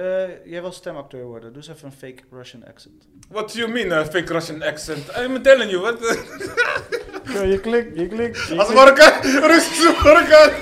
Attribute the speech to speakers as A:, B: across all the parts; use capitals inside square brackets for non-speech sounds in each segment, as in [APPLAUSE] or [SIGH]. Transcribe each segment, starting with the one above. A: Eh, jij wil stemacteur worden, doe eens even een fake Russian accent.
B: What do you mean, uh, fake Russian accent? I'm telling you, what?
C: Yo, Oh, je klikt, je klikt. je
B: [LAUGHS] Als
C: klikt.
B: Marokkaan, Russisch Marokkaan.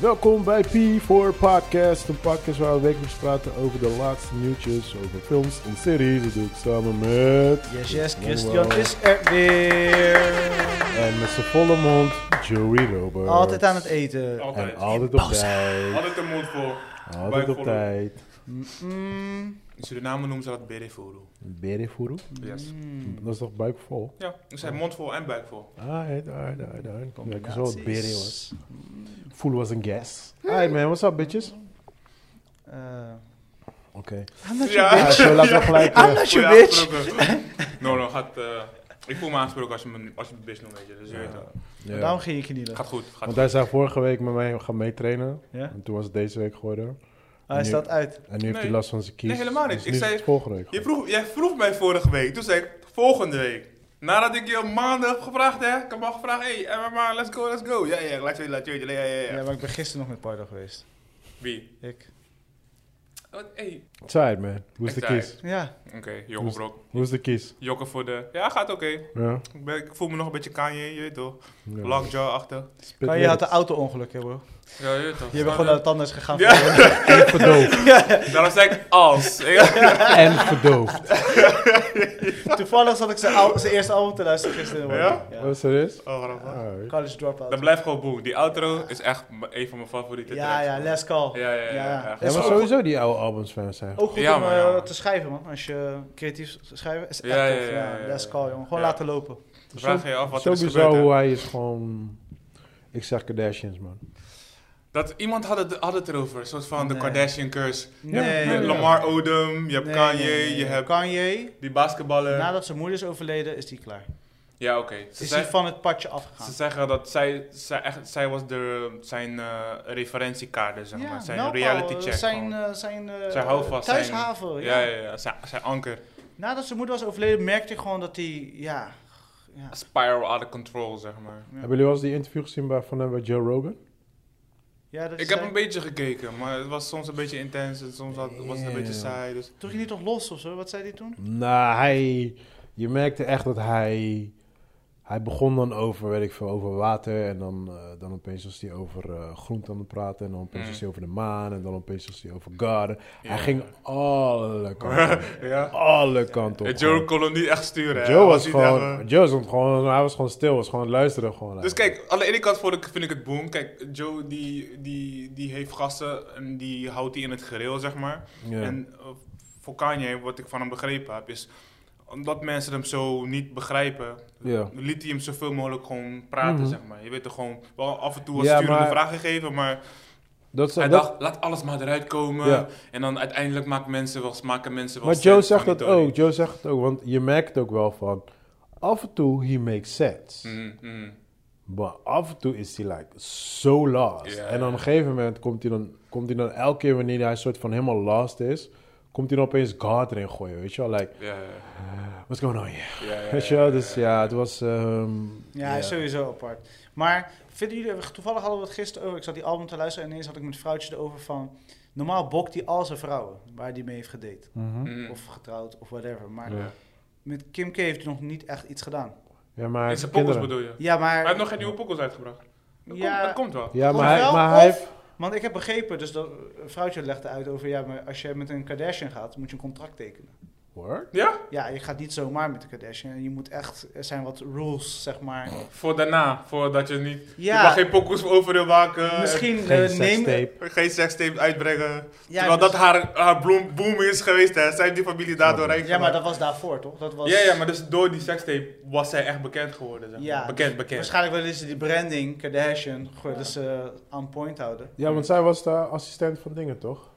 C: Welkom bij P4 Podcast, een podcast waar we wekelijks praten over de laatste nieuwtjes over films en series. Dat doe ik samen met...
A: Yes, yes,
C: Manuel
A: Christian is er weer.
C: En met zijn volle mond, Joey Roberts.
A: Altijd aan het eten.
B: Altijd.
C: En altijd op tijd.
B: Altijd een mond vol.
C: Altijd op
B: Buikvolle.
C: tijd.
A: Mm,
B: In Suriname noemen ze dat bereforo.
C: Berefuru?
B: Yes.
A: mm.
C: Dat is toch Ah, buikvol?
B: Ja, ik zei mond vol en buik vol.
C: Alright, alright, alright, alright. Ja, ik is wel wat bere, hoor.
A: Combinaties.
C: Voel was een gas. Alright man, what's up bitches?
A: Eh,
C: Oké.
A: I'm not your
B: Ja.
C: Ja,
A: bitch.
C: zo Ah, laten we
A: [LAUGHS]
C: gelijk...
A: I'm
C: eh,
A: not your
B: Goeie
A: bitch.
B: aangesproken. no, no, gaat... eh, ik voel me aangesproken als je me, als je me bitch noemt, weet je. Dus je weet wel.
C: ja.
A: Daarom ging je knielen.
B: Gaat goed, gaat
C: Want
B: goed.
C: hij zou vorige week met mij gaan meetrainen.
A: Ja? Ah,
C: En toen was het deze week geworden.
A: Hij staat uit.
C: En nu heeft hij
B: Nee.
C: last van zijn kies.
B: Nee, helemaal niet.
C: Dus
B: Ik
C: nu is
B: zei-
C: het volgende week.
B: Je vroeg, jij vroeg mij vorige week, toen zei ik volgende week. Nadat ik je maanden heb gevraagd, hè. Ik heb al gevraagd, hey, MMA, let's go, let's go. Ja, ja, laat je laat je ja, ja,
A: Ja,
B: ja.
A: maar ik ben gisteren nog met Pardo geweest.
B: Wie?
A: Ik.
B: Oh, hey.
C: Tired man. Hoe is de
B: Ik
C: kies?
A: Ja.
B: Oké, jongen brok.
C: Hoe is de kies?
B: Jokken voor de... Ja, gaat oké.
C: Ja.
B: Ik, ben- ik voel me nog een beetje Kanye, je weet toch.
C: ja.
B: Lockjaw achter.
C: Spit
A: Maar je
C: weer.
A: had een auto-ongeluk, hè, bro.
B: Ja, je weet toch.
A: Je bent gewoon naar de tandarts gegaan.
B: Ja.
A: voor [LAUGHS] de-
C: En verdoofd.
B: Daarom zei ik
A: [LAUGHS]
B: als.
C: en verdoofd.
A: Toevallig zat ik zijn al- zijn eerste album te luisteren gisteren. hoor.
B: Ja?
C: Wat is er is?
B: oh, grappig.
C: Alright.
A: College Dropout.
B: Dat blijft gewoon boem. Die outro is echt m- een van mijn favoriete
A: Ja,
B: tracks.
A: ja, Last Call.
B: Ja, ja, ja.
A: Ja.
B: ja.
C: Ja, maar sowieso die oude albums van zijn.
A: Ook goed
B: Ja,
A: om
B: maar
A: eh,
B: ja, man.
A: te schrijven, man. Als je creatief schrijven is echt
B: Ja, ja,
A: tof.
B: ja,
A: Ja,
B: ja, ja.
A: Last Call, jongen. Gewoon
B: Ja.
A: laten lopen.
B: Dan vraag je je af wat er
C: Zo
B: is gebeurd.
C: bizar
B: hè.
C: hoe hij is gewoon... Ik zeg Kardashians man.
B: Dat iemand had het, had het erover. Een soort van
A: Nee.
B: de Kardashian curse.
C: Ja,
B: Je
C: Nee,
B: hebt
C: ja.
B: Lamar Odom, je hebt
A: Nee,
B: Kanye,
A: nee, nee, nee.
B: je hebt
A: Kanye,
B: die basketballer.
A: nadat zijn moeder is overleden, is die klaar.
B: Ja, oké. Ze,
A: Is
B: zei-
A: hij van het padje
B: ze
A: afgegaan.
B: zeggen dat zij, zij, echt, zij was de, zijn eh, referentiekader, zeg maar. Zijn
A: nou,
B: reality
A: eh,
B: check.
A: Zijn,
B: gewoon.
A: eh, zijn, eh,
B: Zijn houvast, zijn-
A: thuishaven.
B: ja,
A: Ja.
B: ja, ja. Zijn, zijn anker.
A: Nadat zijn moeder was overleden, merkte ik gewoon dat hij, ja... ja.
B: Spiral out of control, zeg maar.
C: Hebben jullie wel eens die interview gezien bij, van hem bij Joe Rogan?
A: ja dat
B: Ik
A: is
B: heb
A: hij-
B: een beetje gekeken, maar het was soms een beetje intens en soms had- was het een beetje
C: Ja.
B: saai. Dus.
A: Toen ging hij toch los of zo? Wat zei hij toen?
C: Nou, hij... Je merkte echt dat hij... Hij begon dan over, weet ik veel, over water. En dan, eh, dan opeens was hij over eh groente aan het praten. En dan opeens
B: Mm.
C: was hij over de maan. En dan opeens was hij over garden.
B: Ja.
C: Hij ging
B: [LAUGHS]
C: alle kanten op.
B: Ja.
C: Alle kanten
B: En
C: op.
B: Joe
C: gewoon.
B: kon hem niet echt sturen. hè.
C: Joe
B: Hij
C: was
B: niet echt,
C: gewoon...
B: eh,
C: Joe was gewoon... Hij was gewoon stil. Was gewoon luisteren gewoon.
B: Dus kijk, aan de ene kant vond ik, vind ik het boom. Kijk, Joe die, die, die heeft gasten en die houdt die in het gereel, zeg maar.
C: Ja.
B: En eh, voor Kanye, wat ik van hem begrepen heb, is omdat mensen hem zo niet begrijpen,
C: Ja.
B: liet hij hem zoveel mogelijk gewoon praten,
C: Mhm.
B: zeg maar. Je weet toch gewoon, wel af en toe wat
C: Ja,
B: sturende
C: maar-
B: vragen gegeven, maar
C: Dat, is-
B: hij
C: dat-
B: dacht, laat alles maar eruit komen.
C: Ja.
B: En dan uiteindelijk maken mensen wel, maken mensen wel
C: Maar
B: sterk
C: Joe zegt
B: van
C: dat
B: die Tony.
C: ook. Joe zegt het ook. Want je merkt het ook wel van... Af en toe, he makes sense.
B: Mm, mm.
C: Maar af en toe is hij like so lost.
B: Ja,
C: en
B: ja.
C: op een gegeven moment komt hij, dan, komt hij dan elke keer wanneer hij soort van helemaal lost is, komt hij dan opeens God erin gooien, weet je wel? Like,
B: Ja, ja,
C: what's going on here?
B: ja, ja,
C: Weet je wel? Dus ja, het was... ehm,
A: Ja, hij is sowieso apart. Maar vinden jullie, toevallig hadden we het gisteren over, ik zat die album te luisteren en ineens had ik met vrouwtje erover van, normaal bokt hij al zijn vrouwen waar hij mee heeft gedate.
C: mhm.
B: Mm.
A: Of getrouwd of whatever. Maar
C: Ja.
A: met Kim K heeft hij nog niet echt iets gedaan.
C: Ja, maar hij
B: In
C: heeft
B: zijn pokkels
C: kinderen.
B: bedoel je?
A: Ja,
B: Hij heeft
A: maar,
B: nog geen nieuwe pokkels uitgebracht. Dat,
A: Ja.
B: komt, dat komt wel.
C: Ja,
A: Of
C: maar hij,
A: wel,
C: maar hij
A: of-
C: heeft...
A: want ik heb begrepen, dus dat, een vrouwtje legde uit over, ja, maar als je met een Kardashian gaat, moet je een contract tekenen.
C: Word?
B: Ja?
A: Ja, je gaat niet zomaar met de Kardashian. Je moet echt, er zijn wat rules, zeg maar.
B: Voor daarna, voordat je niet...
A: Ja.
B: Je mag geen pokoes over wil maken. en
A: Misschien
C: Geen
A: eh, neem...
C: sekstape.
B: Geen sekstapes uitbrengen.
A: Ja,
B: Terwijl
A: dus-
B: dat haar, haar bloem, boom is geweest, hè. Zij heeft die familie daardoor
C: Snap ik.
B: rijk
A: Ja, maar
B: gemaakt.
A: dat was daarvoor, toch? Dat was...
B: Ja, ja, maar dus door die sekstape was zij echt bekend geworden. Zeg maar.
A: Ja,
B: bekend, bekend.
A: Waarschijnlijk willen ze die branding, Kardashian, gewoon dat ze aan point houden.
C: Ja, want zij was de assistent van dingen, toch?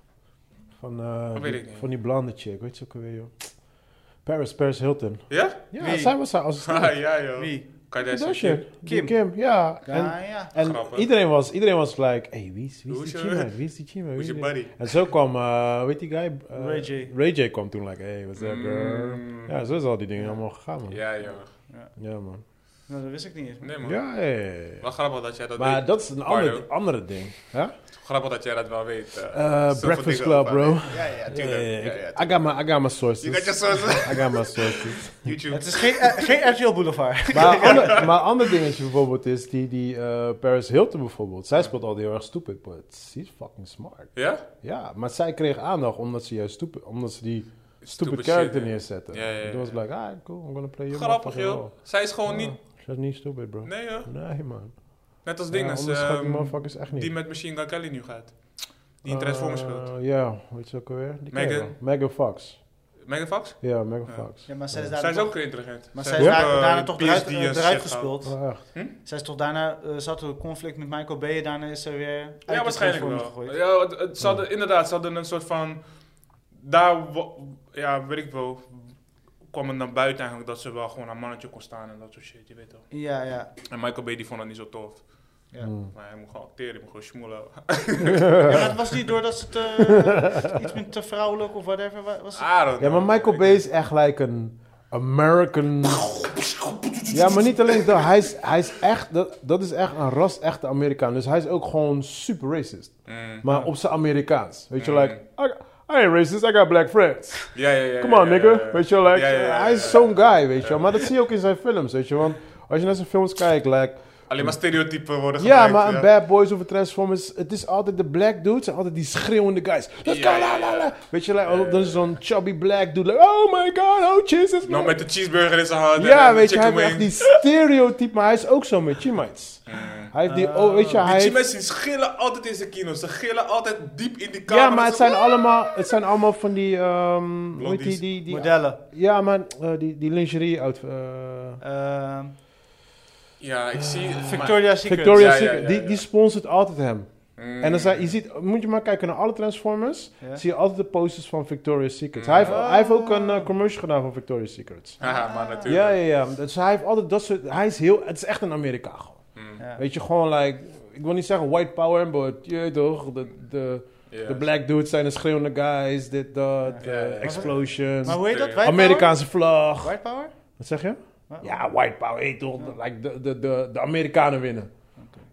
C: Van, eh,
B: Dat weet
C: die-
B: ik niet.
C: van die blonde chick, weet je ook alweer, joh. Paris, Paris Hilton.
B: Ja?
C: Ja,
A: Wie?
C: zij was haar assistent.
B: Ah, ja, joh.
A: Wie?
B: Kardashian.
C: Kardashian.
A: Kim.
C: Kim. Kim, ja.
A: Ja,
C: En,
A: ja.
C: en
B: Grappig.
C: iedereen was, iedereen was like, hey, wie is, wie
B: Hoe
C: is
B: is
C: die
B: je-
C: Chima? Wie is die Chima?
B: Hoe
C: Wie
B: is je
C: die-
B: buddy?
C: En zo kwam, eh, weet die guy? eh,
A: Ray J.
C: Ray J kwam toen, like, hey, what's up, girl?
B: Mm.
C: Ja, zo is al die dingen allemaal gegaan, man. Ja,
B: Ja, joh.
C: man.
A: Nou, dat wist ik niet eens.
B: Nee, man.
C: Ja, hey.
B: Wel grappig dat jij dat
C: Maar
B: weet.
C: dat is een ander,
B: Pardo.
C: andere ding. Huh?
B: Grappig dat jij dat wel weet. eh.
C: Eh,
B: Zoveel
C: Breakfast
B: dingen
C: Club,
B: over-
C: bro.
B: Ja, ja,
C: Ja,
B: tuurlijk.
C: ja,
B: Ja,
C: ik-
B: ja,
C: I got my, I got my sources.
B: You got your
C: [LAUGHS]
B: sources.
C: I got my sources.
B: YouTube.
A: Het is geen, eh, geen RTL [LAUGHS] Boulevard.
C: maar een ander, maar een ander dingetje bijvoorbeeld is die, die eh, Paris Hilton bijvoorbeeld. Zij speelt al heel erg stupid, but she's fucking smart.
B: Ja?
C: Ja, maar zij kreeg aandacht omdat ze juist stupid, omdat ze die stupid,
B: Stupid
C: character
B: shit, hè?
C: neerzetten.
B: Ja, ja, ja.
C: Toen was ik like, ah, cool, I'm gonna play your
B: Grappig,
C: motherfucking
B: joh.
C: role.
B: Zij is gewoon
C: Ja,
B: niet...
C: Ze is niet stupid, bro.
B: Nee, joh.
C: Nee, man.
B: Net als
C: Ja,
B: dingen.
C: onderschat die motherfuckers echt
B: ehm,
C: niet.
B: die met Machine Gun Kelly nu gaat. Die in Transformers
C: Eh,
B: speelt.
C: Ja, weet je ook alweer? Die ken je
B: Megan.
C: wel. Megan Fox.
B: Megan Fox?
C: Ja, Megan
B: Ja.
C: Fox.
A: Ja, maar zij is,
B: Zij
A: daar
B: is ook intelligent.
A: maar zij is
C: Ja?
A: daar,
B: ook, eh,
A: daarna toch eruit,
B: PSD
A: eh,
B: en
A: eruit
B: shit
A: gespeeld.
C: Ah, echt.
A: Zij is toch daarna, eh, zat er een conflict met Michael Bay en daarna is ze weer uit
B: Ja,
A: de
B: waarschijnlijk
A: platform
B: wel.
A: gegooid.
B: Ja, het, het- ze hadden, inderdaad, ze hadden een soort van... Daar, wo- ja, weet ik wel, kwam het naar buiten eigenlijk dat ze wel gewoon een mannetje kon staan en dat soort shit, je weet toch.
A: Ja, [LAUGHS] ja.
B: En Michael Bay die vond dat niet zo tof.
A: Ja.
C: Hmm.
B: Maar hij moet gewoon acteren, hij moet gewoon smoelen.
A: Ja, maar het was niet doordat ze te, eh, iets met te vrouwelijk of whatever wa- was. Het?
B: I don't
C: Ja, maar
B: know.
C: Michael Bay is echt like een American. Ja, maar niet alleen dat. Hij is, hij is echt, dat, dat is echt een ras-echte Amerikaan. Dus hij is ook gewoon super racist.
B: Mm.
C: Maar op zijn Amerikaans. Weet je, like, I, I ain't racist, I got black friends.
B: Ja, ja, ja.
C: Come
B: ja,
C: on,
B: ja,
C: nigga.
B: ja.
C: Weet je, like,
B: Ja, ja, ja, ja,
C: hij
B: ja.
C: is zo'n guy, weet je. wel. Maar dat zie je ook in zijn films, weet je. Want als je naar zijn films kijkt, like,
B: Alleen maar stereotypen worden
C: ja,
B: gebruikt.
C: maar een Bad Boys of een Transformers, het is altijd de black dudes, en altijd die schreeuwende guys. Let's
B: Ja, ja,
C: go, la,
B: ja.
C: la, la. Weet je, like, oh, dan is zo'n chubby black dude, like, oh my god, oh Jesus.
B: Nou, met de cheeseburger in zijn hand. en
C: Ja,
B: de
C: weet je, hij
B: chicken
C: heeft echt die
B: wings.
C: stereotype, maar hij is ook zo met Chimites. Hij heeft die, oh, weet je, hij
B: Die
C: heeft-
B: mensen die schillen altijd in zijn kino. Ze gillen altijd diep in die kamer.
C: Ja, maar het
B: Zo-
C: zijn allemaal, het zijn allemaal van die, ehm hoe heet
B: Blondies.
C: die, die, die,
A: Modellen.
C: ja, maar eh, die, die lingerie uit, eh,
B: Ah.
A: Ehm,
B: Ja, ik zie...
A: Victoria's Secret.
C: Victoria's
B: Ja, ja,
C: Secret,
B: ja,
C: die,
B: ja.
C: die sponsort altijd hem.
B: maar- Mm.
C: En dan zijn, je ziet, moet je maar kijken naar alle Transformers,
A: Ja.
C: zie je altijd de posters van Victoria's Secret.
B: Mm.
C: Hij, heeft, hij heeft ook een
A: Ah.
C: eh, commercial gedaan van Victoria's Secret.
B: Haha, maar natuurlijk.
C: Ja, ja, ja. Dus hij heeft altijd dat soort, hij is heel, het is echt een Amerikaan gewoon.
B: Mm.
A: Ja.
C: Weet je, gewoon like, ik wil niet zeggen white power, maar je weet toch, de, de,
B: Ja.
C: de black dudes zijn de schreeuwende guys, dit, dat,
B: Ja, ja, ja.
C: eh, explosions,
A: Maar hoe heet dat?
B: Stereo.
A: White
C: Amerikaanse vlag.
A: Power? White Power?
C: Wat zeg je?
A: Wa-
C: Ja, white power, hey, toch, like de, de, de, de Amerikanen winnen.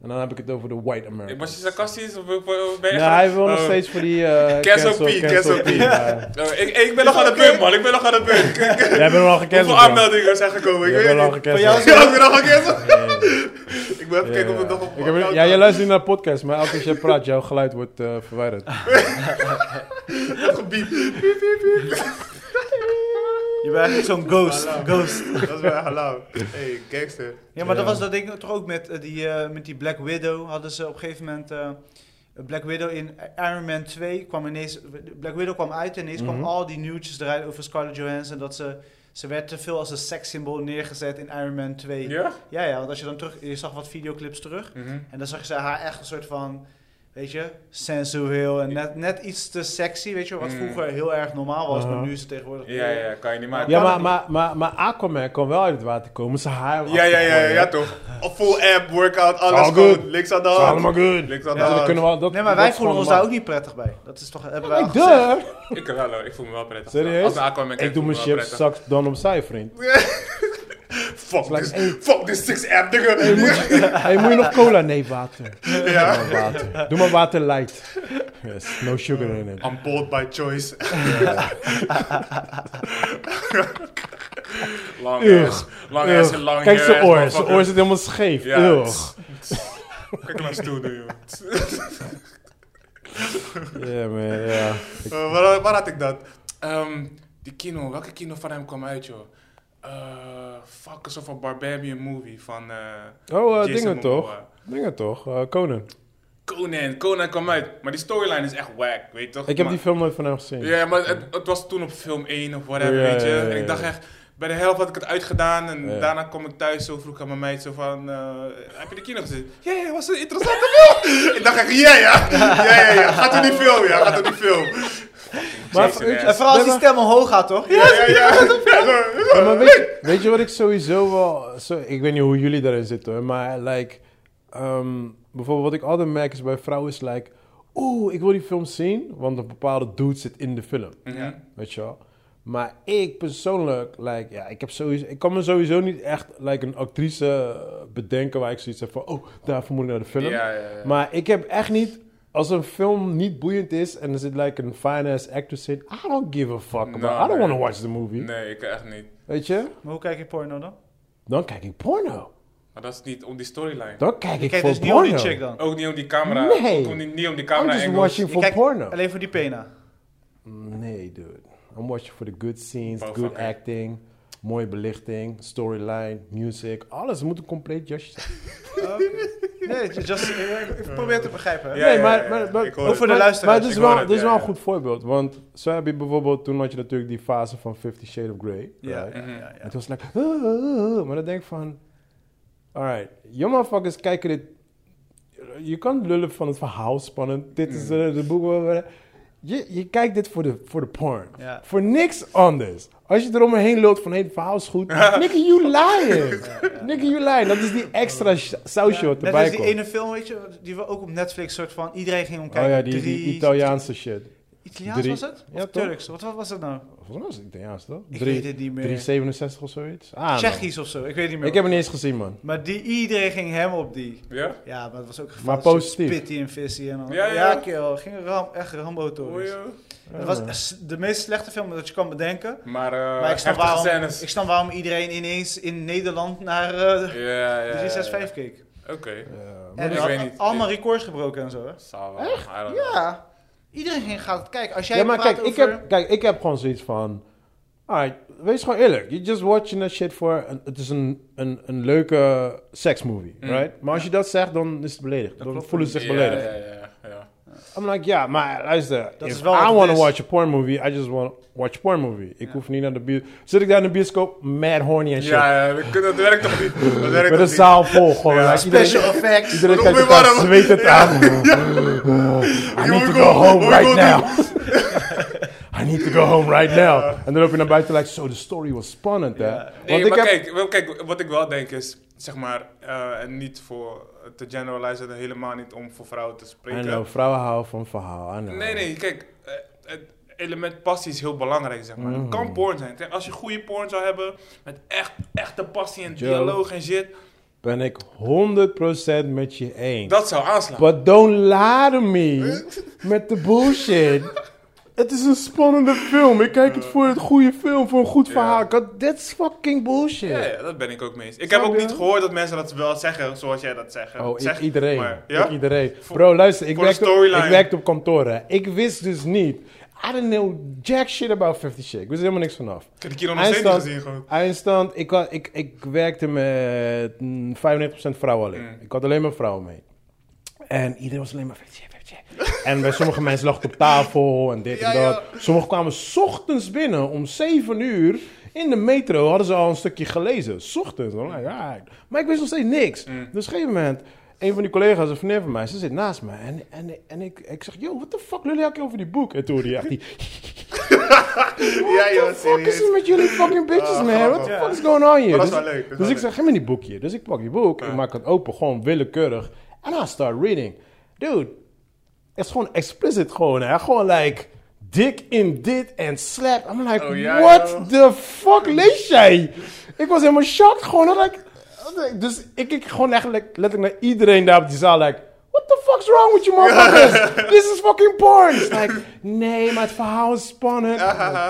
C: En dan heb ik het over de white
B: Ik
C: Americans.
B: Was je sarcastisch? Of, of- of ben je
C: Nee,
B: gewoon-
C: Nou, hij wil nog
B: Oh.
C: steeds voor die... eh
B: [LAUGHS] Cancel P, cancel P.
C: ja.
B: Oh, ik, ik ben nog aan de beurt, man. Ik ben nog aan de
C: [LAUGHS]
B: beurt. Kijk,
C: Jij bent al gecanceld.
B: Hoeveel aanmeldingen zijn gekomen? Ik
C: Jij bent
B: weet
C: al
B: niet.
C: gecanceld.
A: Van jou
B: Ja, ik ben nog aan Ik wil even kijken of
C: Ja,
B: het nog op...
C: Ik heb- ja, jij luistert niet naar podcasts, maar elke keer als jij praat, jouw geluid wordt eh, verwijderd.
B: Dat gebied. Piep, piep, piep.
A: Je bent eigenlijk zo'n ghost. ghost.
B: Dat is wel halal. Hey, gangster.
A: Ja, maar dat
C: Ja.
A: was dat ding toch ook met, eh, die, eh, met die Black Widow. Hadden ze op een gegeven moment... eh, Black Widow in Iron Man 2 kwam ineens... Black Widow kwam uit en ineens kwamen
C: Mhm.
A: al die nieuwtjes eruit over Scarlett Johansson. Dat ze... Ze werd te veel als een sekssymbool neergezet in Iron Man 2.
B: Ja?
A: Ja, ja, want als je dan terug... Je zag wat videoclips terug.
C: Mhm.
A: En dan zag je ze haar echt een soort van... Weet je, sensueel en net, net iets te sexy, weet je, wat
B: Mm.
A: vroeger heel erg normaal was, maar
C: Aha.
A: nu is het tegenwoordig...
B: Ja, ja, kan je niet maken.
C: Mhm. Uh-huh. Ja, maar, maar, maar, maar Aquaman kon wel uit het water komen. Zijn haar was
B: Ja, ja, ja, ja,
C: afgegooid,
B: ja,
C: hè?
B: toch. Full app, workout, alles
C: All
B: gewoon.
C: good.
B: Links aan de
C: Is
B: hand.
C: allemaal goed.
B: Links aan de
C: Ja, dan
B: hand.
C: kunnen we al- dat,
A: Nee, maar wij
C: dat is
A: voelen
C: gewoon
A: ons daar ook
C: normaal.
A: niet prettig bij. Dat is toch, hebben wij
C: Ik
A: al gezegd.
C: durf.
B: Ik wel hoor, ik voel me wel prettig.
C: Serieus?
B: Als een Aquaman kijk,
C: Ik
B: voel
C: doe mijn
B: me wel
C: chips
B: prettig.
C: zak dan opzij, vriend. [LAUGHS]
B: Fuck
C: like,
B: this,
C: hey.
B: fuck this six app, nigga.
C: Hey, moet je nog cola? Nee, water. Doe maar water. Doe maar water light. Yes, no sugar in it.
B: I'm bold by choice. Lang ass. Lang ass en lang
C: Kijk
B: hair
C: zijn
B: ass,
C: oor. Zijn
B: motherfucker.
C: oor zit helemaal scheef.
B: Ja.
C: Ugh.
B: Kijk naar stoel doen, joh. [LAUGHS]
C: Ja, man, ja.
B: Eh, waar, waar had ik dat? Ehm, Die kino, welke kino van hem kwam uit, joh? Eh fuck, is of een Barbarian movie van eh
C: Oh, eh,
B: Jason
C: dingen
B: Momoa.
C: toch? Dingen toch? Eh, Conan.
B: Conan, Conan kwam uit. Maar die storyline is echt wack, weet je toch?
C: Ik heb
B: Maar-
C: die film nooit van hem gezien.
B: Ja, maar het, het was toen op film 1 of whatever,
C: Ja,
B: weet je.
C: ja, ja,
B: En ik dacht
C: ja.
B: echt, bij de helft had ik het uitgedaan. En
C: Ja.
B: daarna kom ik thuis, zo vroeg aan mijn meid, zo van... eh, heb je de kino gezien? Ja, ja, was een interessante [LAUGHS] film! ik dacht echt, ja, ja. Ja, ja, ja. Gaat er die film, ja. Gaat er die film.
C: Maar
B: Jason
C: ik-
B: ass.
A: En vooral als die
C: Nee,
A: stem omhoog gaat, toch?
B: Ja, ja, ja.
C: Ja, maar weet, je- weet je wat ik sowieso wel... Zo, ik weet niet hoe jullie daarin zitten, hoor, maar like... ehm, bijvoorbeeld wat ik altijd merk is bij vrouwen is like... Oeh, ik wil die film zien, want een bepaalde dude zit in de film.
B: Mhm.
C: Weet je wel? Maar ik persoonlijk, like, ja, ik, heb sowieso, ik kan me sowieso niet echt like, een actrice eh, bedenken waar ik zoiets heb van... Oh, daarvoor moet ik naar de film.
B: Ja, ja, ja.
C: Maar ik heb echt niet... Als een film niet boeiend is en er zit like, een fine-ass actress in... I don't give a fuck about
B: Nou,
C: I don't
B: nee.
C: want to watch the movie.
B: Nee, ik echt niet.
C: Weet je?
A: Maar hoe kijk je porno dan?
C: Dan kijk ik porno.
B: Maar dat is niet om die storyline.
C: Dan kijk
A: Je
C: ik
A: kijkt
C: voor
A: dus niet om die
C: porno.
A: chick dan.
B: Ook niet om die camera.
C: Nee.
B: Ook om die- niet om die
C: I'm
B: camera
C: just
B: angles.
C: watching
A: Je
C: for
A: kijkt
C: porno.
A: alleen voor die pena.
C: Nee, dude. I'm watching for the good scenes,
B: Oh,
C: good
B: fuck it.
C: acting, mooie belichting, storyline, music. Alles moet een compleet jasje zijn.
A: Nee,
C: [LAUGHS]
A: just, ik probeer het te begrijpen. hè.
B: Ja,
C: nee,
B: ja,
C: maar,
B: ja,
C: maar,
B: ja.
C: maar-
B: Ik hoor
A: Ook
B: het.
A: voor de
C: maar-
A: luisteraars.
C: Maar dit is
B: ik hoor
C: wel,
B: het,
C: dit is
B: ja,
C: wel een
B: ja.
C: goed voorbeeld. Want zo heb je bijvoorbeeld, toen had je natuurlijk die fase van Fifty Shades of Grey.
A: Ja,
C: right?
A: ja, ja,
C: En
A: ja.
C: het was like, "Ah, ah, ah," maar dan denk ik van, alright, you motherfuckers kijken dit. Je kan lullen van het verhaal spannend. Dit is
B: Mm.
C: eh, de boek. waar we- Je, je kijkt dit voor de, voor de porn.
A: Ja.
C: Voor niks anders. Als je eromheen loopt van, hey, het verhaal is goed. Nigga, you
B: [LAUGHS]
C: lying. Nigga, you lying. Dat is die extra sh- sausje wat
A: Net
C: erbij
A: als
C: komt.
A: die ene film, weet je, die we ook op Netflix soort van, iedereen ging om
C: oh
A: kijken.
C: ja, die, die
A: Drie-
C: Italiaanse shit.
A: Italiaans
C: drie-
A: was het? Of
C: Ja, toch?
A: Turks? Wat, wat was het nou?
C: Volgens mij was het Italiaans, toch?
A: Ik
C: Drie-
A: weet het niet meer.
C: 367 of zoiets. Ah, man.
A: Tsjechisch of zo, ik weet niet meer.
C: Ik heb het niet eens gezien, man.
A: Maar die, iedereen ging hem op die.
B: Ja?
A: Ja, maar het was ook gevaarlijk.
C: Maar positief.
A: Spitty en vissy en al.
B: Ja,
A: Ja,
B: ja.
A: kerel. Ging ram, echt rambo
B: Hoor
A: tories.
B: je?
A: Het was de meest slechte film dat je kan bedenken.
B: Maar, eh
A: maar ik snap,
B: heftige
A: waarom,
B: scènes.
A: ik snap waarom iedereen ineens in Nederland naar eh,
B: Ja, ja,
A: de
B: ja.
A: 365 keek.
B: Oké.
C: Ja, maar
A: En
B: ik
A: had
B: weet niet.
A: allemaal records gebroken en zo. Hè?
B: Zal wel. I don't know.
A: Ja. Iedereen ging gaat het kijken. Als jij
C: ja, maar
A: praat
C: kijk,
A: over...
C: ik heb, kijk, ik heb gewoon zoiets van... Alright, wees gewoon eerlijk. You're just watching that shit voor... een- Het is een, een, een leuke seksmovie,
B: Mm.
C: right? Maar als je dat zegt, dan is het beledigd. Dan
A: klopt.
C: voelen ze zich
B: Ja,
C: beledigd.
B: Ja, ja, ja.
C: I'm like, ja, maar luister.
A: Dat
C: if
A: is wel wat
C: I
A: het
C: want to
A: is.
C: watch a porn movie, I just want to watch a porn movie. Ik
A: Ja.
C: hoef niet naar de bios... Zit ik daar in de bioscoop, mad horny en shit.
B: Ja, ja, we kunnen- dat werkt
C: [LAUGHS]
B: toch niet? Dat werkt
C: Met
B: toch
C: een
B: niet?
C: zaal vol gewoon.
B: Ja.
C: Like, iedereen-
A: Special effects.
C: Iedereen
B: Rob
C: kijkt
B: weer
C: elkaar
B: warm.
C: zwetend aan. Eh, I need to go
B: Here
C: home
B: we
C: right
B: go.
C: now. [LAUGHS] I need to go home right now. En dan loop je naar buiten like, so the story was spannend, hè.
A: Ja.
B: Nee,
C: ik
B: maar
C: heb...
B: kijk, wel- kijk, wat ik wel denk is, zeg maar, eh, en niet voor te generalizen, en helemaal niet om voor vrouwen te
C: I
B: spreken.
C: know, vrouwen houden van verhaal. I know.
B: Nee, nee, kijk, eh, het element passie is heel belangrijk, zeg
C: Mm.
B: maar. Het kan porn zijn. Kijk, Als je goede porn zou hebben, met echt, echte passie en
C: Joe.
B: dialoog en shit,
C: Ben ik 100% met je eens.
B: dat zou aanslaan.
C: But don't lie to me met de
B: [LAUGHS]
C: bullshit. Het is een spannende film. Ik kijk het voor het goede film, voor een goed verhaal. God, that's fucking bullshit.
B: Ja, ja, dat ben ik ook mee eens. Ik
C: Snap
B: heb ook
C: je?
B: niet gehoord dat mensen dat wel zeggen zoals jij dat zegt.
C: Oh, ik,
B: zegt,
C: iedereen.
B: maar- ja?
C: Ik iedereen. Bro, luister, ik
B: voor de
C: werkte, op,
B: storyline.
C: ik werkte op kantoor. Hè. Ik wist dus niet. I don't know jack shit about 50 Shake. Ik wist helemaal niks vanaf.
B: Ik heb de kilo nog steeds niet
C: Eindstand-
B: gezien gewoon.
C: Eindstand, ik, had, ik, ik werkte met mm, 95% vrouwen alleen.
B: Mm.
C: Ik had alleen maar vrouwen mee. En iedereen was alleen maar 50 Shake, 50 Shake. [LAUGHS] En bij sommige mensen lag het op tafel en dit
B: Ja,
C: en dat.
B: ja.
C: Sommigen kwamen 's ochtends binnen om 7 uur. In de metro hadden ze al een stukje gelezen. 's Ochtends. I'm like, alright. Maar ik wist nog steeds niks.
B: Mm.
C: Dus op een gegeven moment, een van die collega's, een vriendin van mij, ze zit naast me. En, en, en ik, ik zeg, yo, what the fuck lullen jullie over die boek? En toen hoorde je echt die,
B: Ja, joh,
C: what the fuck is er
B: serieus.
C: met jullie fucking bitches,
B: Ah,
C: man? What the
A: grappig.
C: fuck is going on
B: Maar
C: here?
B: dat is
C: Dus-
B: wel leuk, dat is
C: Dus
B: wel
C: ik zeg, geef me die boekje. Dus ik pak die boek, ik
B: Ja.
C: maak het open, gewoon willekeurig. En I start reading. Dude, het is gewoon explicit gewoon, hè? Gewoon like, dik in dit en slap. I'm like,
B: Oh, ja,
C: what
B: joh.
C: the fuck lees jij? Ik was helemaal shocked gewoon. I'm like, dus ik kijk gewoon echt le- letterlijk naar iedereen daar op die zaal, like... What the fuck's wrong with you
B: [LAUGHS]
C: motherfuckers? This is fucking porn! It's Like, nee, maar het verhaal is spannend.
B: Ah,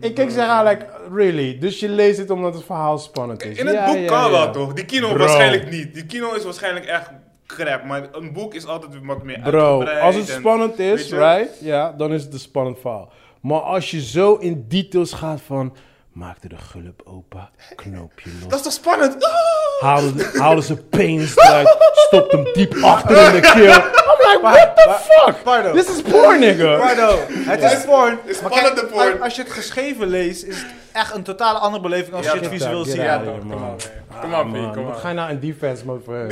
C: Ik kijk ze aan, like, really? Dus je leest het omdat het verhaal spannend is.
B: In het
C: Ja,
B: boek
C: ja,
B: kan
C: ja.
B: wel toch? Die kino
C: Bro.
B: waarschijnlijk niet. Die kino is waarschijnlijk echt crap, maar een boek is altijd wat meer
C: Bro,
B: uitgebreid
C: als het
B: en-
C: spannend
B: weet
C: is,
B: je?
C: right? Ja, dan is het een spannend verhaal. Maar als je zo in details gaat van... Maakte de gulp open, knoopje los.
B: Dat is toch spannend? Ah!
C: Haalden, haalden ze penis uit, stopt hem diep achter in de keel. I'm like, what the fuck?
A: Pardo.
C: This is porn, nigga.
A: Pardo, het is porn.
B: Het is
A: Maar kijk,
B: spannende porn.
A: Als je het geschreven leest, is het echt een totale andere beleving als
B: Ja,
A: je het
B: get
A: visueel
C: out,
A: ziet.
C: get
B: Ja,
C: out.
B: toch,
C: man.
B: kom op. man. Kom
C: Ah,
B: op,
C: man,
B: man, kom
C: wat
B: op.
C: Ga je nou een defense, man, voor hem?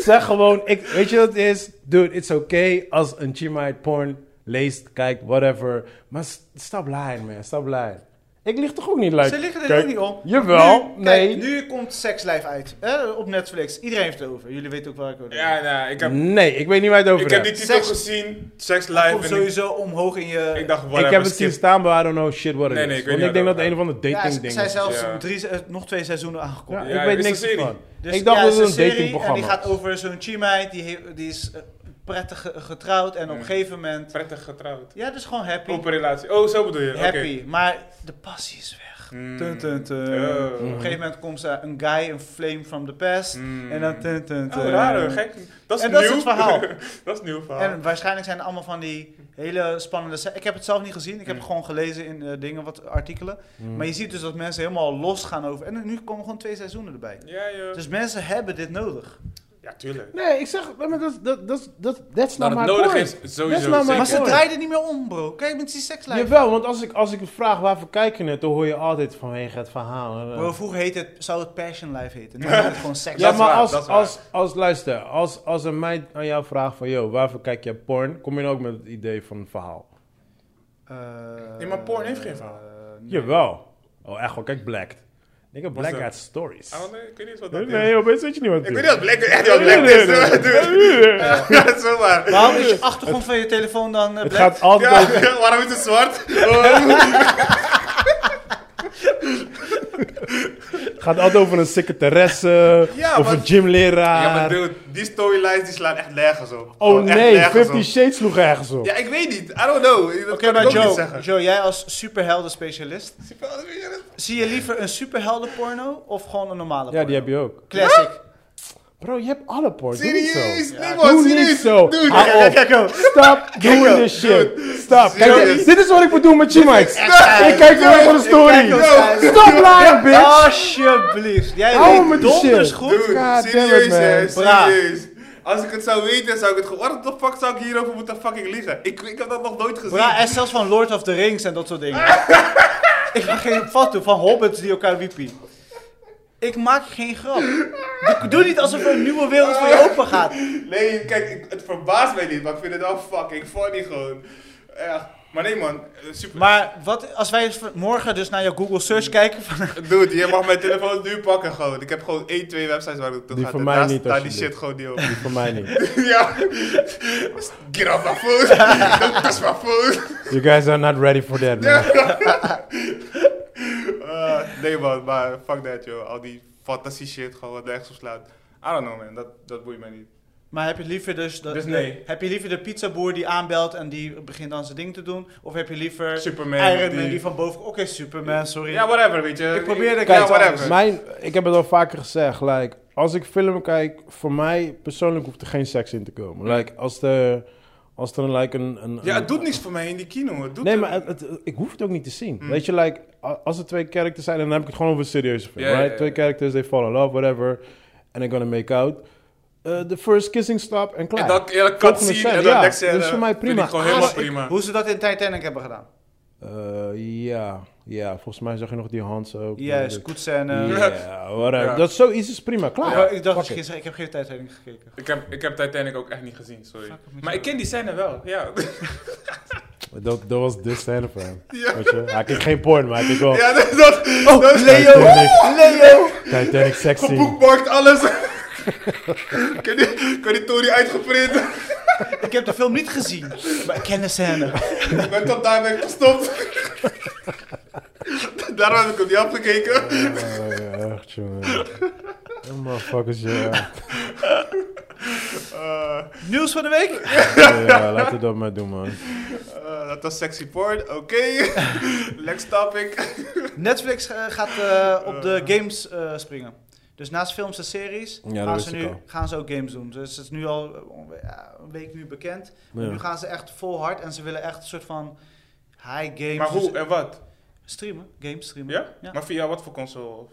C: Zeg gewoon, ik, weet je wat het is? Dude, it's okay als een chimite porn leest, kijkt, whatever. Maar s- stop lying, man, stop lying. Ik lig toch ook niet leuk?
A: Ze liggen er
C: Kijk,
A: ook niet om.
C: Jawel,
A: Nu-
C: nee.
A: Kijk, nu komt Sex Life uit. hè, op Netflix. Iedereen heeft het over. Jullie weten ook waar ik over
B: Ja, nee, ik heb,
C: Nee, ik weet niet waar je het over
B: ik heb die
C: hebt.
B: titel
A: Seks-
B: gezien. Sex
A: Het
B: Life.
A: komt
B: En ik,
A: sowieso omhoog in je...
B: ik dacht,
C: Ik
B: whatever,
C: heb het
B: skip.
C: zien staan, maar I don't know shit what it
B: Nee,
C: is.
B: nee, ik weet
C: Want
B: niet
C: ik denk
B: waar het
C: dat het een of ander
A: Ja,
C: dating
A: ze
C: ding
A: zijn
C: is.
A: zelfs
B: Ja.
A: drie, se- eh, nog twee seizoenen aangekomen.
C: Ja,
B: Ja,
C: ik
B: het
C: weet
B: is een
C: niks
B: serie.
C: van.
A: Dus
C: ik dacht
A: ja,
C: dat
A: het
C: het
A: is serie
C: een
A: En
C: datingprogramma
A: die
C: was.
A: gaat over zo'n chimite, die, heeft- die is eh, prettig ge- getrouwd en op een
B: Mm.
A: gegeven moment...
B: Prettig getrouwd.
A: Ja, dus gewoon happy.
B: Open relatie. Oh, zo bedoel je. oké.
A: happy, maar de passie is weg.
B: Mm.
A: Tun, tun, tun.
B: Oh.
A: Op een
C: Mm-hmm.
A: gegeven moment komt er een guy, een flame from the past.
B: Mm.
A: En dan... Tun, tun, tun.
B: Oh, raar, hoor, gek. Dat is
A: En
B: nieuw.
A: dat is het verhaal.
B: [LAUGHS] dat is een nieuw verhaal.
A: En waarschijnlijk zijn het allemaal van die hele spannende... se- Ik heb het zelf niet gezien. Ik heb
B: Mm.
A: gewoon gelezen in eh, dingen, wat artikelen.
C: Mm.
A: Maar je ziet dus dat mensen helemaal los gaan over... En nu komen gewoon twee seizoenen erbij.
B: ja, joh.
A: Dus mensen hebben dit nodig.
B: ja, tuurlijk.
C: Nee, ik zeg, maar dat, dat, dat, dat, that's
B: Dat
C: not
B: het
C: my
B: nodig
C: point.
B: is, sowieso.
C: That's not my
A: Maar
B: zeker.
A: ze
C: hoor.
A: draaiden niet meer om, bro. Kijk met die sekslijf.
C: Jawel, want als ik, als ik vraag waarvoor kijken het, dan hoor je altijd vanwege het verhaal. eh.
A: Bro, vroeger heette het, zou het Passion Life
C: [LAUGHS]
A: heten. Nu heet het gewoon Sex
C: ja,
B: dat is
A: Life.
C: maar
B: waar,
C: als,
B: dat is waar.
C: als, als, luister, als, als een meid aan jou vraagt van, yo, waarvoor kijk je porn? Kom je dan ook met het idee van een verhaal?
A: Eh,
B: Ja, maar porn heeft geen verhaal.
A: eh, nee.
C: Jawel. Oh, echt wel, kijk Blacked. Ik heb Black
B: dat?
C: had stories.
B: Ah, want, eh, Ik weet niet wat dat
C: Nee,
B: is.
C: nee, joh, weet weet je niet wat
B: Ik
C: het
B: weet
C: is?
B: niet wat Black echt wat Black
C: Nee,
B: is.
C: nee, nee.
B: dude. [LAUGHS] Ja, zomaar.
A: Waarom is je achtergrond van je telefoon dan eh,
C: Het
A: black?
C: gaat altijd over...
B: Ja, [LAUGHS] waarom is het zwart? Oh.
C: Het gaat altijd over een secretaresse,
B: Ja,
C: of
B: maar-
C: een gymleraar.
B: Ja, maar dude, die storylines die slaan echt nergens op.
C: oh
B: Gewoon echt
C: nee,
B: nergens
C: Fifty
B: op.
C: Shades sloeg ergens op.
B: Ja, ik weet niet. I don't know. Dat
A: Oké,
B: kan ik
A: maar
B: ook niet
A: Joe,
B: zeggen.
A: Joe, jij als superhelden specialist, zie je liever een superhelden porno of gewoon een normale porno?
C: Ja, die heb je ook.
A: Classic.
C: Bro, je hebt alle porn, doe niet zo.
B: Serieus? Nee,
C: Doe
B: man,
C: niet
B: serieus.
C: zo.
B: Dude,
C: Hou
B: kijk,
C: op.
B: kijk, kijk.
C: Stop doing
B: joh,
C: this shit.
B: dude.
C: Stop. Kijk,
B: Serieus.
C: dit is wat ik bedoel met G-Mics. Ik kijk wel voor de story.
A: kijk ook, joh.
C: Stop lying,
B: [LAUGHS]
C: bitch.
A: Alsjeblieft. Jij
C: Hou hem
A: weet
C: met die
A: donders
C: shit.
A: goed.
B: Dude,
C: God
B: serieus
C: damn
B: hè,
C: it,
A: man.
B: serieus. Als ik het zou weten, zou ik het gewoon... What the fuck zou ik hierover moeten fucking liegen? Ik, ik heb dat nog nooit gezien.
A: Bra, en zelfs van Lord of the Rings en dat soort dingen. ik maak geen vat toe van hobbits die elkaar wiepie. Ik maak geen grap. Doe, doe niet alsof er een nieuwe wereld voor je open gaat.
B: Nee, kijk, ik- het verbaast mij niet, maar ik vind het wel fucking funny gewoon. Ja, maar nee man, eh, super.
A: Maar wat, als wij v- morgen dus naar jouw Google search kijken van... [LAUGHS]
B: Dude, je mag mijn telefoon nu pakken gewoon. Ik heb gewoon één, twee websites waar ik naartoe
C: Die
B: ga.
C: voor
B: en
C: mij
B: daar
C: niet,
B: staat die
C: alsjeblieft.
B: shit gewoon
C: [LAUGHS]
B: niet op.
C: Voor mij niet.
B: ja. Get off my phone. [LAUGHS] Don't touch my phone.
C: You guys are not ready for that, man.
B: Eh, nee man, maar fuck that joh. Al die fantasie shit gewoon wat nergens op slaat. I don't know man, dat, dat boeit mij niet.
A: Maar heb je liever dus... de-
B: Dus nee.
A: Heb je liever de pizzaboer die aanbelt en die begint dan zijn ding te doen? Of heb je liever
B: Superman.
A: Iron Man die van boven... Oké, Superman, sorry.
B: Ja, whatever, weet je.
A: Ik probeerde-
B: Ja,
A: Kijk,
B: whatever.
C: Mijn, ik heb het al vaker gezegd, like, als ik film kijk, voor mij persoonlijk hoeft er geen seks in te komen. Like, als er, als er like, een, een...
B: Ja,
C: een-
B: het doet niks voor mij in die kino. Het doet
C: Nee, maar het, het- ik hoef het ook niet te zien.
B: Mm.
C: Weet je, like, a- als er twee characters zijn, dan heb ik het gewoon over een serieuze film.
B: Ja, ja,
C: right?
B: ja,
C: Twee
B: ja.
C: characters, they fall in love, whatever. And they're gonna make out. Eh, the first kissing stop en klaar.
B: En dat, ja, dat
C: Volgende
B: cutscene
C: scène,
B: en dat
C: ja.
B: dekcène
C: Dat is voor mij
B: vind ik
C: prima.
B: gewoon
C: Ah,
B: helemaal
A: Ik-
B: prima.
A: hoe ze dat in Titanic hebben gedaan.
C: Eh, ja, ja, volgens mij zag je nog die Hans ook.
A: Ja, scoetscène.
C: [LAUGHS] Ja, whatever.
B: Ja.
C: Dat zoiets is prima, klaar.
A: Ja, Oh, ik dacht dat
C: Fuck
A: je
C: it.
A: geen- ik heb geen Titanic gekeken.
B: Ik heb, ik heb Titanic ook echt niet gezien, sorry.
A: Fuck, ik moet
B: Maar ik ken die scène wel, ja.
C: Oh. Dat, dat was de scène voor hem. Weet je? Hij keek geen porn, maar hij keek wel...
B: [LAUGHS] Ja, dat, dat,
C: Oh,
B: dat [LAUGHS] is
C: Titanic,
A: Leo!
C: Titanic seks scene.
B: geboekmarkt,
C: [LAUGHS]
B: alles. ik heb die, kan die Tory uitgeprint.
A: Ik heb de film niet gezien, maar ik ken de scène.
B: ik ben tot daar ben ik gestopt. [LAUGHS] Daarom heb ik hem niet afgekeken.
C: Oh, ja, echt, jongen. Oh, Motherfuckers, ja.
B: Eh,
A: Nieuws van de week?
C: Ja, laten we dat maar doen, man.
B: eh, dat was sexy porn, oké. [LAUGHS] Next topic.
A: Netflix eh, gaat eh, op de games eh, springen. Dus naast films en series
C: Ja, dat
A: gaan,
C: wist
A: ze
C: ik
A: nu,
C: al.
A: gaan ze ook games doen. Dus het is nu al eh, onge- ja, een week nu bekend.
C: Ja.
A: Nu gaan ze echt vol hard en ze willen echt een soort van High games. dus-
B: Maar hoe en wat?
A: Streamen, games streamen.
B: Ja? Maar via wat voor console?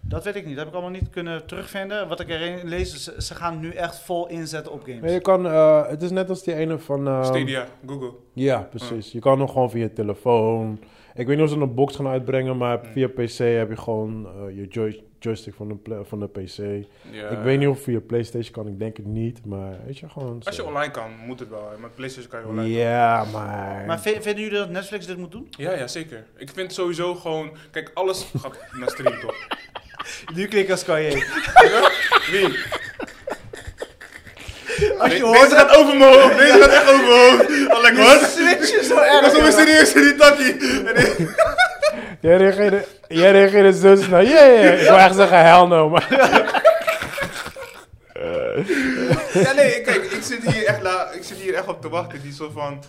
A: Dat weet ik niet. Dat heb ik allemaal niet kunnen terugvinden. Wat ik erin lees, ze, ze gaan nu echt vol inzetten op games.
C: Nee, je kan, eh, het is net als die ene van... eh,
B: Stadia, Google.
C: Ja, precies. Je kan nog gewoon via je telefoon. Ik weet niet of ze een box gaan uitbrengen,
B: Mm.
C: maar via PC heb je gewoon eh, je joy- joystick van de, pla- van de PC.
B: Ja.
C: Ik weet niet of via PlayStation kan, ik denk het niet, maar weet je gewoon.
B: Als je
C: zo.
B: online kan, moet het wel. Met PlayStation kan je online.
C: Ja, maar.
A: Maar vi- vinden jullie dat Netflix dit moet doen?
B: Ja, ja, zeker. Ik vind sowieso gewoon... Kijk, alles [LAUGHS] gaat naar stream, toch?
A: Nu klik als kan je.
B: Wie?
A: Als je
B: De-
A: hoort
B: Deze
A: dat
B: gaat over mijn hoofd. Deze gaat echt over mijn hoofd. Alek, wat?
A: switch je zo
B: Dat
A: erg.
B: is
A: jongen.
B: een serieus in die takkie. En ik-
C: Jij reageerde, jij reageerde zo snel. Ja, ja, ja. Ik wou echt zeggen, hell no. Maar
B: Ja, nee, kijk, ik zit, hier echt la, ik zit hier echt op te wachten. Die soort van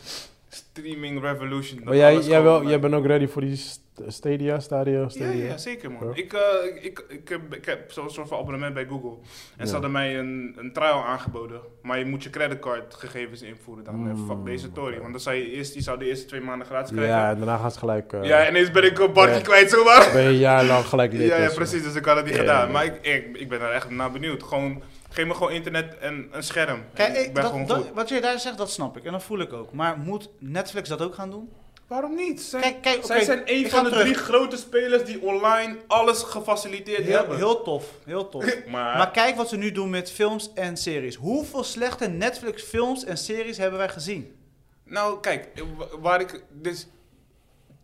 B: streaming revolution. dat
C: maar jij,
B: alles
C: jij,
B: gewoon- eh,
C: wel, jij bent ook ready voor die st- Stadia, Stadia,
B: Ja,
C: Stadia.
B: ja, ja, zeker man.
C: Ja.
B: Ik, eh, ik, ik, heb, ik heb zo'n soort van abonnement bij Google. En
C: Ja.
B: ze hadden mij een, een trial aangeboden. Maar je moet je creditcardgegevens invoeren dan. En fuck deze tory. Want dan zou je, eerst, je zou de eerste twee maanden gratis krijgen.
C: Ja,
B: Ja,
C: en daarna gaan ze gelijk. eh,
B: en ineens ben ik een barkje
C: Ja.
B: kwijt zomaar.
C: Ben je een jaar lang gelijk lid.
B: Ja, ja,
C: dus, eh.
B: precies. Dus ik had het niet
C: Ja,
B: gedaan.
C: ja.
B: Maar ik, ik, ik ben daar echt naar benieuwd. Gewoon, geef me gewoon internet en een scherm.
A: Kijk,
B: En
A: ik-
B: ik ben
A: dat-
B: gewoon
A: dat-
B: goed.
A: wat jij daar zegt, dat snap ik. En dat voel ik ook. Maar moet Netflix dat ook gaan doen?
B: Waarom niet? Zij,
A: Kijk, kijk,
B: zij
A: oké,
B: zijn
A: ik
B: een
A: ga
B: van de
A: terug.
B: drie grote spelers die online alles gefaciliteerd
A: Heel,
B: hebben.
A: heel tof. Heel tof.
B: maar,
A: Maar kijk wat ze nu doen met films en series. Hoeveel slechte Netflix films en series hebben wij gezien?
B: nou kijk, wa- waar ik dus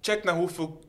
B: check naar hoeveel,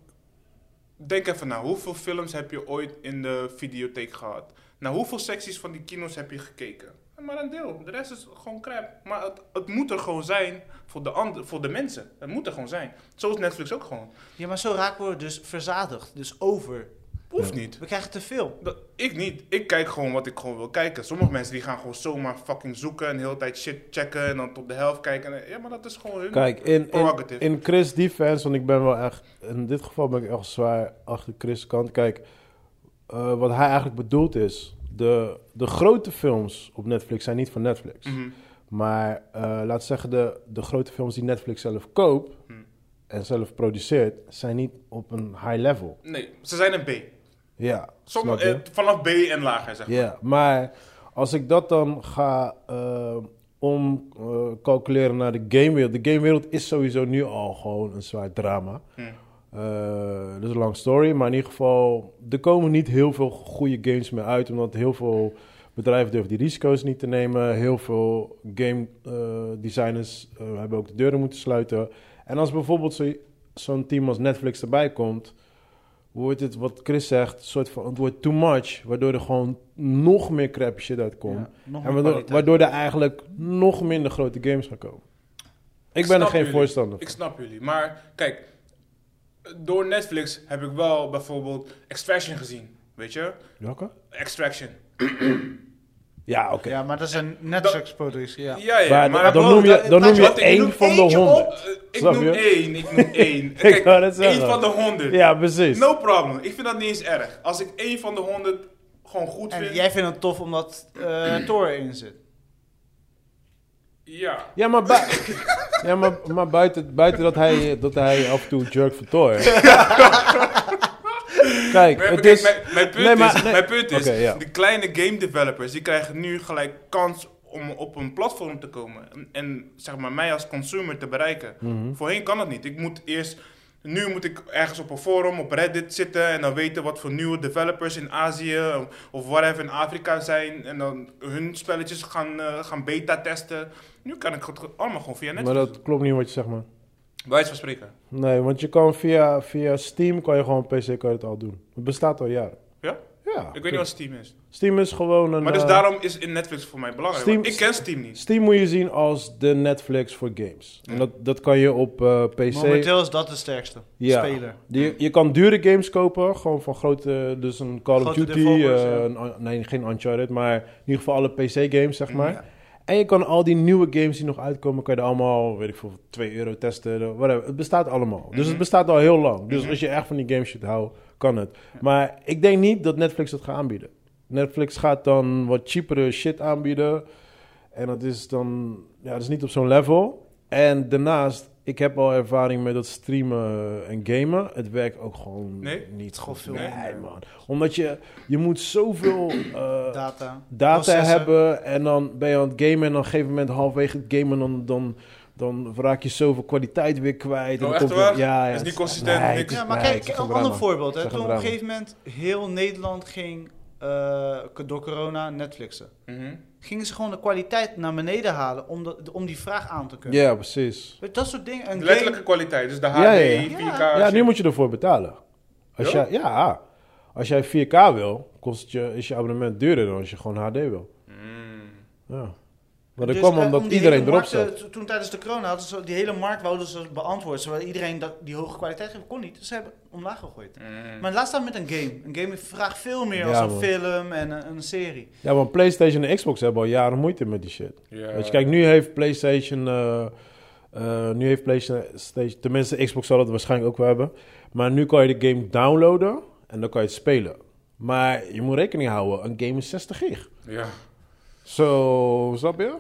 B: denk even na, hoeveel films heb je ooit in de videotheek gehad? Naar hoeveel secties van die kino's heb je gekeken? Maar een deel, de rest is gewoon crap. Maar het, het moet er gewoon zijn voor de, ander, voor de mensen. Het moet er gewoon zijn. Zo is Netflix ook gewoon.
A: Ja, maar zo raken we dus verzadigd. Dus over.
B: Hoeft niet.
A: We krijgen te veel.
B: Dat, ik niet. Ik kijk gewoon wat ik gewoon wil kijken. Sommige mensen die gaan gewoon zomaar fucking zoeken en de hele tijd shit checken en dan tot de helft kijken. En- Ja, maar dat is gewoon hun.
C: Kijk, in, in,
B: Prerogative.
C: in Chris' defense, want ik ben wel echt... In dit geval ben ik echt zwaar achter Chris' kant. Kijk, eh, wat hij eigenlijk bedoelt is... De, de grote films op Netflix zijn niet van Netflix.
B: Mhm.
C: Maar eh laat zeggen, de, de grote films die Netflix zelf koopt...
B: Hmm.
C: en zelf produceert, zijn niet op een high level.
B: Nee, ze zijn een B.
C: Ja,
B: Sommige,
C: snap je?
B: eh, vanaf B en lager, zeg maar.
C: Ja, maar als ik dat dan ga eh, om omcalculeren naar de gamewereld. De gamewereld is sowieso nu al gewoon een zwaar drama.
B: Hmm.
C: Eh, dat is een lang story, maar in ieder geval, er komen niet heel veel goede games meer uit, omdat heel veel bedrijven durven die risico's niet te nemen. Heel veel game eh, designers eh, hebben ook de deuren moeten sluiten. En als bijvoorbeeld zo- zo'n team als Netflix erbij komt, wordt het, wat Chris zegt, soort van, het wordt too much, waardoor er gewoon nog meer crap shit uitkomt.
A: Ja, nog
C: en
A: meer
C: waardoor,
A: kwaliteit.
C: waardoor er eigenlijk nog minder grote games gaan komen. Ik ben er
B: snap
C: geen
B: jullie.
C: voorstander
B: Ik snap jullie. Maar kijk, door Netflix heb ik wel bijvoorbeeld Extraction gezien. Weet je?
C: van. Welke?
B: Extraction.
C: Ja, oké.
A: Ja, maar dat is een Netflix-productie. Ja.
B: Ja, ja.
C: Maar dan
B: wel-
C: noem je- dan
B: maar
C: noem je
B: wat, ik
C: één
B: noem
C: van de
B: eentje op.
C: honderd.
B: Eh, Ik
C: Snap
B: noem
C: je?
B: één. Ik
C: [LAUGHS]
B: noem één. Kijk,
C: wou net
B: één
C: zeggen.
B: van de honderd.
C: Ja, precies.
B: No problem. Ik vind dat niet eens erg. Als ik één van de honderd gewoon goed
A: En
B: vind.
A: jij vindt het tof omdat eh Thor in zit.
B: Ja.
C: Ja, maar, bui- [LAUGHS] ja, maar, maar buiten, buiten dat, hij, dat hij af en toe jerk
A: [LAUGHS]
C: vertooit. Kijk,
B: Maar
C: het
B: kijk,
C: is...
B: mijn, mijn punt
C: Nee, maar-
B: is,
C: nee.
B: mijn punt is
C: Oké, ja.
B: de kleine game developers die krijgen nu gelijk kans om op een platform te komen. En, en, zeg maar mij als consumer te bereiken.
C: Mhm.
B: Voorheen kan dat niet. Ik moet eerst. Nu moet ik ergens op een forum, op Reddit zitten en dan weten wat voor nieuwe developers in Azië of whatever in Afrika zijn. En dan hun spelletjes gaan, eh, gaan beta testen. Nu kan ik het allemaal gewoon via
C: Maar
B: Netflix.
C: dat klopt niet wat je zegt, man.
B: Wijs van spreken.
C: Nee, want je kan via, via Steam kan je gewoon op PC kan je het al doen. Het bestaat al jaren.
B: Ja?
C: Ja.
B: Ik weet niet wat Steam is.
C: Steam is gewoon een...
B: Maar dus
C: eh,
B: daarom is in Netflix voor mij belangrijk.
C: Steam-
B: want ik ken Steam niet.
C: Steam moet je zien als de Netflix voor games. En dat, dat kan je op eh, PC...
A: Momenteel is dat de sterkste
C: Ja.
A: speler.
C: Die, je kan dure games kopen, gewoon van grote, dus een Call of
A: Grote
C: Duty,
A: developers,
C: eh,
A: ja.
C: een Un- nee geen Uncharted, maar in ieder geval alle PC-games, zeg maar. En je kan al die nieuwe games die nog uitkomen, kan je er allemaal, weet ik veel, 2 euro testen, whatever. Het bestaat allemaal. Dus
A: Mhm.
C: het bestaat al heel lang. Dus als je echt van die game shit houdt, kan het. Maar ik denk niet dat Netflix dat gaat aanbieden. Netflix gaat dan wat cheapere shit aanbieden. En dat is dan, ja, dat is niet op zo'n level. En daarnaast, ik heb al ervaring met dat streamen en gamen. Het werkt ook gewoon
B: Nee?
C: niet
A: Gewoon
C: goed.
A: veel
C: Nee,
A: minder.
C: man. Omdat je, je moet
A: [CLEARS THROAT]
C: zoveel eh,
A: Data.
C: data
A: Processen.
C: hebben en dan ben je aan het gamen en dan op een gegeven moment halverwege het gamen dan, dan, dan raak je zoveel kwaliteit weer kwijt. en
B: Oh,
C: dan
B: echt
C: weer-
B: waar?
C: ja, ja,
B: Is niet
C: het
B: consistent,
C: nee,
B: niks.
C: het is-
A: Ja, maar
C: nee, het
A: kijk,
C: is
A: een
C: geen
A: ander
C: drama.
A: voorbeeld.
C: Het
A: Hè.
C: is
A: Toen
C: echt
A: op
C: een
A: een
C: drama.
A: gegeven moment heel Nederland ging eh, door corona Netflixen.
B: Mhm.
A: Gingen ze gewoon de kwaliteit naar beneden halen om, dat- om die vraag aan te kunnen.
C: Ja, precies.
A: Weet je, Dat soort dingen. En
B: Letterlijke kwaliteit, dus de HD,
C: Ja, ja, ja.
B: 4K.
C: Ja, nu moet je ervoor betalen. Als
B: Ja?
C: jij, ja, als jij 4K wil, kost het je, is je abonnement duurder dan als je gewoon HD wil.
B: Mm.
C: Ja. Maar
B: Dus,
A: dus,
C: dat
B: eh,
A: eh,
C: kwam omdat iedereen erop zat.
A: zat. eh, Toen tijdens de corona hadden ze die hele markt wouden ze beantwoorden. Zowel iedereen dat, die hoge kwaliteit geven kon niet. Dus ze hebben omlaag gegooid.
B: Mm.
A: Maar laat staan met een game. Een game vraagt veel meer
C: Ja,
A: als een
C: man.
A: film en eh, een, een serie.
C: Ja, want PlayStation en Xbox hebben al jaren moeite met die shit.
B: Ja.
C: Weet je, kijk, nu heeft PlayStation. eh, eh, nu heeft PlayStation. Tenminste, Xbox zal het waarschijnlijk ook wel hebben. Maar nu kan je de game downloaden en dan kan je het spelen. Maar je moet rekening houden, een game is 60 gig.
B: Ja.
C: Zo, snap je?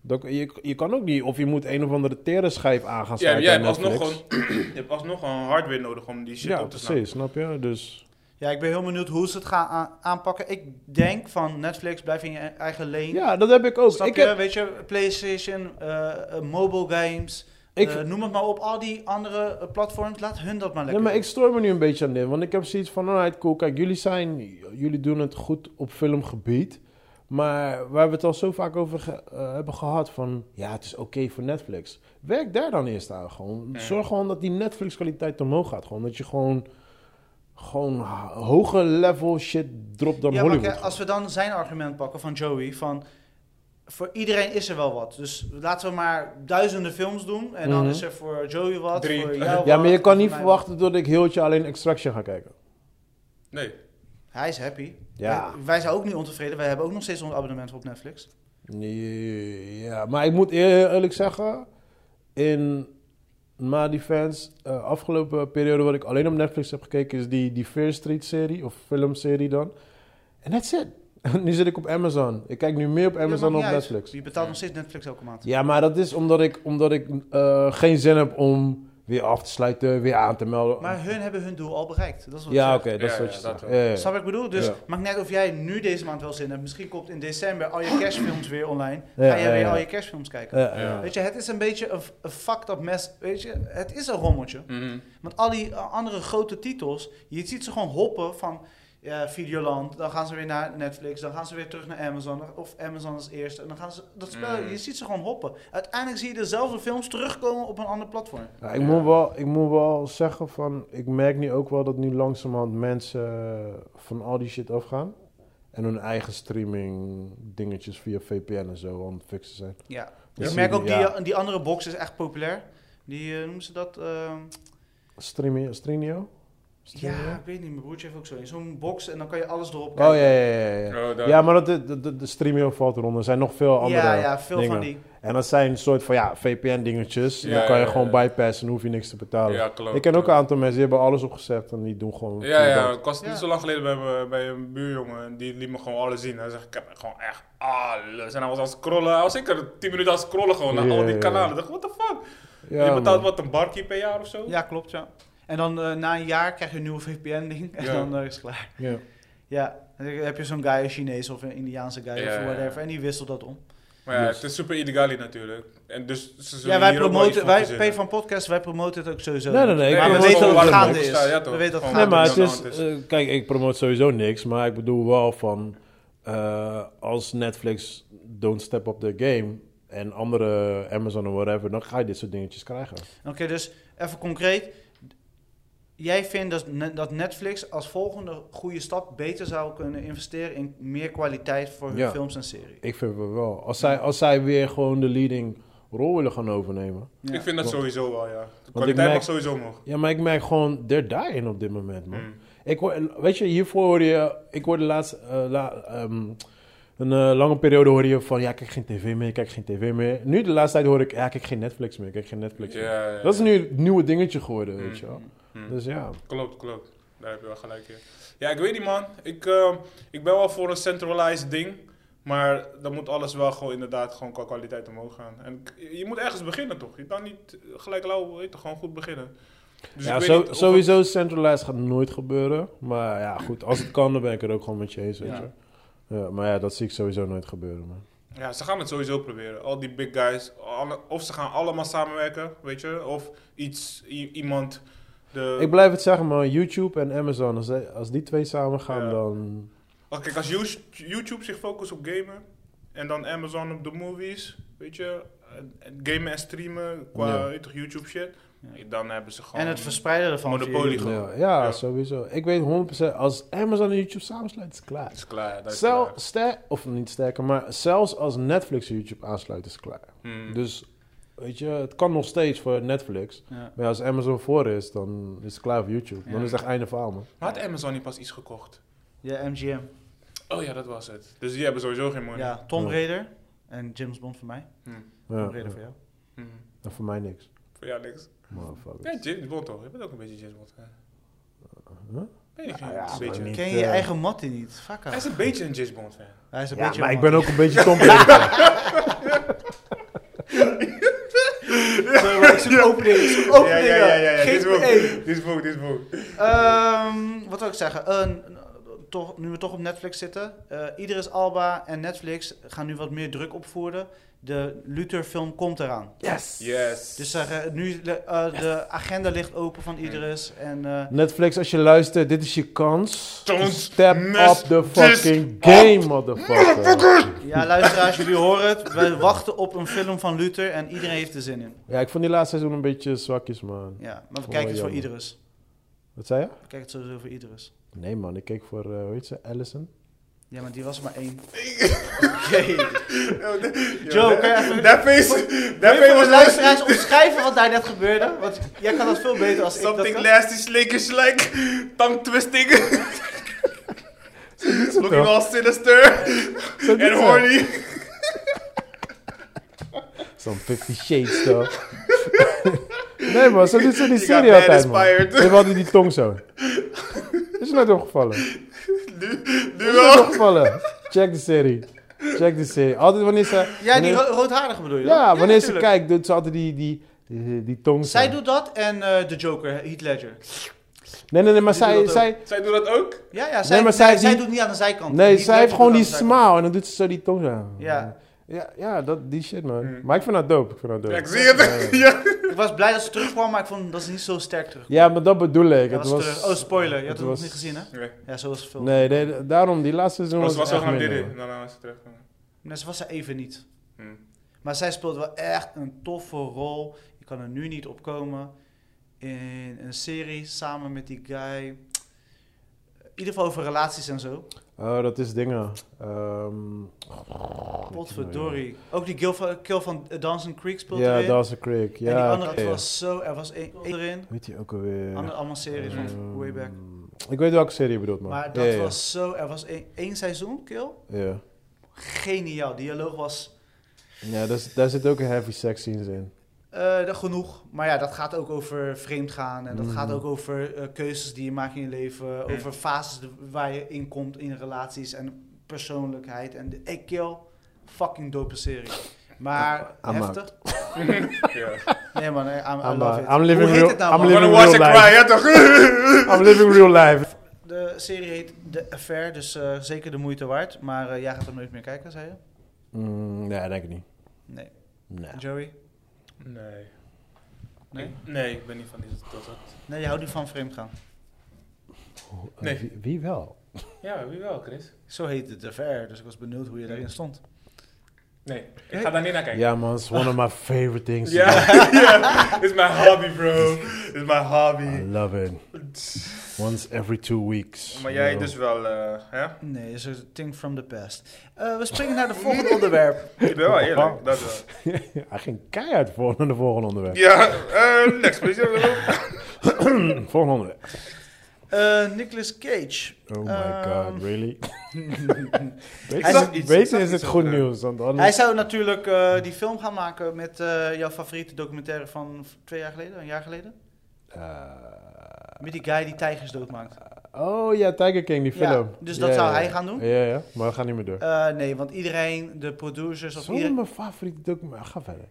C: Dat, je? Je kan ook niet, of je moet een of andere tere schijf aan gaan
B: Ja,
C: sluiten
B: jij
C: aan
B: hebt alsnog,
C: Netflix.
B: gewoon, [CLEARS THROAT] je hebt alsnog gewoon hardware nodig om die shit
C: Ja,
B: op te slaan.
C: precies, snap je? Dus
A: Ja, ik ben heel benieuwd hoe ze het gaan a- aanpakken. Ik denk van Netflix, blijf in je e- eigen lane.
C: ja, dat heb ik ook.
A: Snap
C: Ik
A: je?
C: heb,
A: Weet je, PlayStation, eh, eh, mobile games,
C: Ik-
A: eh, noem het maar op. Al die andere eh, platforms, laat hun dat maar
C: Ja,
A: lekker
C: maar ik
A: doen.
C: stoor me nu een beetje aan dit. Want ik heb zoiets van, alright, cool. Kijk, jullie zijn... Jullie doen het goed op filmgebied. Maar waar we het al zo vaak over ge- eh, hebben gehad van... Ja, het is oké voor Netflix. Werk daar dan eerst aan gewoon.
B: Ja.
C: Zorg gewoon dat die Netflix-kwaliteit omhoog gaat. Gewoon dat je gewoon... Gewoon h- hoger level shit dropt dan
A: Ja, maar
C: Hollywood.
A: kijk, als we dan zijn argument pakken van Joey, van voor iedereen is er wel wat. Dus laten we maar duizenden films doen. En dan
C: Mhm.
A: is er voor Joey wat,
B: Drie.
A: voor
B: Ja,
A: jou
C: ja,
A: wat,
C: maar je
A: en
C: kan
A: voor
C: niet
A: mij
C: verwachten dat ik heel het jaar alleen Extraction ga kijken.
B: Ja. Nee.
A: wat. Hij is happy.
C: Ja.
A: Wij, wij zijn ook niet ontevreden. Wij hebben ook nog steeds ons abonnement op Netflix.
C: Nee, Ja, maar ik moet eer- eerlijk zeggen, in mijn defense, eh afgelopen periode wat ik alleen op Netflix heb gekeken, is die, die Fear Street serie, of filmserie dan. En that's it. [LAUGHS] nu zit ik op Amazon. Ik kijk nu meer op
A: Ja,
C: Amazon
A: maakt
C: dan
A: niet
C: op
A: uit.
C: Netflix.
A: Je betaalt nog steeds Netflix elke maand.
C: Ja, maar dat is omdat ik, omdat ik eh, geen zin heb om weer af te sluiten, weer aan te melden.
A: Maar hun hebben hun doel al bereikt. Dat is wat ik
C: ja,
A: zeg.
C: oké, dat is
B: Ja,
C: wat
B: ja,
C: je
B: dat
C: zegt.
B: wel.
C: Ja, ja, ja.
A: Snap wat ik bedoel? Dus
C: Ja.
A: maakt niet uit of jij nu deze maand wel zin hebt. Misschien komt in december al
C: [COUGHS]
A: je kerstfilms weer online.
C: Ja,
A: ga je
C: ja,
A: weer
C: ja.
A: al je kerstfilms kijken.
C: Ja, ja.
A: Weet je, het is een beetje een, een fucked up mess. Weet je, het is een rommeltje.
B: Mhm.
A: Want al die eh, andere grote titels, je ziet ze gewoon hoppen van eh, Videoland. Dan gaan ze weer naar Netflix. Dan gaan ze weer terug naar Amazon. Of Amazon als eerste. En dan gaan ze dat spel.
B: Mm.
A: Je ziet ze gewoon hoppen. Uiteindelijk zie je dezelfde films terugkomen op een ander platform.
C: Ja, Nou, ik, moet wel, ik moet wel zeggen van, ik merk nu ook wel dat nu langzamerhand mensen eh, van al die shit afgaan. En hun eigen streaming dingetjes via VPN en zo aan het fixen zijn.
A: Ja.
C: Ja.
A: Ik merk ook die,
C: Ja.
A: eh, die andere box is echt populair. Die eh, noemen ze dat. eh,
C: Streamio? Streamio? Streamio?
A: Ja, ik weet niet. Mijn broertje heeft ook zo in zo'n box en dan kan je alles erop
C: Oh ja,
A: kijken.
C: ja, ja. Ja,
B: Oh,
C: ja.
B: dat-
C: ja maar dat, de, de, de Streamio valt eronder. Er zijn nog veel andere
A: ja, ja, veel
C: dingen.
A: van die.
C: En dat zijn een soort van, ja, VPN dingetjes.
B: Ja,
C: dan kan je
B: ja,
C: gewoon
B: ja.
C: bypassen en hoef je niks te betalen.
B: Ja, klopt.
C: ik ken ook een aantal mensen, die hebben alles opgezet en die doen gewoon...
B: Ja, ja, ik was
A: Ja.
B: niet zo lang geleden bij, mijn- bij een buurjongen. en Die liet me gewoon alles zien. Hij zegt, ik heb gewoon echt alles. En hij was aan het scrollen. Hij was zeker 10 minuten aan het scrollen gewoon naar
C: Ja,
B: al
C: ja.
B: die kanalen. Ik dacht, what the fuck?
C: Ja,
B: je
C: man.
B: betaalt wat, een barkie per jaar of zo?
A: Ja, klopt, ja. En dan eh, na een jaar krijg je een nieuwe VPN-ding en
B: Ja.
A: dan eh, is het klaar.
C: Ja.
A: Ja, dan heb je zo'n guy, een Chinees of een Indiaanse guy
B: Ja,
A: of
B: ja, ja.
A: whatever, en die wisselt dat om.
B: Maar ja,
C: Yes.
B: het is super illegali natuurlijk. En dus ze zullen
A: Ja, wij
B: hier ook wel iets
A: promoten,
B: van
A: wij,
B: verzinnen.
A: P van Podcast, wij promoten het ook sowieso.
C: Nee, nee,
A: niet.
C: nee, ik
A: Maar we
C: promote
A: weten dat
C: gewoon
A: het
C: waar
A: gaande
B: het
A: is.
B: staat, ja, toch?
A: we weten dat het
B: Gewoon
C: Nee,
A: gaande
C: maar
A: is.
B: wat
C: het
B: er
C: is,
B: dan aan de
C: eh, kijk, ik promote sowieso niks, maar ik bedoel wel van eh, als Netflix don't step up their game en andere Amazon of whatever, dan ga je dit soort dingetjes krijgen.
A: Oké, dus even concreet. Jij vindt dat, ne- dat Netflix als volgende goede stap beter zou kunnen investeren in meer kwaliteit voor hun
C: Ja.
A: films en series.
C: Ik vind wel wel. Als zij, als zij weer gewoon de leading rol willen gaan overnemen.
A: Ja.
B: Ik vind dat sowieso wel, ja. De
C: ik
B: kwaliteit
C: merk-
B: mag sowieso omhoog.
C: Ja, maar ik merk gewoon, they're dying op dit moment, man.
B: Mm.
C: Ik hoor, weet je, hiervoor hoorde je, ik hoorde laatst, eh, la- ehm, een eh, lange periode hoorde je van, ja, ik kijk geen tv meer, ik kijk geen tv meer. Nu de laatste tijd hoor ik, ja, ik kijk geen Netflix meer, ik kijk geen Netflix meer.
B: Ja, ja,
C: Dat is
B: ja.
C: nu het nieuwe dingetje geworden, weet je wel.
B: Mm.
C: Dus ja.
B: Klopt, klopt. Daar heb je wel gelijk in. Ja, ik weet niet man. Ik, ehm, ik ben wel voor een centralized ding. Maar dan moet alles wel gewoon inderdaad gewoon qua kwaliteit omhoog gaan. En k- je moet ergens beginnen toch? Je kan niet gelijk lauw, weet je, gewoon goed beginnen. Dus ik
C: Ja,
B: weet
C: zo-
B: niet of
C: sowieso centralized gaat nooit gebeuren. Maar ja, goed, als het kan, dan ben ik er ook gewoon met je eens, weet
B: Ja.
C: je. Ja, maar ja, dat zie ik sowieso nooit gebeuren, man.
B: het- ja, ze gaan het sowieso proberen. Al die big guys. alle- of ze gaan allemaal samenwerken, weet je. Of iets, i- iemand... De,
C: Ik blijf het zeggen, man. YouTube en Amazon, als, als die twee samen gaan,
B: Ja.
C: dan...
B: Oh, kijk, als Youst- YouTube zich focust op gamen en dan Amazon op de movies, weet je, en- en gamen en streamen qua
C: Ja.
B: weet je toch, YouTube shit,
A: Ja.
B: dan hebben ze gewoon.
A: En het verspreiden ervan.
B: Monopolie.
C: Ja,
B: Gewoon.
C: ja,
B: Ja.
C: sowieso. Ik weet 100%, als Amazon en YouTube samensluiten, is het klaar.
B: Het is klaar. Dat is
C: Stel,
B: klaar.
C: ster, of niet sterker, maar zelfs als Netflix en YouTube aansluit, is het klaar.
B: Hmm.
C: Dus, weet je, het kan nog steeds voor Netflix.
A: Ja.
C: Maar ja, als Amazon voor is, dan is het klaar voor YouTube. Dan
A: Ja.
C: is het echt einde verhaal, man.
B: Maar had Amazon niet pas iets gekocht?
A: Ja, MGM.
B: Oh ja, dat was het. Dus die hebben sowieso geen money.
A: Ja, Tom
C: Ja.
A: Raider. En James Bond voor mij. Tom
C: Ja,
A: Raider voor jou.
B: Hmm.
C: en voor mij niks.
B: Voor jou niks.
C: Motherfucker.
B: Ja, James Bond toch? Je bent ook een beetje James Bond. hè?
C: Huh?
B: Weet ik
C: Ja,
B: niet.
C: ja,
B: een
C: maar
B: beetje.
C: niet.
A: Ken je je
C: eh,
A: eigen mattie niet? Fuck
B: Hij is
A: off.
B: een beetje een James Bond fan.
A: Hij is een
C: Ja,
A: beetje
C: maar
A: een
C: ik ben
A: mattie.
C: ook een [LAUGHS] beetje Tom Brady.
A: Sorry, maar ik zoek openingen,
C: [LAUGHS]
A: ik zoek
B: ja,
A: openingen.
B: ja, ja, ja, ja.
A: Geef
B: Dit is
A: me
B: boek.
A: één.
B: Dit is boek, dit is boek.
A: Ehm, wat wil ik zeggen? Een- toch, nu we toch op Netflix zitten. eh Idris Alba en Netflix gaan nu wat meer druk opvoeren. De Luther-film komt eraan.
C: Yes!
B: Yes.
A: Dus eh, nu, eh, de agenda ligt open van Idris. En eh,
C: Netflix, als je luistert, dit is je kans.
B: Don't
C: Step
B: mess
C: up the
B: this
C: fucking game, motherfucker.
A: ja, luisteraars, jullie horen het. We wachten op een film van Luther en iedereen heeft er zin in.
C: Ja, ik vond die laatste seizoen een beetje zwakjes, man.
A: Ja, maar we
C: Oh,
A: kijken het voor
C: jammer.
A: Idris.
C: Wat zei je?
A: We kijken het sowieso voor Idris.
C: Nee, man, ik keek voor, eh hoe heet ze, Allison?
A: Ja, maar die was er maar
C: [LAUGHS]
A: één. Oké. Joe,
B: Joe,
A: kan je
B: [LAUGHS]
A: even-
B: that face, that
A: Kun je
B: face
A: voor
B: was
A: de luisteraars omschrijven wat daar net gebeurde? Want jij kan dat veel beter als ik dat
B: Something
A: kan.
B: nasty slinkers like tongue twisting. Looking
C: toch?
B: all sinister
C: Zo doet
B: and
C: ze.
B: horny.
C: Zo'n Fifty Shades, toch? [LAUGHS] nee, man, zo doet ze die
B: You
C: serie
B: got bad
C: altijd, man.
B: inspired.
C: Ze hadden die tong zo. Is je nooit opgevallen? Is
B: Nu, [LAUGHS] nu
C: je nooit
B: wel.
C: opgevallen? Check de serie. Check de serie. Altijd wanneer ze...
A: Ja, die
C: wanneer-
A: ro- roodharige bedoel je dan?
C: Ja, wanneer ze
A: tuurlijk.
C: kijkt, doet ze altijd die, die, die, die tong zo.
A: Zij doet dat en eh, de Joker, Heath Ledger.
C: Nee, nee, nee, maar
A: Die doet
C: zij,
A: dat
C: zij,
B: Zij doen dat ook?
A: Ja, ja, zij,
C: maar
A: zij,
C: zij heeft
A: zij
C: die-
A: doet niet aan de zijkant.
C: nee,
A: Heath
C: zij
A: Ledger
C: heeft gewoon
A: doet
C: die
A: aan de zijkant.
C: smaal en dan doet ze zo die tong zo.
A: Ja. Mm.
C: Ja, ja dat, die shit, man.
B: Hmm.
C: Maar ik vind dat dope, ik vind dat dope.
B: Ja, ik zie het. [LAUGHS] Ja.
A: Ik was blij dat ze terugkwam, maar ik vond dat ze niet zo sterk terugkwam.
C: Ja, maar dat bedoel ik.
A: Dat
C: het
A: was
C: was,
A: terug. Oh, spoiler. Je had
C: het
A: het nog
C: was-
A: niet gezien, hè?
B: Nee,
A: Ja, zo was het film. Nee.
C: Nee, nee, daarom, die laatste seizoen
B: maar
C: was,
B: ze was
C: echt
B: wel gaan
C: minder,
B: dit.
C: man.
B: Nou, nou is ze terug.
A: ze was er even niet.
B: Hm.
A: Maar zij speelt wel echt een toffe rol. Je kan er nu niet op komen. In een serie samen met die guy. In ieder geval over relaties en zo.
C: Oh, dat is dingen. Ehm
A: Potverdorie. Ook die kill van, kill van Dancing Creek speelt
C: Ja,
A: erin.
C: Dawson Creek. Ja,
A: en die andere
C: oké.
A: het was zo... Er was één één erin.
C: Weet je ook alweer?
A: Andere, allemaal series van
C: Ehm,
A: way back.
C: Ik weet welke serie je bedoelt, man.
A: Maar
C: Ja,
A: dat
C: ja, ja.
A: was zo... Er was één, één seizoen, kill.
C: Ja.
A: Geniaal. Dialoog was
C: Ja, daar, zit- daar zit ook een heavy sex scenes in. [LAUGHS]
A: eh, dat genoeg. Maar ja, dat gaat ook over vreemdgaan. En dat
C: Mhm.
A: gaat ook over eh, keuzes die je maakt in je leven. Over fases de- waar je in komt in relaties en persoonlijkheid. En de ik kill. Fucking dope serie. Maar
C: I'm
A: heftig.
B: [LAUGHS] Ja.
A: Nee man, nee, I'm, I
C: I'm,
A: love
C: uh,
A: it.
C: I'm living
A: Hoe heet
C: real-
A: het nou? man?
B: I'm
C: living
B: gonna watch
C: real
B: and
C: life.
B: cry, ja toch?
C: I'm living real life.
A: De serie heet The Affair, dus eh, zeker de moeite waard. Maar eh, jij gaat hem nooit meer kijken, zei je?
C: Mm, nee, denk ik niet.
A: Nee.
C: Nee.
A: Joey?
B: Nee.
A: Nee?
B: Nee, ik ben niet van die dat dat.
A: Nee, je houdt niet van vreemdgaan.
B: Nee.
C: Eh, Wie, wie wel?
B: Ja, wie wel, Chris?
A: Zo heet het The Affair, dus ik was benieuwd hoe je daarin stond.
B: Nee, ik ga daar niet naar kijken.
C: Ja, man, it's one of my favorite things.
B: Ja, [LAUGHS] ja. It's my hobby, bro. It's my
C: I
B: hobby.
C: love
B: [LAUGHS]
C: it. Once every two weeks.
B: Maar jij
C: Yo.
B: dus wel, eh, hè?
A: Nee, is een thing from the past. Eh, we springen naar de volgende onderwerp.
B: Ik ben wel eerlijk, dat wel.
C: [LAUGHS] Hij ging keihard voor naar de volgende onderwerp.
B: Ja, eh, next please. Ja, wel.
C: [CLEARS THROAT] volgende onderwerp.
A: Eh, Nicolas Cage.
C: Oh my
A: Ehm,
B: [LAUGHS]
C: god, really?
A: Hij zag
C: Beter
B: iets, Eh.
C: beter
B: hij
C: is
B: zag
C: het
B: iets
C: goed
B: op, eh.
C: nieuws, want
A: Hij
C: anders...
A: zou natuurlijk eh, die film gaan maken met eh, jouw favoriete documentaire van v- twee jaar geleden, een jaar geleden.
C: Eh,
A: Met die guy die tijgers doodmaakt.
C: Oh ja, Tiger King, die
A: Ja,
C: film.
A: dus dat zou hij gaan doen?
C: Ja, ja, maar we gaan niet meer door.
A: Eh, nee, want iedereen, de producers of
C: Zo'n
A: iedereen...
C: mijn favoriete documentaire. Ga verder.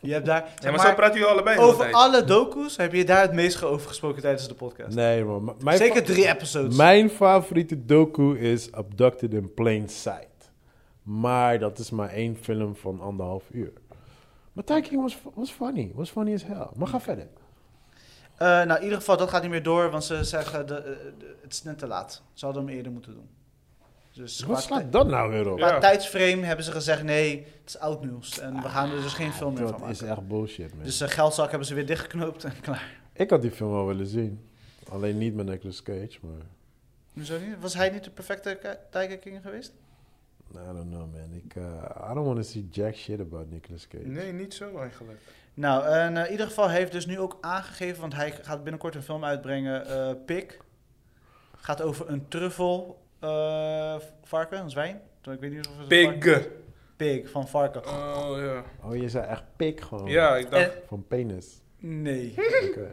A: Je hebt daar...
B: Ja, maar,
A: maar
B: zo praten jullie allebei de hele
A: over
B: tijd.
A: alle docus heb je daar het meest over gesproken tijdens de podcast.
C: Nee, man. m- Mijn
A: Zeker
C: fa-
A: drie episodes.
C: Mijn favoriete docu is Abducted in Plain Sight. Maar dat is maar één film van anderhalf uur. Maar Tiger King was, was funny. Was funny as hell. Maar ga verder.
A: Eh, nou, in ieder geval, dat gaat niet meer door, want ze zeggen, de, eh, de- het is net te laat. Ze hadden hem eerder moeten doen. Dus qua
C: Wat
A: ti-
C: slaat dat nou weer op?
A: qua
B: Ja.
A: tijdsframe hebben ze gezegd, nee, het is oud nieuws. En we gaan er dus geen film meer van
C: Ah, Dat is
A: maken.
C: echt bullshit, man.
A: Dus de geldzak hebben ze weer dichtgeknoopt en [LAUGHS] klaar.
C: Ik had die film wel willen zien. Alleen niet met Nicolas Cage, maar...
A: Hoezo niet? Dus, eh, Was hij niet de perfecte ki- Tiger King geweest?
C: I don't know, man. Ik, eh, I don't want to see jack shit about Nicolas Cage.
B: Nee, niet zo eigenlijk.
A: Nou, en, eh, in ieder geval hij heeft dus nu ook aangegeven, want hij gaat binnenkort een film uitbrengen, eh Pik. Gaat over een truffel eh, varken, een zwijn. Ik weet niet of het een varken-
B: Pig.
A: Pig van varken.
B: Oh ja.
C: Oh, je zei echt pik gewoon.
B: Oh. Ja, ik dacht.
A: En-
C: Van penis.
A: nee,
C: Oké.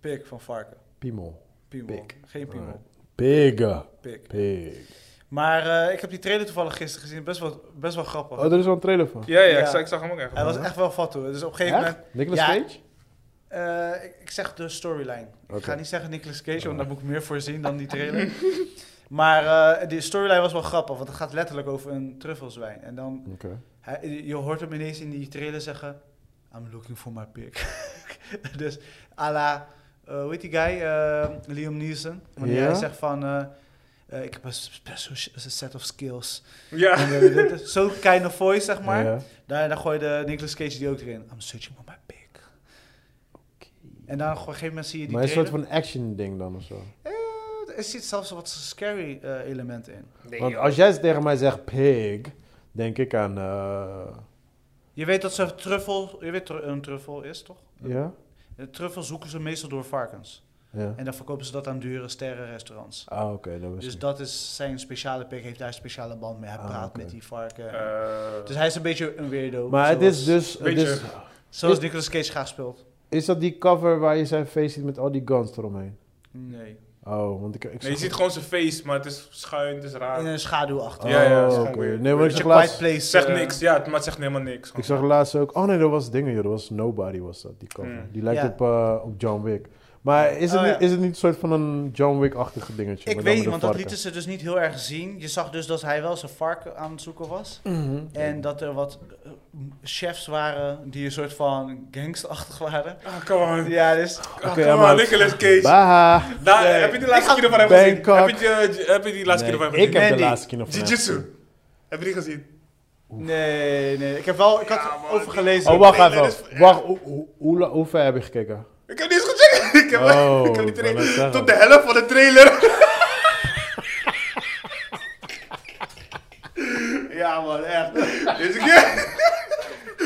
A: pik van varken.
C: Piemel.
A: Piemel.
C: Pik.
A: Geen piemel,
C: Alright. Pig.
A: pik.
C: Pig.
A: Maar eh, ik heb die trailer toevallig gisteren gezien, best wel, best wel grappig.
C: Oh, er is wel een trailer van.
B: Ja, ja,
A: Ja.
B: Ik, zag, ik zag hem ook echt.
A: Hij was echt wel fat hoor. Dus op een gegeven
C: Echt?
A: moment...
C: Nicolas
A: Ja.
C: Cage?
A: Eh, ik, ik zeg de storyline. Ik
C: Oké. Oh.
A: ga niet zeggen Nicolas Cage, want daar moet ik meer voor zien dan die trailer. [LAUGHS] maar eh de storyline was wel grappig, want het gaat letterlijk over een truffelzwijn. En dan,
C: Oké.
A: hij, je hoort hem ineens in die trailer zeggen, I'm looking for my pig. [LAUGHS] dus à la, eh, hoe heet die guy? Eh, Liam Neeson. Wanneer
C: Ja?
A: hij zegt van, eh, eh, ik heb een special sh- set of skills.
B: Ja.
A: En, eh, dit is Zo'n kind of voice, zeg maar.
C: Ja.
A: Daar, daar gooide Nicolas Cage die ook erin. I'm searching for my pig. En dan op een gegeven moment zie je die
C: Maar een soort
A: trailer.
C: van action ding dan of zo.
A: Eh, er zit zelfs wat scary eh, elementen in.
C: Want als jij tegen mij zegt pig, denk ik aan... eh,
A: Je weet dat ze truffel... Je weet tru- een truffel is, toch?
C: Ja?
A: Een truffel zoeken ze meestal door varkens.
C: Ja.
A: En dan verkopen ze dat aan dure sterrenrestaurants.
C: Ah, oké. dat was
A: Dus
C: niet.
A: dat is zijn speciale pik. Heeft daar een speciale band mee. Hij
C: Ah,
A: praat
C: oké.
A: met die varken.
B: Eh,
A: dus hij is een beetje een weirdo.
C: Maar het is
A: zoals-
C: dus... het
B: Beetje-
C: is-
A: Zoals Nicolas Cage graag speelt.
C: Is dat die cover waar je zijn face ziet met al die guns eromheen?
A: Nee.
C: Oh, want ik... ik
B: nee, je
C: zag-
B: ziet gewoon zijn face, maar het is schuin, het is raar.
A: In een schaduw achter.
C: Oh,
B: Ja, ja, dat is
C: oké.
B: gewoon weird.
C: Nee, maar ik
A: It's
C: zag
A: a quiet
C: laatst...
A: place.
B: Het zegt
A: eh,
B: niks, ja, het- maar het zegt helemaal niks.
C: Ik zag laatst ook... Oh nee, dat was dingen, joh. Dat was Nobody, was dat, die cover.
B: Mm.
C: Die lijkt
A: Ja.
C: op, eh, op John Wick. Maar is het,
A: Oh,
C: niet,
A: ja.
C: is het niet een soort van een John Wick-achtige dingetje?
A: Ik
C: maar
A: weet
C: dan met
A: niet,
C: een
A: want dat
C: varken?
A: lieten ze dus niet heel erg zien. Je zag dus dat hij wel zijn varken aan het zoeken was.
C: Mhm.
A: En dat er wat eh, chefs waren die een soort van gangsterachtig waren.
B: Ah, come on.
A: Ja, dus...
B: Ah,
C: Oké,
B: come
C: maar-
B: on, Nicolas Cage.
C: Bah!
B: Daar-
A: Nee.
B: Heb je de laatste keer ervan hem gezien? Heb
C: Bangkok.
B: je, die- heb je die laatste
C: Nee,
B: keer ervan
C: ik
B: gezien?
C: heb de
A: Mandy.
C: laatste keer nog van hem gezien.
B: Jiu-jitsu. Heb je die gezien?
A: Nee, nee. Ik heb wel... Ik had
B: Ja, man,
A: over
B: die-
A: gelezen.
C: Oh, wacht
B: Nee, dat
C: even. Wacht, hoe, hoe, hoe, la- hoe ver heb je gekeken?
B: Ik heb niet eens gecheckt. [LAUGHS] Ik heb,
C: Oh,
B: ik heb die
C: ik wou net
B: trailer.
C: zeggen.
B: Tot de helft van de
C: [LAUGHS]
B: trailer. ja, man, echt. Deze keer.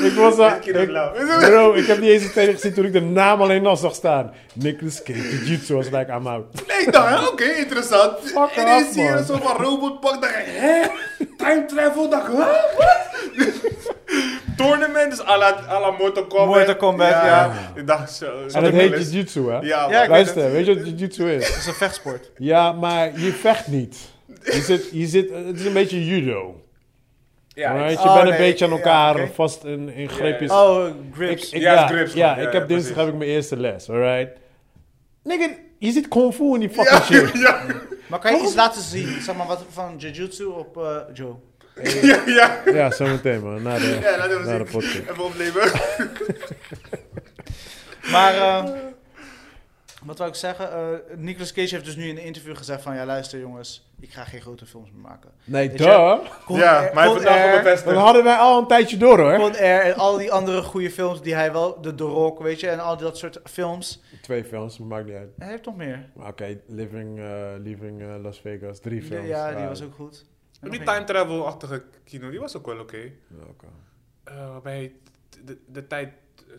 C: Ik was
B: Dit
C: daar.
B: keer ook lauw.
C: Bro, ik heb niet eens een trailer gezien toen ik de naam alleen al zag staan. Nicolas Cage, Jiu-Jitsu was like, I'm out.
B: Nee, ik dacht, hè, Nou, oké, interessant.
C: Fuck
B: en dan
C: off,
B: zie je
C: man.
B: een soort van robotpak. Dacht ik, hè? Time travel? Dacht ik, huh? What? [LAUGHS] Tournament is à la, à la Mortal Kombat.
A: Mortal Kombat, ja.
B: Ik dacht zo.
C: En het heet Jiu-Jitsu, hè?
B: Ja,
A: Ja,
B: man.
A: ik weet
C: Luister, weet je wat Jiu-Jitsu is?
A: Het is een vechtsport.
C: Ja, maar je vecht niet. Je zit, je zit, het is een beetje judo.
B: ja, ik-
C: alright? Je
A: Oh,
C: bent een
A: nee,
C: beetje aan
A: ja,
C: elkaar
A: oké.
C: vast in, in greepjes.
A: Oh, grips.
C: Dus- Ik-
B: Ja,
C: ja,
B: het grips
C: ja,
B: gewoon. Ja,
C: ik heb
B: ja,
C: dinsdag
B: precies.
C: heb ik mijn eerste les, alright? Nigga, je zit kung fu in die fucking shit.
B: ja,
A: Maar kan je iets laten zien? Zeg maar wat van jujutsu op eh, Joe.
B: ja, ja.
C: Ja, zometeen, man. Na de,
B: Ja, laten we
C: na de
B: zien.
C: podcast.
B: Even opnemen.
A: Maar... eh, wat wou ik zeggen? Eh, Nicolas Cage heeft dus nu in een interview gezegd van... Ja, luister jongens. Ik ga geen grote films meer maken.
C: Nee,
A: Weet je-
C: duh.
A: Con
B: ja,
A: Air-
B: maar hij
A: Con eh,
B: heeft het wel
A: Air-
B: bevestigd.
C: Dat hadden wij al een tijdje door, hoor.
A: Con Air eh, en al die andere goede films die hij wel, de The Rock, weet je, en al dat soort films.
C: Twee films, maar maakt niet uit.
A: Hij heeft nog meer.
C: Maar Oké, Living, eh, Living eh, Las Vegas, drie
A: Die-
C: films.
A: ja, die
C: Ah,
A: was ook goed. En nog
B: Die
A: één.
B: time travel-achtige kino, die was ook wel oké.
C: ja, oké.
B: Eh, waarbij je t- de, de tijd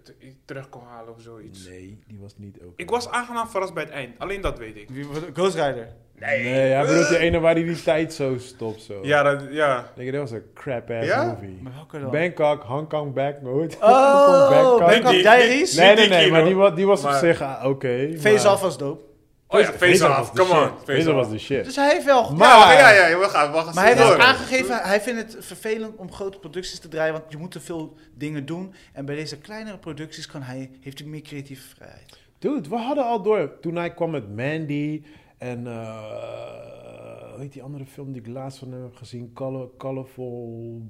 B: t- terug kon halen of zoiets.
C: Nee, die was niet ook.
B: Ik was aangenaam verrast bij het eind. Alleen dat weet ik.
A: Wie was het? Ghost Rider.
C: Nee, hij bedoelt die ene waar hij die tijd zo stopt. Zo.
B: Oh. Ja, dat, ja.
C: Denk je, dat was een crap-ass
B: Ja?
C: movie.
A: Maar welke dan?
C: Bangkok, Hong Kong Back, nooit.
A: Oh,
C: Bangkok.
A: Bangkok
B: die-
A: Diaries.
B: die-
C: Nee, nee,
B: die
C: nee,
B: kino.
C: maar die was, die was op
B: Maar-
C: zich ah, oké.
A: Face
C: maar-
A: Off was dope.
B: Oh ja, face-off,
C: was de
B: come on.
C: shit.
B: Face
C: Face-off was
B: Off.
C: de shit.
A: Dus hij heeft wel...
C: Ah.
B: Maar, ja, ja, ja, we gaan, we gaan
A: Maar hij heeft
B: door.
A: ook aangegeven, hij vindt het vervelend om grote producties te draaien, want je moet te veel dingen doen. En bij deze kleinere producties kan hij, heeft hij meer creatieve vrijheid.
C: Dude, we hadden al door. Toen hij kwam met Mandy en... eh, hoe heet die andere film die ik laatst van hem heb gezien? Color, colorful...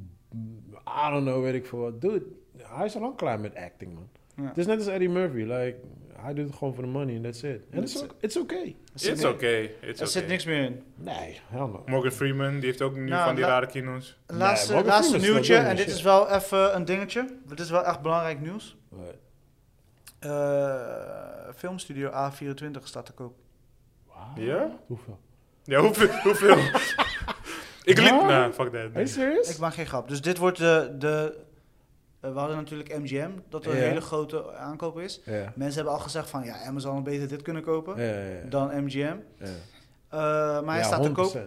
C: I don't know, weet ik veel wat. Dude, hij is al lang klaar met acting, man.
A: Ja.
C: Het is net als Eddie Murphy. Like, hij doet het gewoon voor de money and that's it. En it's,
A: That's
C: o- it's okay.
A: Er zit
B: It's
A: ni-
B: okay, it's
A: Er
B: okay.
A: zit niks meer in.
C: Nee, hell no.
B: Morgan Freeman, die heeft ook nu
A: Nou,
B: van die
A: la-
B: rare kino's.
A: Een Laatste,
C: Morgan
A: laatste
C: Freeman is
A: nieuwtje,
C: wel dom,
A: en dit
C: shit.
A: is wel even een dingetje. Dit is wel echt belangrijk nieuws. Eh, filmstudio A24 staat te koop.
C: Wow.
B: Ja?
C: Hoeveel?
B: Ja, hoeveel? [LAUGHS] hoeveel? ik liep...
C: Ja?
B: Nou, fuck that.
C: Are you
B: nee.
C: serious?
A: Ik maak geen grap. Dus dit wordt de... de eh, we hadden natuurlijk MGM, dat er een
C: Ja.
A: hele grote aankoop is.
C: Ja.
A: Mensen hebben al gezegd van, ja, Amazon had beter dit kunnen kopen
C: Ja, ja, ja.
A: dan MGM.
C: Ja.
A: Eh, maar hij
C: Ja,
A: staat te koop.
C: 100%.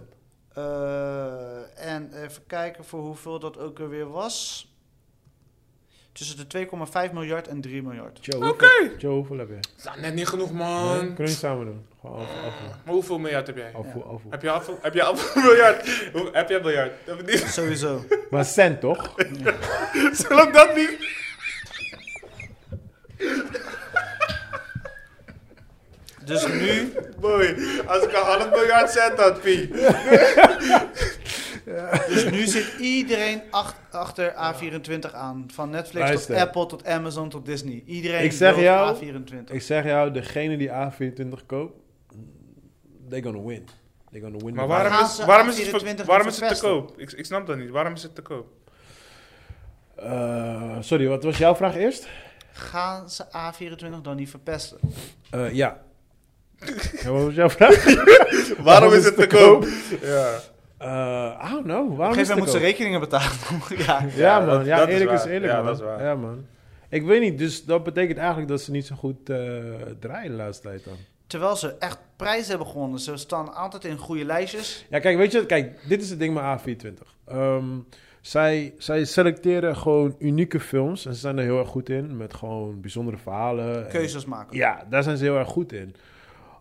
A: Eh, en even kijken voor hoeveel dat ook er weer was. Tussen de 2,5 miljard en 3 miljard.
C: Joe,
B: Oké.
C: hoeveel, Joe, hoeveel heb je?
B: Is dat Net niet genoeg,
C: Nee,
B: man.
C: Kunnen we niet samen doen? Gewoon af, af,
B: Maar hoeveel miljard heb jij?
C: af, af, af.
B: Heb je half, heb je half [LAUGHS] een miljard? Hoe- Heb jij miljard? Dat niet- [LAUGHS]
A: Sowieso.
C: Maar cent toch?
B: Zolang dat niet...
A: Dus nu,
B: Boy, als ik een half miljard cent had, Pie.
A: dus nu zit iedereen ach- achter A24 aan. Van Netflix
C: Luister.
A: tot Apple tot Amazon tot Disney. Iedereen
C: Ik zeg
A: wil
C: jou-
A: A24.
C: Ik zeg jou, degene die A24 koopt, they gonna win. They gonna win.
B: Maar
C: the
B: waarom
A: gaan
B: is,
A: ze
B: waarom is, het, ver-
A: 24
B: waarom is het te
A: verpesten?
B: koop? Ik, ik snap dat niet. Waarom is het te koop?
C: Eh, sorry, wat was jouw vraag eerst?
A: Gaan ze A24 dan niet verpesten?
B: [LAUGHS]
C: Eh, ja. ja. Wat was jouw vraag?
B: Waarom, is het te koop? Ja.
C: Eh, I don't know.
A: Op
C: Waarom
A: een gegeven moment
C: is het te
A: moeten
C: koop?
A: rekeningen betalen. [LAUGHS] ja.
C: Ja,
B: Ja,
C: man.
B: dat-
C: ja,
B: dat is
C: eerlijk is,
B: waar.
C: eerlijk,
B: Ja,
C: man.
B: dat is waar.
C: Ja, man. Ik weet niet, dus dat betekent eigenlijk dat ze niet zo goed eh, draaien de laatste tijd dan.
A: Terwijl ze echt prijzen hebben gewonnen. Ze staan altijd in goede lijstjes.
C: Ja, kijk, weet je, kijk, dit is het ding met A24. Ehm, zij, zij selecteren gewoon unieke films en ze zijn er heel erg goed in met gewoon bijzondere verhalen. en-
A: Keuzes maken.
C: Ja, daar zijn ze heel erg goed in.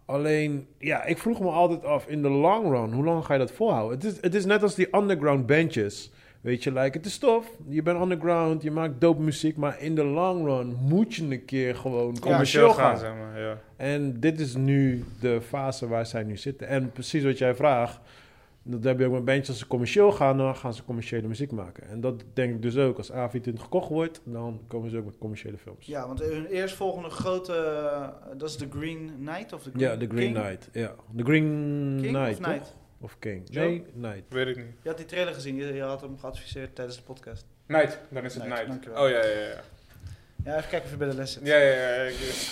C: Alleen, ja, ik vroeg me altijd af, in de long run, hoe lang ga je dat volhouden? Het is, het is net als die underground bandjes. Weet je, like, het is tof. Je bent underground, je maakt dope muziek. Maar in de long run moet je een keer gewoon commercieel
B: Commercieel
C: gaan.
B: zeg maar. Ja.
C: En dit is nu de fase waar zij nu zitten. En precies wat jij vraagt, dat heb je ook met bandjes. Als ze commercieel gaan, dan gaan ze commerciële muziek maken. En dat denk ik dus ook. Als A24 gekocht wordt, dan komen ze ook met commerciële films.
A: Ja, want hun eerstvolgende grote, eh, dat is The Green Knight of The Green
C: Ja, The Green
A: King?
C: Knight. Ja, The Green
A: King
C: Knight,
A: of
C: toch?
A: Knight?
C: Of King.
B: Joe?
C: Nee, Knight.
B: Weet ik niet.
A: Je had die trailer gezien, je, je had hem geadviseerd tijdens de podcast.
B: Night, dan is het
A: Night,
B: night.
A: dankjewel.
B: Oh ja, ja, ja.
A: Ja, even kijken of je bij de les zit.
B: Ja, ja, ja. ja, Ik,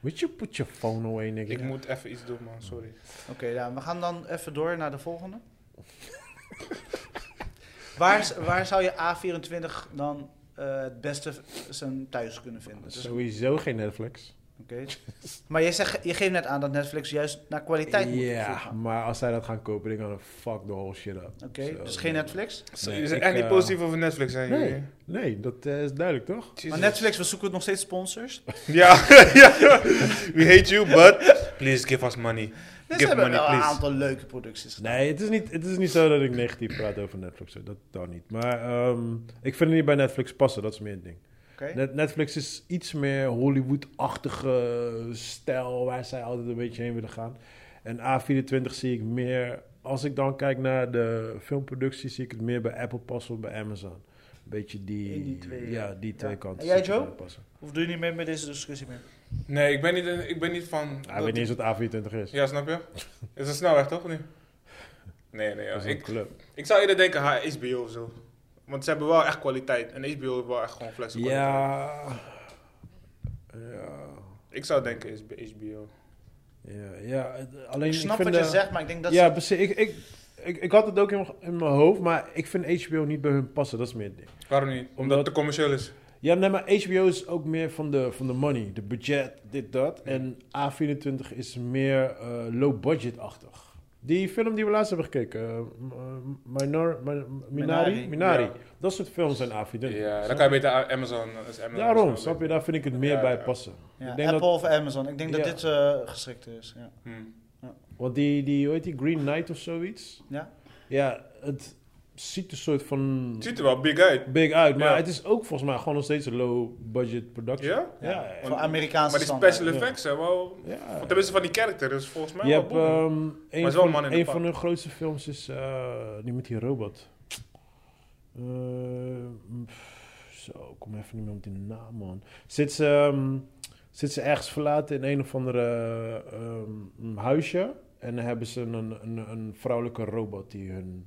C: Would you put your phone away, nigga?
B: ik moet even iets doen, man. Sorry.
A: Oké, nou, we gaan dan even door naar de volgende. [LAUGHS] waar, z- waar zou je A24 dan eh, het beste v- zijn thuis kunnen vinden? Dus, Oké.
C: Sowieso geen Netflix.
A: Maar je, zegt, je geeft net aan dat Netflix juist naar kwaliteit
C: Ja,
A: moet gaan.
C: maar als zij dat gaan kopen, dan gaan we fuck the whole shit up.
A: Oké,
C: Zo,
A: dus geen
C: nee.
A: Netflix.
B: Zo,
C: Nee,
B: je bent
C: ik,
B: echt niet
C: eh,
B: positief over Netflix, zijn jullie?
C: Nee, nee, dat eh, is duidelijk, toch?
B: Jezus.
A: Maar Netflix, we zoeken nog steeds
C: [LAUGHS]
A: sponsors. Dus
B: Ja, [LAUGHS] ja. We hate you, but please give us money.
A: Dus ze
B: Give
A: hebben
B: money,
A: wel een
B: please.
A: aantal leuke producties gedaan.
C: Nee, het is, niet, het is niet zo dat ik negatief praat over Netflix. hoor. Dat dan niet. Maar ehm, ik vind het niet bij Netflix passen, dat is meer het ding.
A: Oké.
C: Net- Netflix is iets meer Hollywood-achtige stijl waar zij altijd een beetje heen willen gaan. En A24 zie ik meer, als ik dan kijk naar de filmproductie, zie ik het meer bij Apple passen of bij Amazon. Een beetje die,
A: In die twee,
C: ja, die
A: ja.
C: twee kanten.
A: En jij,
C: zie ik het
A: Joe?
C: wel Passen.
A: Of doe je niet mee met deze discussie meer?
B: Nee, ik ben niet, een- ik ben niet van...
C: Hij Ah, weet niet eens wat A24 is.
B: Ja, snap
C: [LAUGHS]
B: je? Is een snelweg, toch? of niet? Nee, nee. ja.
C: Dat is een
B: Ik,
C: club.
B: ik zou eerder denken, ha, HBO of zo. Want ze hebben wel echt kwaliteit. En HBO heeft wel echt gewoon flexibel kwaliteit.
C: Ja. Ja.
B: Ik zou denken, is HBO.
C: Ja, ja. het- Alleen
A: Ik snap
C: ik
A: wat
C: vind
A: je
C: de-
A: zegt, maar ik denk dat
C: ja,
A: ze...
C: precies. Ik, ik, ik, ik had het ook in, in mijn hoofd, maar ik vind HBO niet bij hun passen. Dat is meer het ding.
B: Waarom niet? Omdat
C: Omdat-
B: het te commercieel is.
C: Ja, nee, maar HBO is ook meer van de, van de money, de budget, dit, dat. En A24 is meer eh, low-budget-achtig. Die film die we laatst hebben gekeken, eh, m- eh, Minor, Min- Minari,
A: Minari,
C: Minari.
B: ja.
C: Dat soort films zijn evident.
B: Ja, dan kan je beter A- Amazon. Is Amazon
C: Daarom,
B: wel
C: snap je,
B: beter.
C: daar vind ik het meer
B: Ja,
C: bij
B: ja.
C: passen.
A: Ja,
C: ik denk
A: Apple
C: dat,
A: of Amazon. Ik denk dat
C: Ja.
A: dit eh geschikt is. Ja.
B: Hmm.
C: want die, die, hoe heet die, Green Knight of zoiets?
A: Ja.
C: Ja, het ziet een soort van
B: Het ziet er wel big uit.
C: big uit, maar
B: Ja.
C: het is ook volgens mij gewoon nog steeds een low budget production.
B: Ja?
C: Ja, ja.
A: Voor Amerikaanse
B: Maar die
A: standaard.
B: special effects zijn wel...
C: Ja.
B: Want tenminste van die character is volgens mij
C: Je
B: wel
C: hebt
B: boeiend. is
C: ehm, een,
B: wel
C: van,
B: een man in
C: een
B: een
C: van
B: pak.
C: hun grootste films is eh, die met die robot. Eh, pff, zo, ik kom even niet meer op die naam, man. Zit ze, ehm, zit ze ergens verlaten in een of andere ehm, huisje. En dan hebben ze een, een, een vrouwelijke robot die hun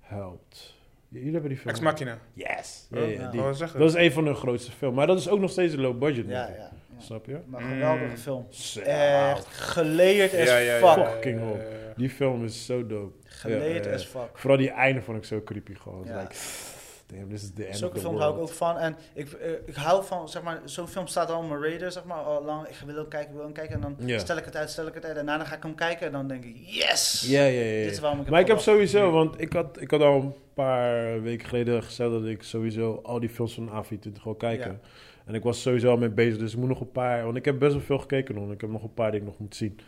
C: helpt. J- Jullie hebben die film.
B: Ex Machina.
C: Yes! Ja,
B: Ja,
C: ja,
A: Oh, ja.
C: eh, die.
B: Wou ik zeggen.
C: Dat is een van hun grootste films. Maar dat is ook nog steeds een low budget.
A: Ja,
C: movie.
A: ja, Eh, ja.
C: Snap je?
A: Maar geweldige
B: Mm.
A: film.
C: Zo.
A: Echt geleerd as fuck.
C: Fucking hell.
B: ja.
C: Die film is zo dope.
A: Geleerd
C: Ja, ja,
A: as fuck.
C: Vooral die einde vond ik zo creepy gewoon.
A: Ja.
C: Like, [SIGHS] damn, this is the end
A: Zulke
C: of the
A: films hou ik
C: world.
A: ook van. En ik, eh, ik hou van, zeg maar, zo'n film staat al op mijn radar, zeg maar, al lang. Ik wil hem kijken, ik wil hem kijken. En dan
C: Ja.
A: stel ik het uit, stel ik het uit. En daarna ga ik hem kijken en dan denk ik, yes!
C: Ja, ja, ja.
A: Dit is
C: ja.
A: waarom ik
C: Maar ik heb
A: gewacht.
C: sowieso, want ik had, ik had al een paar weken geleden gezegd dat ik sowieso al die films van AV20 wil kijken.
A: Ja.
C: En ik was sowieso al mee bezig, dus ik moet nog een paar, want ik heb best wel veel gekeken nog. en Ik heb nog een paar die ik nog moet zien.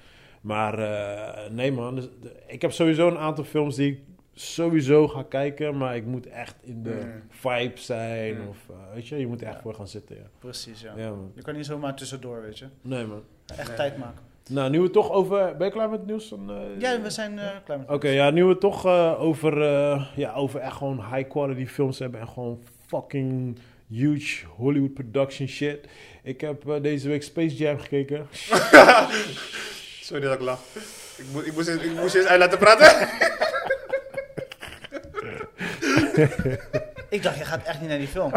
C: Maar eh, nee man, dus, de- ik heb sowieso een aantal films die ik sowieso ga kijken, maar ik moet echt in de
B: Mm.
C: vibe zijn
B: Mm.
C: of eh, weet je, je moet er echt
A: Ja.
C: voor gaan zitten. Ja.
A: Precies, ja.
C: ja man.
A: Je kan niet zomaar tussendoor, weet je.
C: Nee man.
A: Echt
B: Nee.
A: tijd maken.
C: Nou, nu we toch over. Ben je klaar met het nieuws? Dan, eh,
A: Ja, we zijn eh, klaar met
C: Oké, ja, nu we toch eh, over, eh, ja, over echt gewoon high quality films hebben en gewoon fucking huge Hollywood production shit. Ik heb eh, deze week Space Jam gekeken.
B: Sorry dat ik lach. Ik, mo- ik, moest, eerst- ik moest je eens uit laten
C: [LAUGHS]
B: praten.
A: Ik dacht, je gaat echt niet naar die film.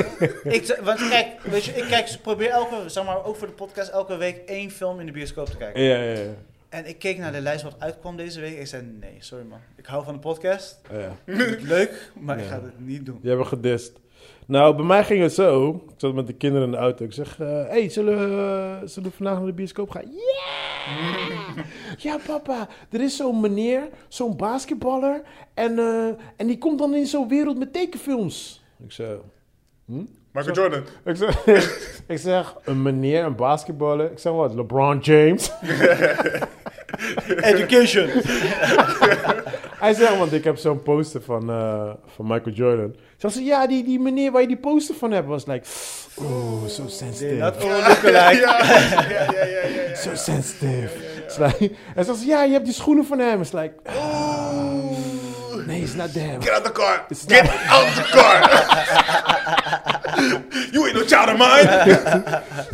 A: [LAUGHS] ik, z- want kijk, weet je, ik kijk, probeer elke, zeg maar, ook voor de podcast, elke week één film in de bioscoop te kijken.
C: ja, ja, ja.
A: En ik keek naar de lijst wat uitkwam deze week. Ik zei, nee, sorry man. Ik hou van de podcast.
B: [LAUGHS]
C: Oh, ja.
A: Ik vind het leuk, maar ik
C: Ja.
A: ga het niet doen.
C: Die hebben gedist. Nou, bij mij ging het zo. Ik zat met de kinderen in de auto. Ik zeg, eh, hey, zullen we, eh, zullen we vandaag naar de bioscoop gaan? Ja! Ja, papa. Er is zo'n meneer, zo'n basketballer. En, eh, en die komt dan in zo'n wereld met tekenfilms. Ik zeg...
B: Michael Jordan.
C: Ik zeg, [LAUGHS] ik zeg een meneer, een basketballer. Ik zeg wat, LeBron James?
A: Education!
C: Hij zegt, want ik heb zo'n poster van, eh, van Michael Jordan. Ze zei, ja, die, die meneer waar je die poster van hebt, was like... Oh, so sensitive.
A: Dat voor een lookalike.
B: [LAUGHS] Ja, ja, ja, ja, ja, ja.
C: So sensitive. It's like, en ze zegt, ja, je hebt die schoenen van hem. It's like, ah,
B: Oeh.
C: nee, it's not them.
B: Get out the car.
C: It's
B: Get out the car. you ain't no child of mine.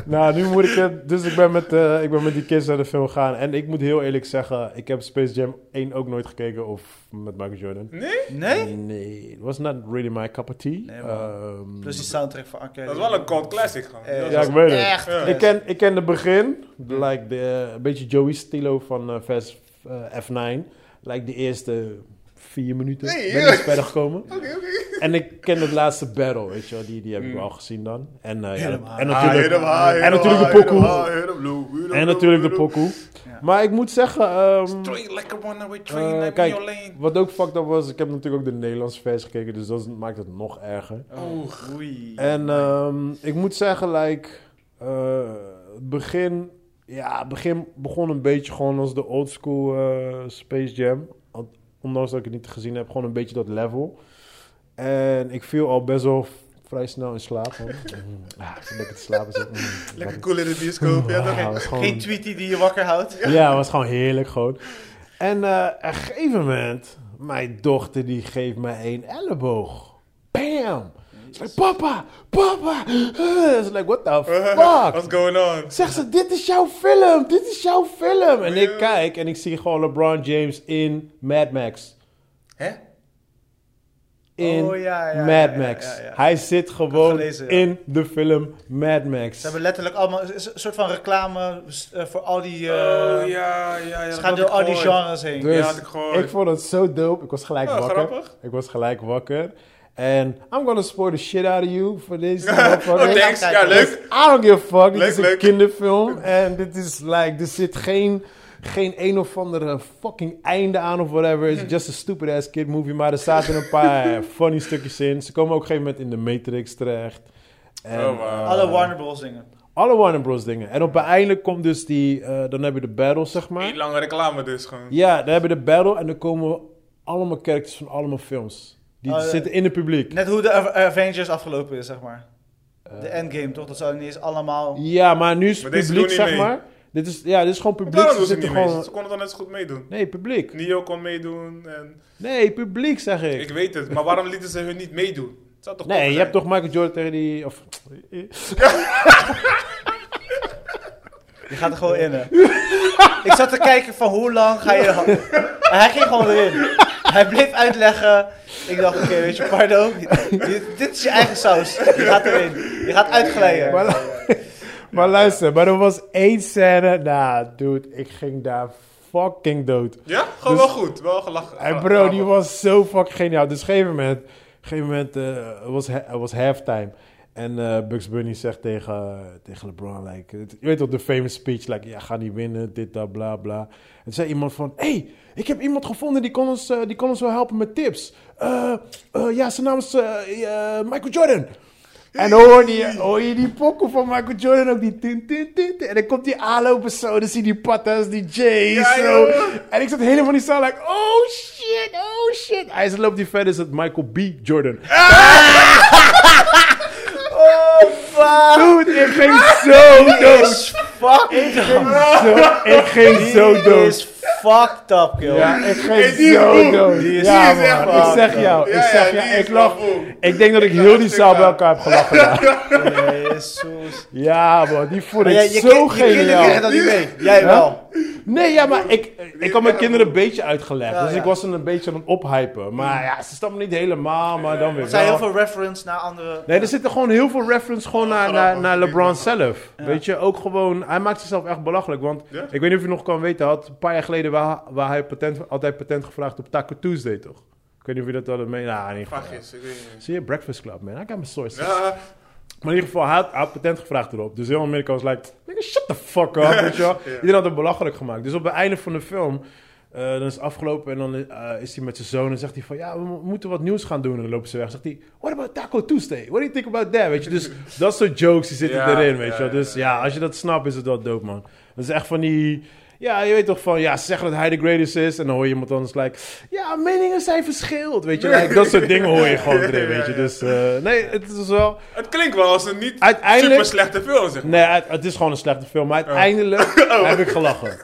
C: nou, nu moet ik het... Dus ik ben, met, eh, ik ben met die kids naar de film gegaan. En ik moet heel eerlijk zeggen, ik heb Space Jam 1 ook nooit gekeken. Of met Michael Jordan.
B: Nee?
A: Nee?
C: Nee, it was not really my cup of tea.
A: Nee, man. Dus
C: Ehm,
A: Plus die soundtrack van Arcade.
B: Dat is wel een cult classic, gewoon.
A: Eh,
B: Dat
C: ja,
B: was-
C: ik weet het.
A: Echt.
B: Ja.
C: Ik ken, ik ken de begin, like de, eh, een beetje Joey Stilo van eh, vers eh, F9. Like de eerste vier minuten
B: Nee,
C: ben
B: ja.
C: ik verder
B: [LAUGHS]
C: gekomen.
B: Oké, oké.
C: En ik ken het laatste battle, weet je wel. Die, die heb ik al gezien dan. En, eh, ja,
A: Mm. Helemaal.
C: en
B: Ah, hit
C: natuurlijk,
B: him high, hit
C: en
B: him
C: natuurlijk
B: high,
C: de
B: hit him
C: pokoe.
B: high, hit him low, hit him
C: En
B: low,
C: natuurlijk de
B: hit him-
C: pokoe.
A: Ja.
C: Maar ik moet zeggen... ehm,
B: Throw you like a runaway
C: Eh,
B: nou, train, like
C: kijk.
B: your lane.
C: wat ook fucked up was, ik heb natuurlijk ook de Nederlandse versie gekeken. Dus dat maakt het nog erger.
A: Oh, oei.
C: En ehm, ik moet zeggen, like, eh, het begin, ja, het begin begon een beetje gewoon als de old school eh, Space Jam. Want Ondanks dat ik het niet gezien heb, gewoon een beetje dat level. En ik viel al best wel v- vrij snel in slaap. want, mm, ah, ik zit lekker te slapen. zo, mm,
B: Lekker
C: wakker.
B: cool in de [LAUGHS] bioscoop, ja
C: Wauw,
B: toch?
C: het is gewoon-
A: Geen tweetie die je wakker houdt.
C: ja, het was gewoon heerlijk gewoon. En eh, op een gegeven moment, mijn dochter die geeft mij een elleboog. Bam! Ze is like, papa, papa! Eh, Ze is like, what the
B: What's
C: fuck? Eh,
B: going on? Oh,
C: Zegt ze, dit is jouw film, dit is jouw film! En ik kijk en ik zie gewoon LeBron James in Mad Max.
B: Hè?
C: In
A: Oh, ja, ja, ja,
C: Mad
A: ja,
C: Max.
A: ja, ja.
C: Hij zit gewoon
A: gelezen, ja.
C: in de film Mad Max.
A: Ze hebben letterlijk allemaal een soort van reclame eh, voor al die... eh,
B: Oh, ja, ja, ja.
A: Ze
B: dat
A: gaan
B: had
A: door
B: ik
A: al die
B: gehoord.
A: genres heen.
C: Dus
B: Ja, had ik gehoord.
C: ik vond het zo dope. Ik was gelijk
B: Oh,
C: wakker.
B: grappig.
C: Ik was gelijk wakker. En I'm gonna spoil the shit out of you for this. motherfucker.
B: [LAUGHS] Oh, thanks. Ja,
A: Kijk,
B: leuk.
C: I don't give a fuck. Dit
B: Leuk,
C: is een
B: leuk.
C: kinderfilm. En dit is like, er zit geen geen een of andere fucking einde aan of whatever. It's just a stupid ass kid movie. Maar er zaten een
B: [LAUGHS]
C: paar funny stukjes in. Ze komen ook op een gegeven moment in de Matrix terecht. En,
B: Oh, wauw.
C: eh,
A: Alle Warner Bros. dingen.
C: alle Warner Bros. dingen. En op eindelijk komt dus die... eh, dan heb je de battle, zeg
B: Eén
C: maar.
B: lange reclame dus gewoon.
C: Ja, dan hebben we de battle en dan komen allemaal characters van allemaal films. Die
A: Oh, ja.
C: zitten in het publiek.
A: Net hoe de Av- Avengers afgelopen is, zeg maar.
C: Eh.
A: De endgame, toch? Dat zou niet eens allemaal...
C: Ja, maar nu is
B: Maar
C: het
B: deze
C: publiek,
B: doen niet
C: zeg
B: mee.
C: maar. Dit is, ja, dit is gewoon publiek.
B: Daarom
C: Ze
B: doen ze
C: zitten
B: niet mee.
C: gewoon...
B: Ze konden dan net zo goed meedoen.
C: Nee, publiek.
B: Nio kon meedoen en...
C: Nee, publiek zeg ik.
B: Ik weet het, maar waarom lieten ze hun niet meedoen? Het zou toch tof
C: nee, je
B: zijn?
C: hebt toch Michael Jordan tegen die... Of...
A: Je gaat er gewoon in, hè. Ik zat te kijken van hoe lang ga je... En hij ging gewoon erin. Hij bleef uitleggen. Ik dacht, oké, weet je, pardon. Dit, dit is je eigen saus. Je gaat erin. Je gaat uitglijden.
C: Maar, lu- [LAUGHS] maar luister, maar er was één scène... Nou, dude, ik ging daar fucking dood.
B: Ja? Gewoon
C: Dus-
B: wel goed, wel gelachen.
C: En
B: Ah,
C: bro,
B: ah,
C: die
B: wat-
C: was zo fucking geniaal. Dus op een gegeven moment, op een gegeven moment eh, was, ha- was halftime. En eh, Bugs Bunny zegt tegen, tegen LeBron, like, het- je weet toch, de famous speech, like, ja, ga niet winnen, dit, dat, bla, bla. En zei iemand van, hey, ik heb iemand gevonden die kon ons, eh, die kon ons wel helpen met tips. Eh, eh, ja, zijn naam is eh, eh, Michael Jordan. En dan hoor je, hoor je die pokkel van Michael Jordan ook, die tin, tin, tin, tin. En dan komt die aanlopen zo, dan zie je die patas, die J's,
B: Ja,
C: zo.
B: joh.
C: En ik zat helemaal in die zaal, like, oh shit, oh shit. Hij loopt die verder, is het Michael B. [LAUGHS] Jordan. Ah! Oh, Dude, ik ging [LAUGHS] zo dood.
A: is fucked up.
C: Zo, [LAUGHS] ik ging zo
A: Die
C: dood.
A: is fucked up, kill.
C: Ja, ik ging
B: Hey, die is
C: zo
B: goed.
C: dood.
A: Die is
C: Ja,
A: goed, echt
C: man,
A: waar.
C: ik zeg jou,
B: Ja,
C: ik zeg
B: ja,
C: jou,
B: die is
C: ik lach.
B: wel goed.
C: Ik denk dat ik
B: lach
C: heel die
B: een
C: zaal bij
B: stuk
C: elkaar heb gelachen. daar.
A: Jezus.
C: Ja, man, die vond
A: Maar
C: ik
A: jij- je,
C: zo
A: kind- je kinderen krijgen
C: geniaal.
A: dat niet mee. Jij
C: Huh?
A: wel.
C: Nee, ja, maar ik, ik had mijn kinderen een beetje uitgelegd.
A: Ja,
C: dus
A: ja.
C: ik was ze een beetje aan het ophypen. Maar ja, ze snappen niet helemaal, maar dan weer
A: Er zijn heel
C: wel.
A: veel reference naar andere...
C: Nee, er zitten gewoon heel veel reference gewoon naar,
B: grappig.
C: naar, naar LeBron zelf. Weet je, ook gewoon... Hij maakt zichzelf echt belachelijk. Want
B: Ja?
C: ik weet niet of je nog kan weten... Hij had een paar jaar geleden waar, waar hij patent, altijd patent gevraagd op Taco Tuesday, toch? Ik weet niet of je dat al mee... Nou, in ieder geval.
B: Vraagjes, ik weet het niet.
C: Zie je, Breakfast Club, man. I got my sources.
B: Ja,
C: Maar in ieder geval, hij had, hij had patent gevraagd erop. Dus heel Amerika was like, nigga, shut the fuck up, weet je wel. Iedereen had het belachelijk gemaakt. Dus op het einde van de film, eh, dan is het afgelopen en dan eh, is hij met zijn zoon en zegt hij van, ja, we mo- moeten wat nieuws gaan doen. En dan lopen ze weg. Zegt hij, what about Taco Tuesday? What do you think about that? Weet je,
B: [LAUGHS]
C: dus dat soort jokes die zitten
B: Ja,
C: erin, weet
B: ja,
C: je wel.
B: ja,
C: Dus
B: ja.
C: ja, als je dat snapt, is het wel dope, man. Dat is echt van die... Ja, je weet toch van, ja, ze zeggen dat hij de greatest is. En dan hoor je iemand anders, like, ja, meningen zijn verschillend, weet je. Like, dat
B: [LAUGHS]
C: soort dingen hoor je gewoon erin, weet je. Dus eh, nee, het is wel...
B: Het klinkt wel als een niet
C: Uiteindelijk-
B: super slechte film, zeg maar.
C: Nee, het, het is gewoon een slechte film.
B: Oh. [LAUGHS]
C: Maar uiteindelijk heb ik gelachen.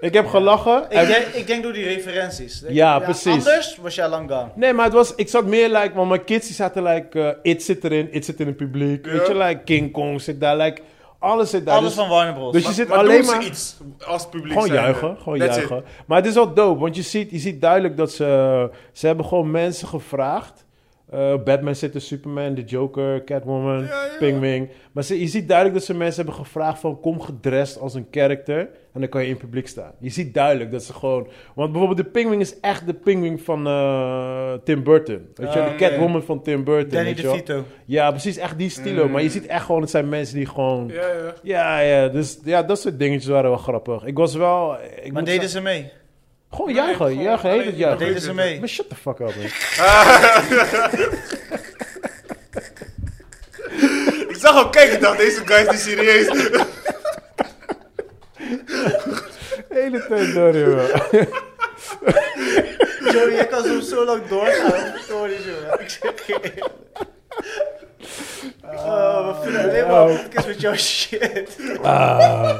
C: Ik heb gelachen.
A: Ik
C: en-
A: denk, ik denk door die referenties.
C: Ja, precies.
A: Anders was jij lang gone.
C: Nee, maar het was, ik zat meer like, want mijn kids die zaten like, eh, It zit erin, It zit in het publiek.
B: Ja.
C: Weet je, like King Kong zit daar, like, alles zit daar.
A: Alles
C: Dus
A: van Warner Bros.
C: dus je
B: Maar,
C: zit
B: maar
C: alleen
B: doen ze
C: maar-
B: iets als publiek
C: gewoon
B: zijnde?
C: juichen, gewoon
B: That's it.
C: juichen. Maar het is wel dope, want je ziet, je ziet duidelijk dat ze, ze hebben gewoon mensen gevraagd. Eh, Batman zit er, Superman, de Joker, Catwoman,
B: Ja, ja.
C: Pingwing. Maar ze, je ziet duidelijk dat ze mensen hebben gevraagd van kom gedrest als een character. En dan kan je in het publiek staan. Je ziet duidelijk dat ze gewoon... Want bijvoorbeeld de Pingwing is echt de Pingwing van eh, Tim Burton. Weet je,
A: Ah,
C: de
A: oké.
C: Catwoman van Tim Burton.
A: Danny
C: weet je wel.
A: DeVito.
C: Ja, precies, echt die stilo. Maar je ziet echt gewoon, het zijn mensen die gewoon...
B: Mm. Ja, ja.
C: Ja, ja, dus ja, dat soort dingetjes waren wel grappig. Ik was wel... Ik
A: Maar
C: moet
A: deden
C: zeggen-
A: ze mee?
C: Gewoon
B: Nee,
C: juichen,
B: gewoon
C: juichen, heet
B: alleen-
C: het juichen.
A: Deden ze mee? [LAUGHS]
C: Maar shut the fuck up, man.
B: Ik zag al kijken, ik dacht, deze guy is niet serieus.
C: Hele tijd door, jongen.
A: Joey, jij kan zo, zo lang [LAUGHS] doorgaan. Sorry, jongen. Ik zeg je eerlijk. Oh, we vinden alleen maar
C: Oh.
A: podcast met jouw shit.
C: Ah.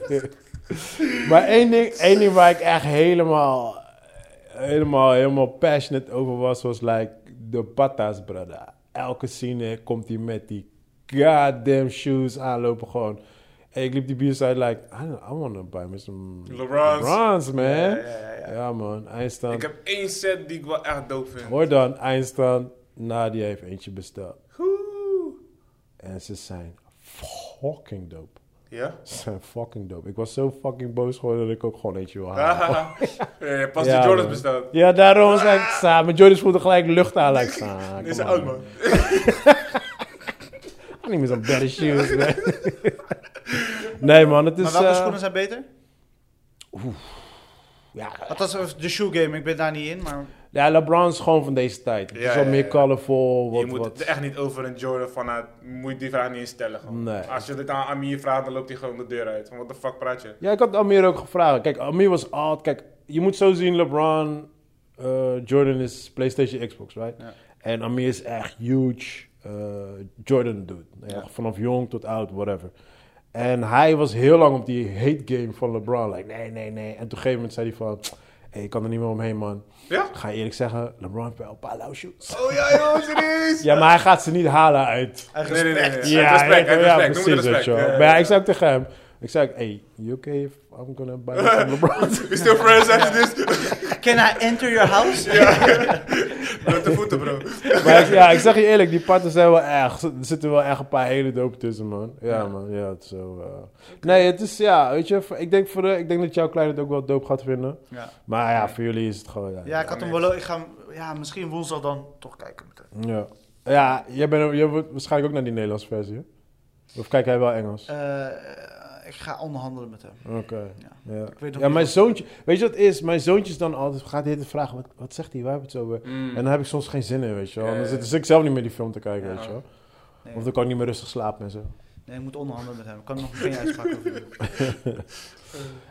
C: [LAUGHS] maar één ding, één ding waar ik echt helemaal, helemaal, helemaal passionate over was, was like de patas, brother. Elke scene komt hij met die goddamn shoes aanlopen gewoon. En ik liep die bios uit like, I, don't, I wanna buy me some
B: LeBrons.
C: LeBrons, man. Ja,
A: ja, ja.
C: man, Einstein.
B: Ik heb één set die ik wel echt dope vind.
C: Hoor dan, Einstein, Nadia heeft eentje besteld. En ze zijn fucking dope.
B: Ja?
C: Ze zijn fucking dope. Ik was zo fucking boos geworden dat ik ook gewoon eentje wil [LAUGHS] halen.
B: ja, je hebt pas
C: Ja,
B: de Jordans
C: man.
B: besteld.
C: Ja, daarom was ik samen. Mijn Jordans voelde gelijk lucht aan. Like, ah,
B: Dit is
C: come
B: oud,
C: on,
B: man.
C: I need me some better shoes, man. nee, man, het
A: Maar
C: is...
A: welke
C: eh,
A: Dus, schoenen zijn beter?
C: Ja,
A: Althans, eh, de shoe game, ik ben daar niet in, maar...
C: ja, LeBron is gewoon van deze tijd. Het
B: Ja,
C: is wat
B: ja,
C: meer
B: ja.
C: colorful. Wat,
B: je moet
C: wat.
B: het echt niet over een Jordan vanuit, moet je die vraag niet eens stellen. gewoon.
C: Nee.
B: Als je dit aan Amir vraagt, dan loopt hij gewoon de deur uit. Van wat de fuck praat je?
C: Ja, ik had Amir ook gevraagd. Kijk, Amir was oud. Kijk, je moet zo zien, LeBron, eh, Jordan is PlayStation, Xbox, right?
A: Ja.
C: En Amir is echt huge eh, Jordan dude. Echt
A: Ja.
C: Vanaf jong tot oud, whatever. En hij was heel lang op die hate game van LeBron. Like, nee, nee, nee. En op een gegeven moment zei hij van, hey, ik kan er niet meer omheen, man.
B: Ja?
C: Ik ga je eerlijk zeggen, LeBron heeft wel een paar lauwe shoes.
B: Oh ja, joh, serieus?
C: Ja, maar hij gaat ze niet halen uit
B: Nee, nee, nee. nee.
C: ja,
B: Uit respect,
C: ja,
B: uit respect.
C: ja,
B: Noem het
C: precies, weet
B: respect.
C: je wel.
B: Ja,
C: Maar
B: ja,
C: ja,
B: ja.
C: ik zei ook tegen hem, ik zei ook, hey, you okay if I'm gonna buy
B: [LAUGHS]
C: this from LeBron?
B: We still friends after this? [LAUGHS]
A: Can I enter your house?
B: Met de voeten, bro.
C: maar ik- ja, ik zeg je eerlijk, die parten zijn wel erg. Er zitten wel echt een paar hele dope tussen, man. Ja, man, ja, het is zo... eh. Nee, het is, ja, weet je, voor- ik denk, voor de, ik denk dat jouw kleine het ook wel dope gaat vinden.
A: Ja,
C: Maar ja, voor jullie is het gewoon, ja.
A: ja ik had hem wel... Ik ga hem- ja, misschien woensdag dan toch kijken. meteen.
C: Ja, ja jij, bent, ook- jij wordt waarschijnlijk ook naar die Nederlandse versie, hè? Of kijk jij wel Engels?
A: Eh, ik ga onderhandelen met hem.
C: Oké.
A: Ja.
C: Ja,
A: weet nog
C: ja
A: niet
C: mijn
A: wat-
C: zoontje, weet je wat het is? Mijn zoontje is dan altijd, gaat de hele tijd vragen, wat, wat zegt hij, waar hebben we het over?
B: Mm.
C: En dan heb ik soms geen zin in, weet je wel.
B: Ja,
C: Dan
B: ja,
C: zit
B: ja.
C: zit ik zelf niet meer die film te kijken,
B: Ja.
C: weet je wel.
A: Nee.
C: Of dan kan ik niet meer rustig
B: [LAUGHS]
C: slapen en zo.
A: Nee, ik moet onderhandelen met hem. Ik kan nog geen uitspraak over doen.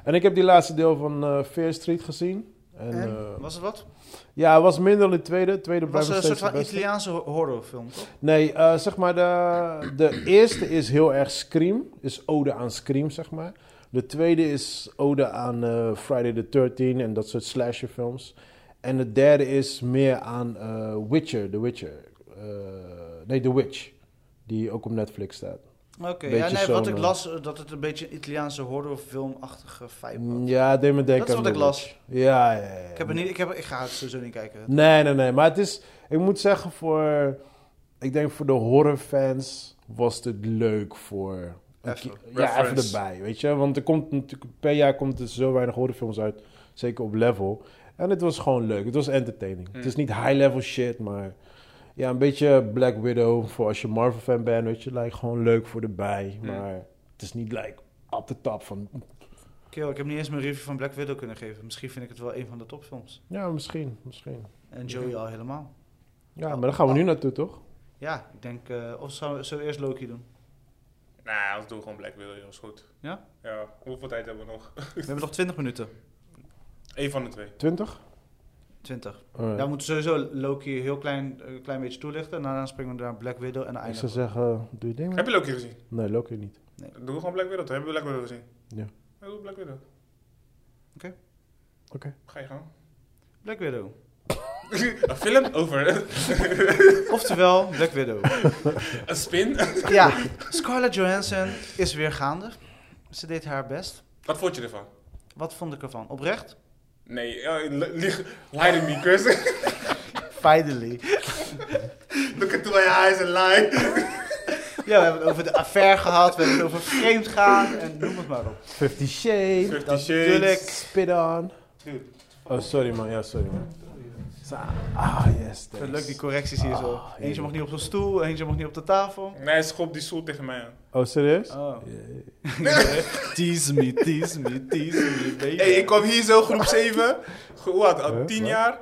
C: En ik heb die laatste deel van eh Fear Street gezien. En,
A: En?
C: eh,
A: Was het wat?
C: ja, het was minder dan de tweede. De tweede
A: Het was
C: blijft
A: een
C: nog
A: soort
C: steeds
A: van
C: de beste.
A: Italiaanse ho- horrorfilm, toch?
C: Nee, eh, zeg maar, de, de eerste is heel erg Scream. Is ode aan Scream, zeg maar. De tweede is ode aan eh, Friday the 13 en dat soort slasherfilms. En de derde is meer aan eh, Witcher, The Witcher. Eh, nee, The Witch. Die ook op Netflix staat.
A: Oké, ja,
C: Beetje
A: nee, wat
C: zo'n,
A: ik
C: eh,
A: las, eh, dat het een beetje een Italiaanse horrorfilmachtige vibe had.
C: Ja, het deed me denken
A: Oh. Dat is
C: aan
A: wat ik
C: The
A: las.
C: Witch. Ja, ja, ja, ja.
A: Ik, heb er niet, ik, heb, ik ga het sowieso niet kijken.
C: Nee, nee, nee. Maar het is, ik moet zeggen, voor, ik denk voor de horrorfans was het leuk voor.
A: Even,
C: ja, even
B: reference.
C: erbij, weet je. Want er komt natuurlijk, per jaar komt er zo weinig horrorfilms uit, zeker op level. En het was gewoon leuk, het was entertaining. Het is niet high-level shit, maar ja, een beetje Black Widow voor als je Marvel-fan bent, weet je. Like, gewoon leuk voor erbij, maar het is niet like op de top van...
A: Kill, ik heb niet eens mijn review van Black Widow kunnen geven. Misschien vind ik het wel een van de topfilms.
C: Ja, misschien, misschien.
A: En Joey al helemaal.
C: Ja, maar daar gaan we nu naartoe, toch?
A: Ja, ik denk... eh, of zou- zullen we eerst Loki doen?
B: Nou, ons doen gewoon Black Widow, joh. Is goed.
A: Ja?
B: Ja, hoeveel tijd hebben we nog?
A: We hebben nog 20 minuten.
B: Eén van de twee.
C: 20?
A: 20.
C: Alright.
A: Ja, we moeten sowieso Loki heel klein, een klein beetje toelichten. En daarna springen we naar Black Widow en
C: Ik zou
A: eindigen.
C: zeggen, doe je ding
B: Heb
C: man.
B: je Loki gezien?
C: Nee, Loki niet.
B: Doe gewoon Black Widow. toch? Hebben we Black Widow gezien?
C: Ja.
B: Ja, doe Black Widow.
C: Oké.
B: Ga je gang. [LAUGHS]
A: Black Widow.
B: een film over
A: Oftewel, Black
C: [LAUGHS]
A: Widow.
B: een spin.
A: Ja, Scarlett Johansson is weer gaande. Ze deed haar best.
B: Wat vond je ervan?
A: Wat vond ik ervan? Oprecht?
B: Nee, eh, li- lieg- lie to me, Chris. [LAUGHS]
A: Finally.
B: Look into my eyes and lie.
A: Ja, we hebben het over de affaire gehad. We hebben het over vreemd gaan. En noem het maar op.
C: Fifty Shades.
B: Fifty
A: Tuurlijk.
B: Shades.
C: Spit on.
B: Dude.
C: Oh, sorry man. Ja, sorry man. Sa- Ah, yes.
A: Ik vind
C: thanks.
A: het leuk die correcties hier zo.
C: Ah,
A: Eentje mag niet op zijn stoel, eentje mag niet op de tafel.
B: Nee, schop die stoel tegen mij aan.
C: Oh, serieus?
A: Oh.
C: Yeah.
A: Tease me, tease me, tease me, baby.
B: Hey, ik kwam hier zo, groep 7. Ge- Hoe oud? Al
C: Huh?
B: 10
C: Wat?
B: jaar.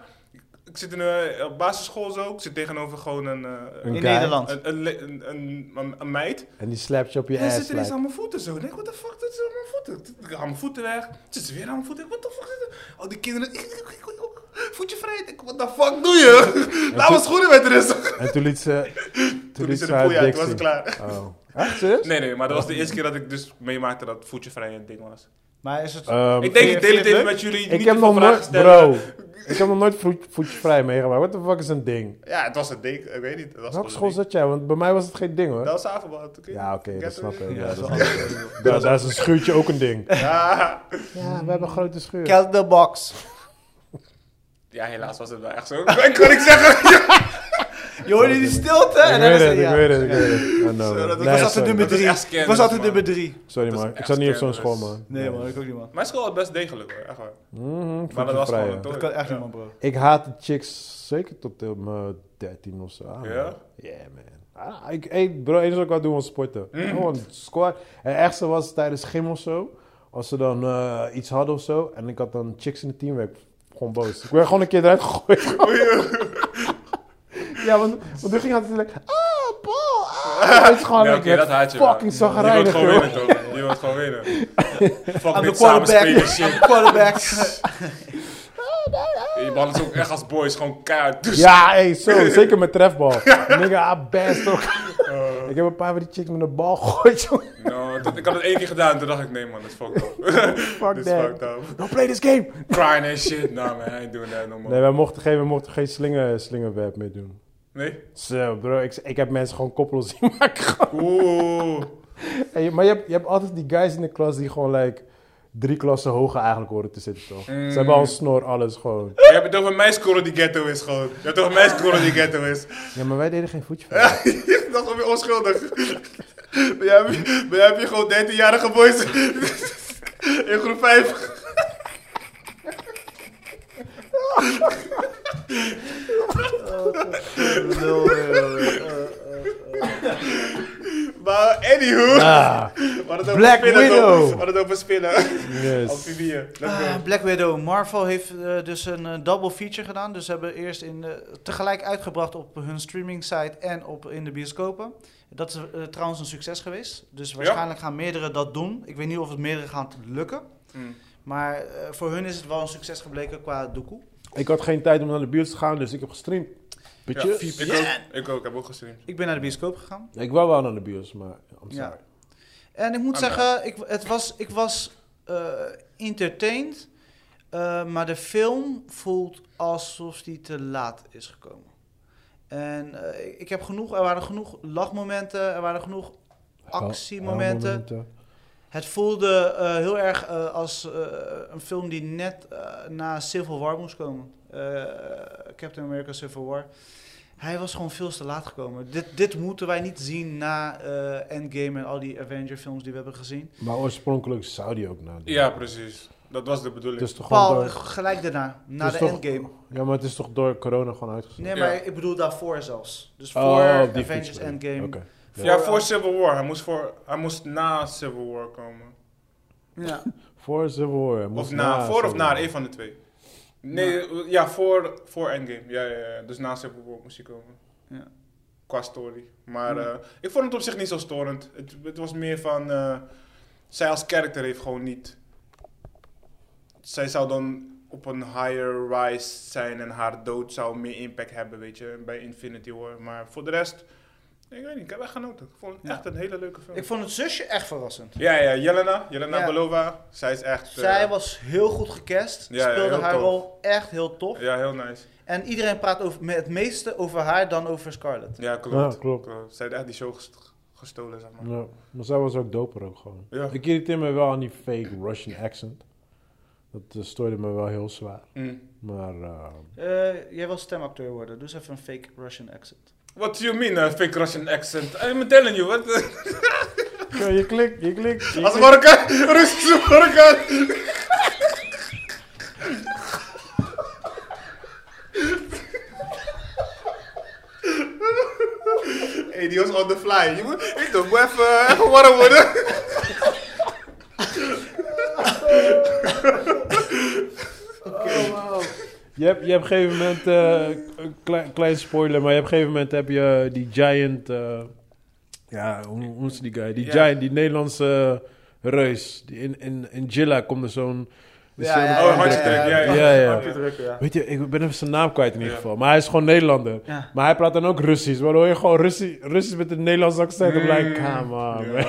B: Ik zit in een eh, op basisschool zo. Ik zit tegenover gewoon een, eh,
C: Een
A: In
C: guy.
A: Nederland.
B: een, een, le- een, een, een, een meid.
C: En die slapt je op je
B: En dan
C: ass.
B: zit er eens
C: like.
B: aan mijn voeten zo. Ik denk, wat de fuck, dat is aan mijn voeten. Ik haal mijn voeten weg. Zit ze weer aan mijn voeten. Wat de fuck is dat? Al die kinderen. Ik- ik- ik- ik- Voetje vrij. Ik denk, wat de fuck doe
C: [LAUGHS]
B: je? Laat
C: toen-
B: mijn schoenen met rust.
C: En toen liet ze... Toen,
B: [LAUGHS] Toen
C: liet
B: is er
C: ze
B: de
C: haar
B: poeie uit.
C: dik
B: Toen was het
C: zien.
B: klaar.
C: Oh. Echt, serieus?
B: [LAUGHS] Nee, nee, maar dat was de eerste keer dat ik dus meemaakte dat voetje vrij een ding was.
A: Maar is het...
C: Ehm,
B: Ik
A: vind
B: denk,
A: je-
B: ik deel het
A: vind je
B: even
A: het
B: met jullie.
C: ik
B: niet
C: heb
B: te veel
C: nog
B: vragen
C: nooit...
B: stellen.
C: Bro. Ik heb nog nooit voet, voetje vrij meegemaakt. What the fuck is een ding?
B: Ja, het was een ding. Ik weet niet. Het was
C: Welke
B: gewoon
C: school
B: een ding.
C: zat jij? Want bij mij was het geen ding, hoor.
B: Dat was avondbal. oké.
C: Ja, oké. dat
B: Get
C: snap
B: it?
A: Ja,
C: ik. Ja,
A: zo
C: dat
A: anders. [LAUGHS]
C: snap ik. Daar daar is een schuurtje ook een ding. Mm.
B: Ja.
C: [LAUGHS] Ja, we hebben een grote schuur.
A: Count the box.
B: [LAUGHS] ja, helaas was het wel echt zo. [LAUGHS] Ik kon ik zeggen.
A: Je hoorde die stilte.
C: Ik
A: en dan
C: weet
A: is
C: het, ik
A: ja.
C: weet het, ik weet
B: [LAUGHS]
C: het. I know,
B: Zo, dat-
C: man.
A: Ik
B: dat
C: Nee,
A: was altijd
C: sorry.
A: nummer
B: Dat is
A: drie.
B: echt
A: Ik
B: scandalous,
A: was altijd
B: man.
A: nummer drie.
C: Sorry,
B: Dat is
C: man. Ik
B: echt
C: zat niet op zo'n school,
B: scandalous.
C: man.
A: Nee man, ik ook niet man.
B: Mijn school was best degelijk hoor. Echt waar.
C: Mhm, ik
B: Maar
C: vond
B: dat
C: je
B: was
C: vrij,
B: gewoon
C: ja.
B: een
A: Dat kan echt
B: Ja.
A: niet man bro.
C: Ik haatte chicks zeker tot de dertien of zo. Oh, Ja?
B: Ja?
C: Yeah, man. Ah,
B: Mm.
C: ik, hey, bro, het enige wat ik wou doen was sporten. Gewoon squat. En echt, zo was het tijdens gym of zo. Als ze dan eh, iets hadden of zo. En ik had dan chicks in het team. werd Ik gewoon boos. Ik werd gewoon een keer eruit
B: [LAUGHS]
C: gegooid. ja, want, want toen ging hij altijd like, ah, Paul,
B: [LAUGHS]
C: ah. Het is gewoon
B: Nee,
C: nee,
B: oké, dat haat je wel.
C: fucking
B: Je wilt
C: zagrijnig,
B: gewoon
C: joh.
B: winnen, toch? Je wilt gewoon
C: [LAUGHS]
B: winnen. Fuck
A: Aan de quarterback.
B: met samenspelen shit.
A: Aan de [LAUGHS] quarterback.
B: Je behandelt ook echt als boys, gewoon keihard. Dus
C: Ja, hey, zo, zeker met
B: [LAUGHS]
C: trefbal. Nigga, I best ook.
B: Oh.
C: Ik heb een paar van die chicks met een bal gegooid, joh.
B: No, nou, dat- ik had het één keer gedaan en toen dacht ik, nee man, dat is fucked up. [LAUGHS]
C: Fuck
B: Dit is
C: that.
B: fucked up.
C: Don't play this game.
B: Crying and shit. Nah man, I ain't doing that no more.
C: Nee, wij mochten geen, wij mochten geen slinger, slingerweb meer doen.
B: Nee?
C: Zo, bro, ik, ik heb mensen gewoon koppels zien [LAUGHS] maken. gewoon.
B: Oeh.
C: Hey, maar je hebt, je hebt altijd die guys in de klas die gewoon like, drie klassen hoger eigenlijk horen te zitten, toch? Ze hebben
B: Mm.
C: al een snor, alles gewoon.
B: Je hebt het over mijn school die ghetto is gewoon. Je hebt het over mijn school die ghetto is.
C: Ja, maar wij deden geen voetje
B: [LAUGHS]
C: van.
B: dat is gewoon weer onschuldig. maar, jij, hebt- maar jij hebt je gewoon 13-jarige boys in groep 5.
A: eh,
B: Maar anywho.
C: Ah,
B: we hadden het over
C: Black
B: spinnen, toch?
C: Widow.
B: We hadden het over spinnen.
C: yes.
B: Amfibieën. Let's
A: Ah,
B: go.
A: Black Widow. Marvel heeft eh, dus een eh, double feature gedaan. Dus ze hebben eerst in, eh, tegelijk uitgebracht op hun streaming site en op, in de bioscopen. Dat is eh, trouwens een succes geweest. Dus waarschijnlijk gaan meerdere dat doen. Ik weet niet of het meerdere gaat lukken.
B: Hmm.
A: Maar eh, voor hun is het wel een succes gebleken qua doekoe.
C: Ik had geen tijd om naar de buurt te gaan, dus ik heb gestreamd.
B: Ja,
C: Bitches.
B: ik, ook, ik ook, heb ook gestreamd.
A: Ik ben naar de bioscoop gegaan.
C: Ik wou wel naar de bios, maar I'm
A: Ja.
C: sorry.
A: En ik moet
B: Ah,
A: zeggen, ik, het was, ik was eh, entertained. eh, maar de film voelt alsof die te laat is gekomen. En eh, ik- ik heb genoeg, er waren genoeg lachmomenten, er waren genoeg actiemomenten. Het voelde eh, heel erg eh, als eh, een film die net eh, na Civil War moest komen. Eh, Captain America Civil War. Hij was gewoon veel te laat gekomen. Dit, dit moeten wij niet zien na eh, Endgame en al die Avenger films die we hebben gezien.
C: Maar oorspronkelijk zou die ook nadenken.
B: Ja, precies. Dat was de bedoeling.
C: Het is toch
A: Paul,
C: gewoon door-
A: gelijk daarna, na
C: het
A: de
C: is toch-
A: Endgame.
C: Ja, maar het is toch door corona gewoon uitgezet?
A: Nee,
B: Ja.
A: maar ik bedoel daarvoor zelfs. Dus voor
C: Oh, die
A: Avengers
C: fiets-
A: Endgame.
C: Oké.
B: ja, voor Civil War. Hij moest, voor, hij moest na Civil War komen.
A: Ja.
C: Voor Civil War. Hij moest
B: Of na, voor of
C: Civil
B: na,
C: War.
B: één van de twee. Nee, eh, ja, voor, voor Endgame. Ja, ja, ja, dus na Civil War moest hij komen.
A: Ja.
B: Qua story. Maar eh, ik vond het op zich niet zo storend. Het, het was meer van... eh, zij als karakter heeft gewoon niet... Zij zou dan op een higher rise zijn en haar dood zou meer impact hebben, weet je, bij Infinity War. Maar voor de rest, ik weet niet, ik heb echt genoten. Ik vond het
A: Ja.
B: echt een hele leuke film.
A: Ik vond het zusje echt verrassend.
B: Ja, ja, Jelena, Jelena
A: Ja.
B: Belova, zij is echt... eh,
A: Zij was heel goed gecast,
B: Ja, ja,
A: speelde
B: heel
A: haar
B: tof.
A: rol echt heel tof.
B: Ja, heel nice.
A: En iedereen praat over, me- het meeste over haar dan over Scarlett.
B: Ja, klopt.
C: Ja, klopt. Mm.
B: klopt. Zij heeft echt die show gest- gestolen, zeg maar.
C: Ja, maar zij was ook doper ook gewoon.
B: Ja.
C: Ik irriteer me wel aan die fake Russian accent. Dat eh, stoorde me wel heel zwaar.
B: Mm.
C: Maar eh,
B: [LAUGHS]
A: Eh, jij wil stemacteur worden, dus even een fake Russian accent.
B: What do you mean, a fake Russian accent? I'm telling you, what?
C: ja, je klikt, je klikt. je
B: Als
C: klikt.
B: Marokkaan, Russische Marokkaan. Hey, die was on the fly. Je moet, je toch, moet even, even warm worden.
C: Je hebt, je hebt op een gegeven moment, eh, een klein, klein spoiler, maar je hebt op een gegeven moment heb je die giant, eh, ja, hoe, hoe is die guy? Die
B: Ja.
C: giant, die Nederlandse reus. Die in, in, in Gilla komt er zo'n... is zo'n-
B: ja, Oh, hartstikke, ja, ja,
C: ja, ja.
A: Hartje drukken, ja.
C: Weet je, ik ben even zijn naam kwijt in ieder
B: Ja.
C: geval. Maar hij is gewoon Nederlander.
A: Ja.
C: Maar hij praat dan ook Russisch. Waardoor je gewoon Russi- Russisch met een Nederlands accent. Mm.
B: Mm.
C: Like, come on, man.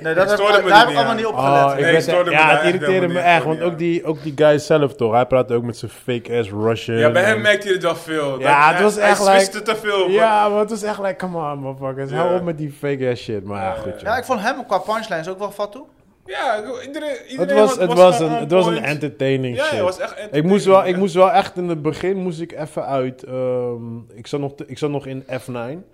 A: Nee, dat heb,
B: stoorde me
A: daar heb
B: niet
A: ik allemaal
B: aan.
A: niet op
C: Oh,
A: gelet.
C: ik
B: Nee,
C: ben-
B: ik stoorde me
C: ja,
B: daar
C: het
B: echt
C: irriteerde me
B: helemaal niet
C: echt.
B: aan.
C: Want ook die, ook die guy zelf, toch? Hij praat ook met zijn fake-ass Russian.
B: Ja, bij hem
C: en-
B: merkte je het wel veel.
C: Ja,
B: Dat-
C: het was
B: hij-
C: echt
B: Hij
C: like-
B: swiste te veel. maar-
C: Ja, maar het is echt like, come on, motherfuckers.
B: Ja.
C: Hou op met die fake-ass shit. Maar ja, goed,
A: Ja,
C: joh.
A: ik vond hem qua punchlines ook wel fat toe.
B: Ja, ik- iedereen, iedereen
C: Het was, het was, een,
B: on
C: het was een
B: point.
C: entertaining
B: Ja,
C: shit.
B: het was echt
C: Ik
B: entertaining.
C: moest, wel, ik moest wel echt in het begin moest ik even uit. ehm, ik, zat nog, te- ik zat nog in F9.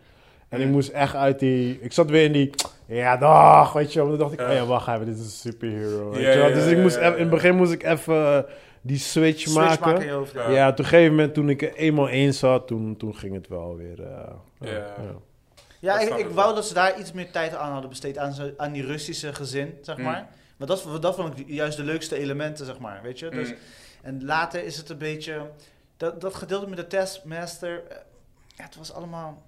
C: En ik moest echt uit die. Ik zat weer in die. Ja, dag, weet je wel. Maar toen dacht ik,
B: Ja.
C: oh ja, wacht even, dit is een superhero. Weet
B: Ja,
C: je wel.
B: ja,
C: dus
B: ja,
C: ik moest
B: ja,
C: eff-
B: ja.
C: in het begin moest ik even die switch,
A: Switch
C: maken.
A: maken in je hoofd. Ja.
B: Ja.
C: ja, op een gegeven moment toen ik er eenmaal in zat, toen, toen ging het wel weer. eh,
B: Ja.
A: Ja,
B: Dat
A: ik,
B: snap
A: ik
B: ik
A: wou
B: wel.
A: dat ze daar iets meer tijd aan hadden besteed aan, zo- aan die Russische gezin, zeg
B: Hmm.
A: maar. Maar dat, dat vond ik juist de leukste elementen, zeg maar. Weet je? Dus,
B: Mm.
A: En later is het een beetje. Dat, dat gedeelte met de Testmaster. eh, Ja, het was allemaal.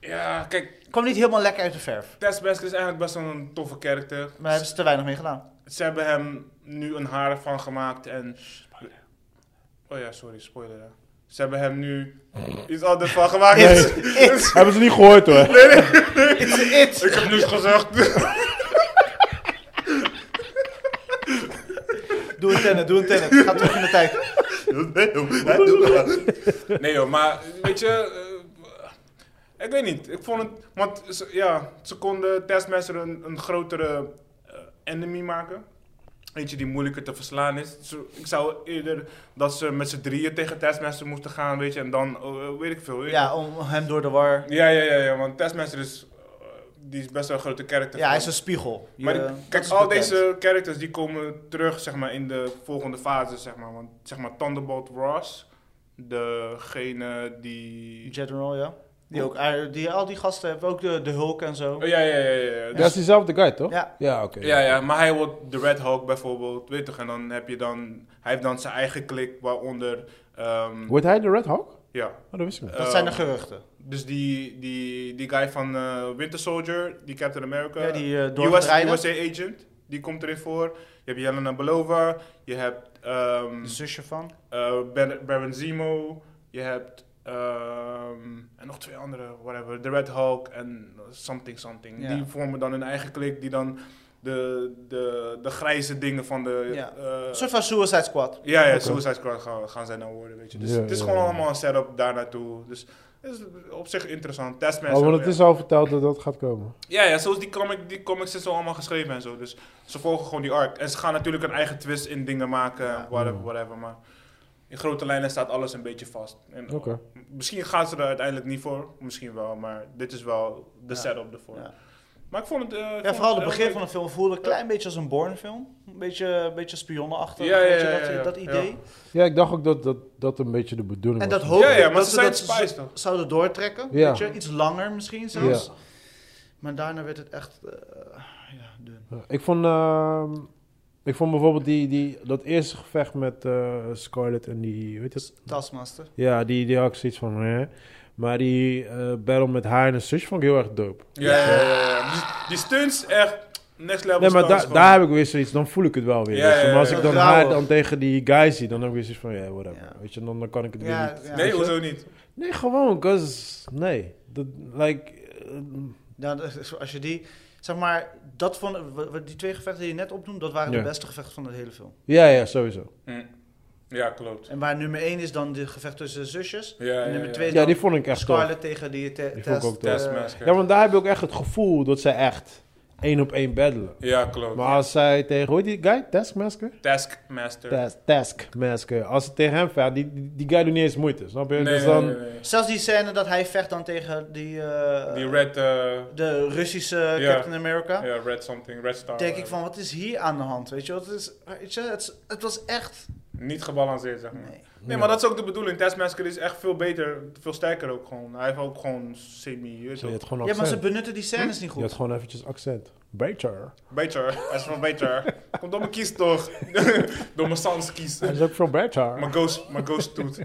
B: Dus, Ja, kijk,
A: Het kwam niet helemaal lekker uit de verf.
B: Tess Basker is eigenlijk best wel een toffe karakter.
A: Maar daar hebben ze te weinig mee gedaan.
B: Ze hebben hem nu een haar van gemaakt en... Oh ja, sorry, spoiler. hè. Ze hebben hem nu iets anders van gemaakt.
A: It!
C: [LAUGHS] Hebben ze niet gehoord hoor.
A: It's it!
B: Ik heb niets gezegd.
A: Doe een tenet, doe een tenet. Ga terug in de tijd.
B: [LAUGHS] nee joh, maar weet je... eh, ik weet niet, ik vond het... Want ze- ja, ze konden Taskmaster een, een grotere eh, enemy maken. Eentje die moeilijker te verslaan is. Zo- ik zou eerder dat ze met z'n drieën tegen Taskmaster moesten gaan, weet je. En dan, eh, weet ik veel. weet je.
A: Ja, om hem door de war.
B: Ja, ja, ja, ja, want Taskmaster is, eh, die is best wel een grote karakter.
A: Ja, hij is een spiegel. Je- eh,
B: Maar die-
A: dat
B: kijk,
A: is
B: al
A: bekend.
B: deze characters die komen terug zeg maar, in de volgende fase, zeg maar. Want zeg maar Thunderbolt Ross, degene die...
A: General, ja. Die ook, eh, die, al die gasten hebben ook de, de Hulk en zo.
B: Oh, ja, ja, ja, ja. ja.
C: Dat is diezelfde guy toch?
A: Ja.
C: oké.
B: Ja, ja, maar hij wordt de Red Hulk bijvoorbeeld, weet je toch? En dan heb je dan, hij heeft dan zijn eigen klik, waaronder, ehm,
C: Wordt hij de Red Hawk? Oh,
B: ja.
C: dat wist ik niet.
A: Dat zijn de geruchten.
B: Dus die, die, die guy van eh, Winter Soldier, die Captain America.
A: Ja, die, eh,
B: US,
A: doorgedraaide.
B: USA agent, die komt erin voor. Je hebt Jelena Belova, je hebt ehm,
A: De zusje van.
B: eh, Ben- Baron Zemo, je hebt ehm, en nog twee andere, whatever, de Red Hulk en something something.
A: Ja.
B: Die vormen dan hun eigen klik, die dan de, de, de grijze dingen van de...
A: Ja.
B: eh,
A: Een soort van Suicide Squad.
B: ja, ja, Suicide Squad gaan, gaan zij nou worden, weet je. Dus
C: Ja,
B: het is
C: ja,
B: gewoon
C: ja.
B: allemaal een setup daar naartoe. Dus het is op zich interessant. Testmaster.
C: Oh, want het
B: ja.
C: is al verteld dat dat gaat komen.
B: Ja, ja, zoals die, comic, die comics is zo allemaal geschreven en zo. Dus ze volgen gewoon die arc. En ze gaan natuurlijk een eigen twist in dingen maken, whatever, whatever. Maar in grote lijnen staat alles een beetje vast. En
C: Oké.
B: Misschien gaan ze er uiteindelijk niet voor, misschien wel. Maar dit is wel de
A: Ja.
B: setup ervoor.
A: Ja.
B: Maar ik vond het... eh, ik
A: Ja,
B: vond
A: vooral het
B: heel
A: begin
B: leuk.
A: van de film voelde een klein beetje als een Bourne-film. Een beetje, een beetje spionnenachtig,
B: Ja, ja,
A: weet je,
B: ja,
A: dat,
B: ja, ja.
A: dat idee.
C: Ja, ik dacht ook dat dat, dat een beetje de bedoeling
A: En
C: was.
A: dat hoop ik
B: Ja, ja, maar
A: dat
B: ze
A: ze
B: zijn
A: dat
B: spice,
A: z-
B: toch?
A: zouden doortrekken.
C: Ja.
A: Weet je, iets langer misschien zelfs.
C: Ja.
A: Maar daarna werd het echt eh, ja, dun.
C: Ja, Ik vond, ehm, ik vond bijvoorbeeld die, die, dat eerste gevecht met eh, Scarlett en die, weet je het?
A: Taskmaster.
C: Ja, die, die had ik zoiets van, hè. Maar die eh, battle met haar en haar zus vond ik heel erg dope.
B: Ja, ja, ja, ja, ja. Die, die stunts echt next level
C: Nee, maar
B: stunts
C: da-
B: gewoon.
C: daar heb ik weer zoiets, dan voel ik het wel weer.
B: Ja,
C: weet je.
B: ja, ja,
C: Maar als
B: ja.
C: ik dan
A: Rauw
C: haar
A: ook.
C: dan tegen die guy zie, dan heb ik weer zoiets van, ja, whatever.
A: Ja.
C: Weet je, dan, dan kan ik het weer
A: Ja,
C: niet.
A: ja.
B: Nee,
A: weet je?
B: hoezo niet?
C: Nee, gewoon, cause, nee. Dat, like, eh,
A: Ja, dat is- als je die, zeg maar, dat van, eh, wa- wa- die twee gevechten die je net opnoemt, dat waren
C: Ja.
A: de beste gevechten van de hele film.
C: ja, ja, sowieso.
B: Hm. Ja, klopt.
A: En waar nummer één is dan de gevecht tussen de zusjes.
B: Ja,
A: en
B: ja,
A: nummer
B: ja.
A: twee
C: Ja,
A: dan
C: die vond ik echt tof.
A: Scarlett tegen die te-
C: Die vond ik
A: test.
C: ook tof.
A: eh,
B: Taskmaster.
C: Ja, want daar heb ik ook echt het gevoel dat zij echt één op één battelen.
B: Ja, klopt.
C: Maar als zij tegen, hoe heet die guy? Taskmaster?
B: Taskmaster.
C: Tas- Taskmaster. Als ze tegen hem vecht, die, die- die guy doet niet eens moeite, snap je?
B: Nee,
C: dus
B: nee,
C: dan,
B: nee, nee.
A: Zelfs die scène dat hij vecht dan tegen die, eh,
B: Die red... eh,
A: de Russische
B: Ja.
A: Captain America.
B: Ja, Red Something, Red Star. eh,
A: denk ik van, wat is hier aan de hand? Weet je, wat is, weet je het, is- het was echt...
B: Niet gebalanceerd, zeg maar. Nee,
A: Nee.
B: maar dat is ook de bedoeling. Taskmaster is echt veel beter, veel sterker ook gewoon. Hij heeft ook gewoon semi... je weet
C: Je
B: toch?
C: had gewoon
A: Ja, maar ze
C: accent.
A: benutten die scènes niet
C: Je had
A: goed.
C: gewoon eventjes accent. Beter.
B: Beter. Hij is van beter. Kom door mijn kies toch. [LAUGHS] door mijn sans kies.
C: Hij is ook veel beter.
B: [LAUGHS] Mijn ghost, mijn ghost toet.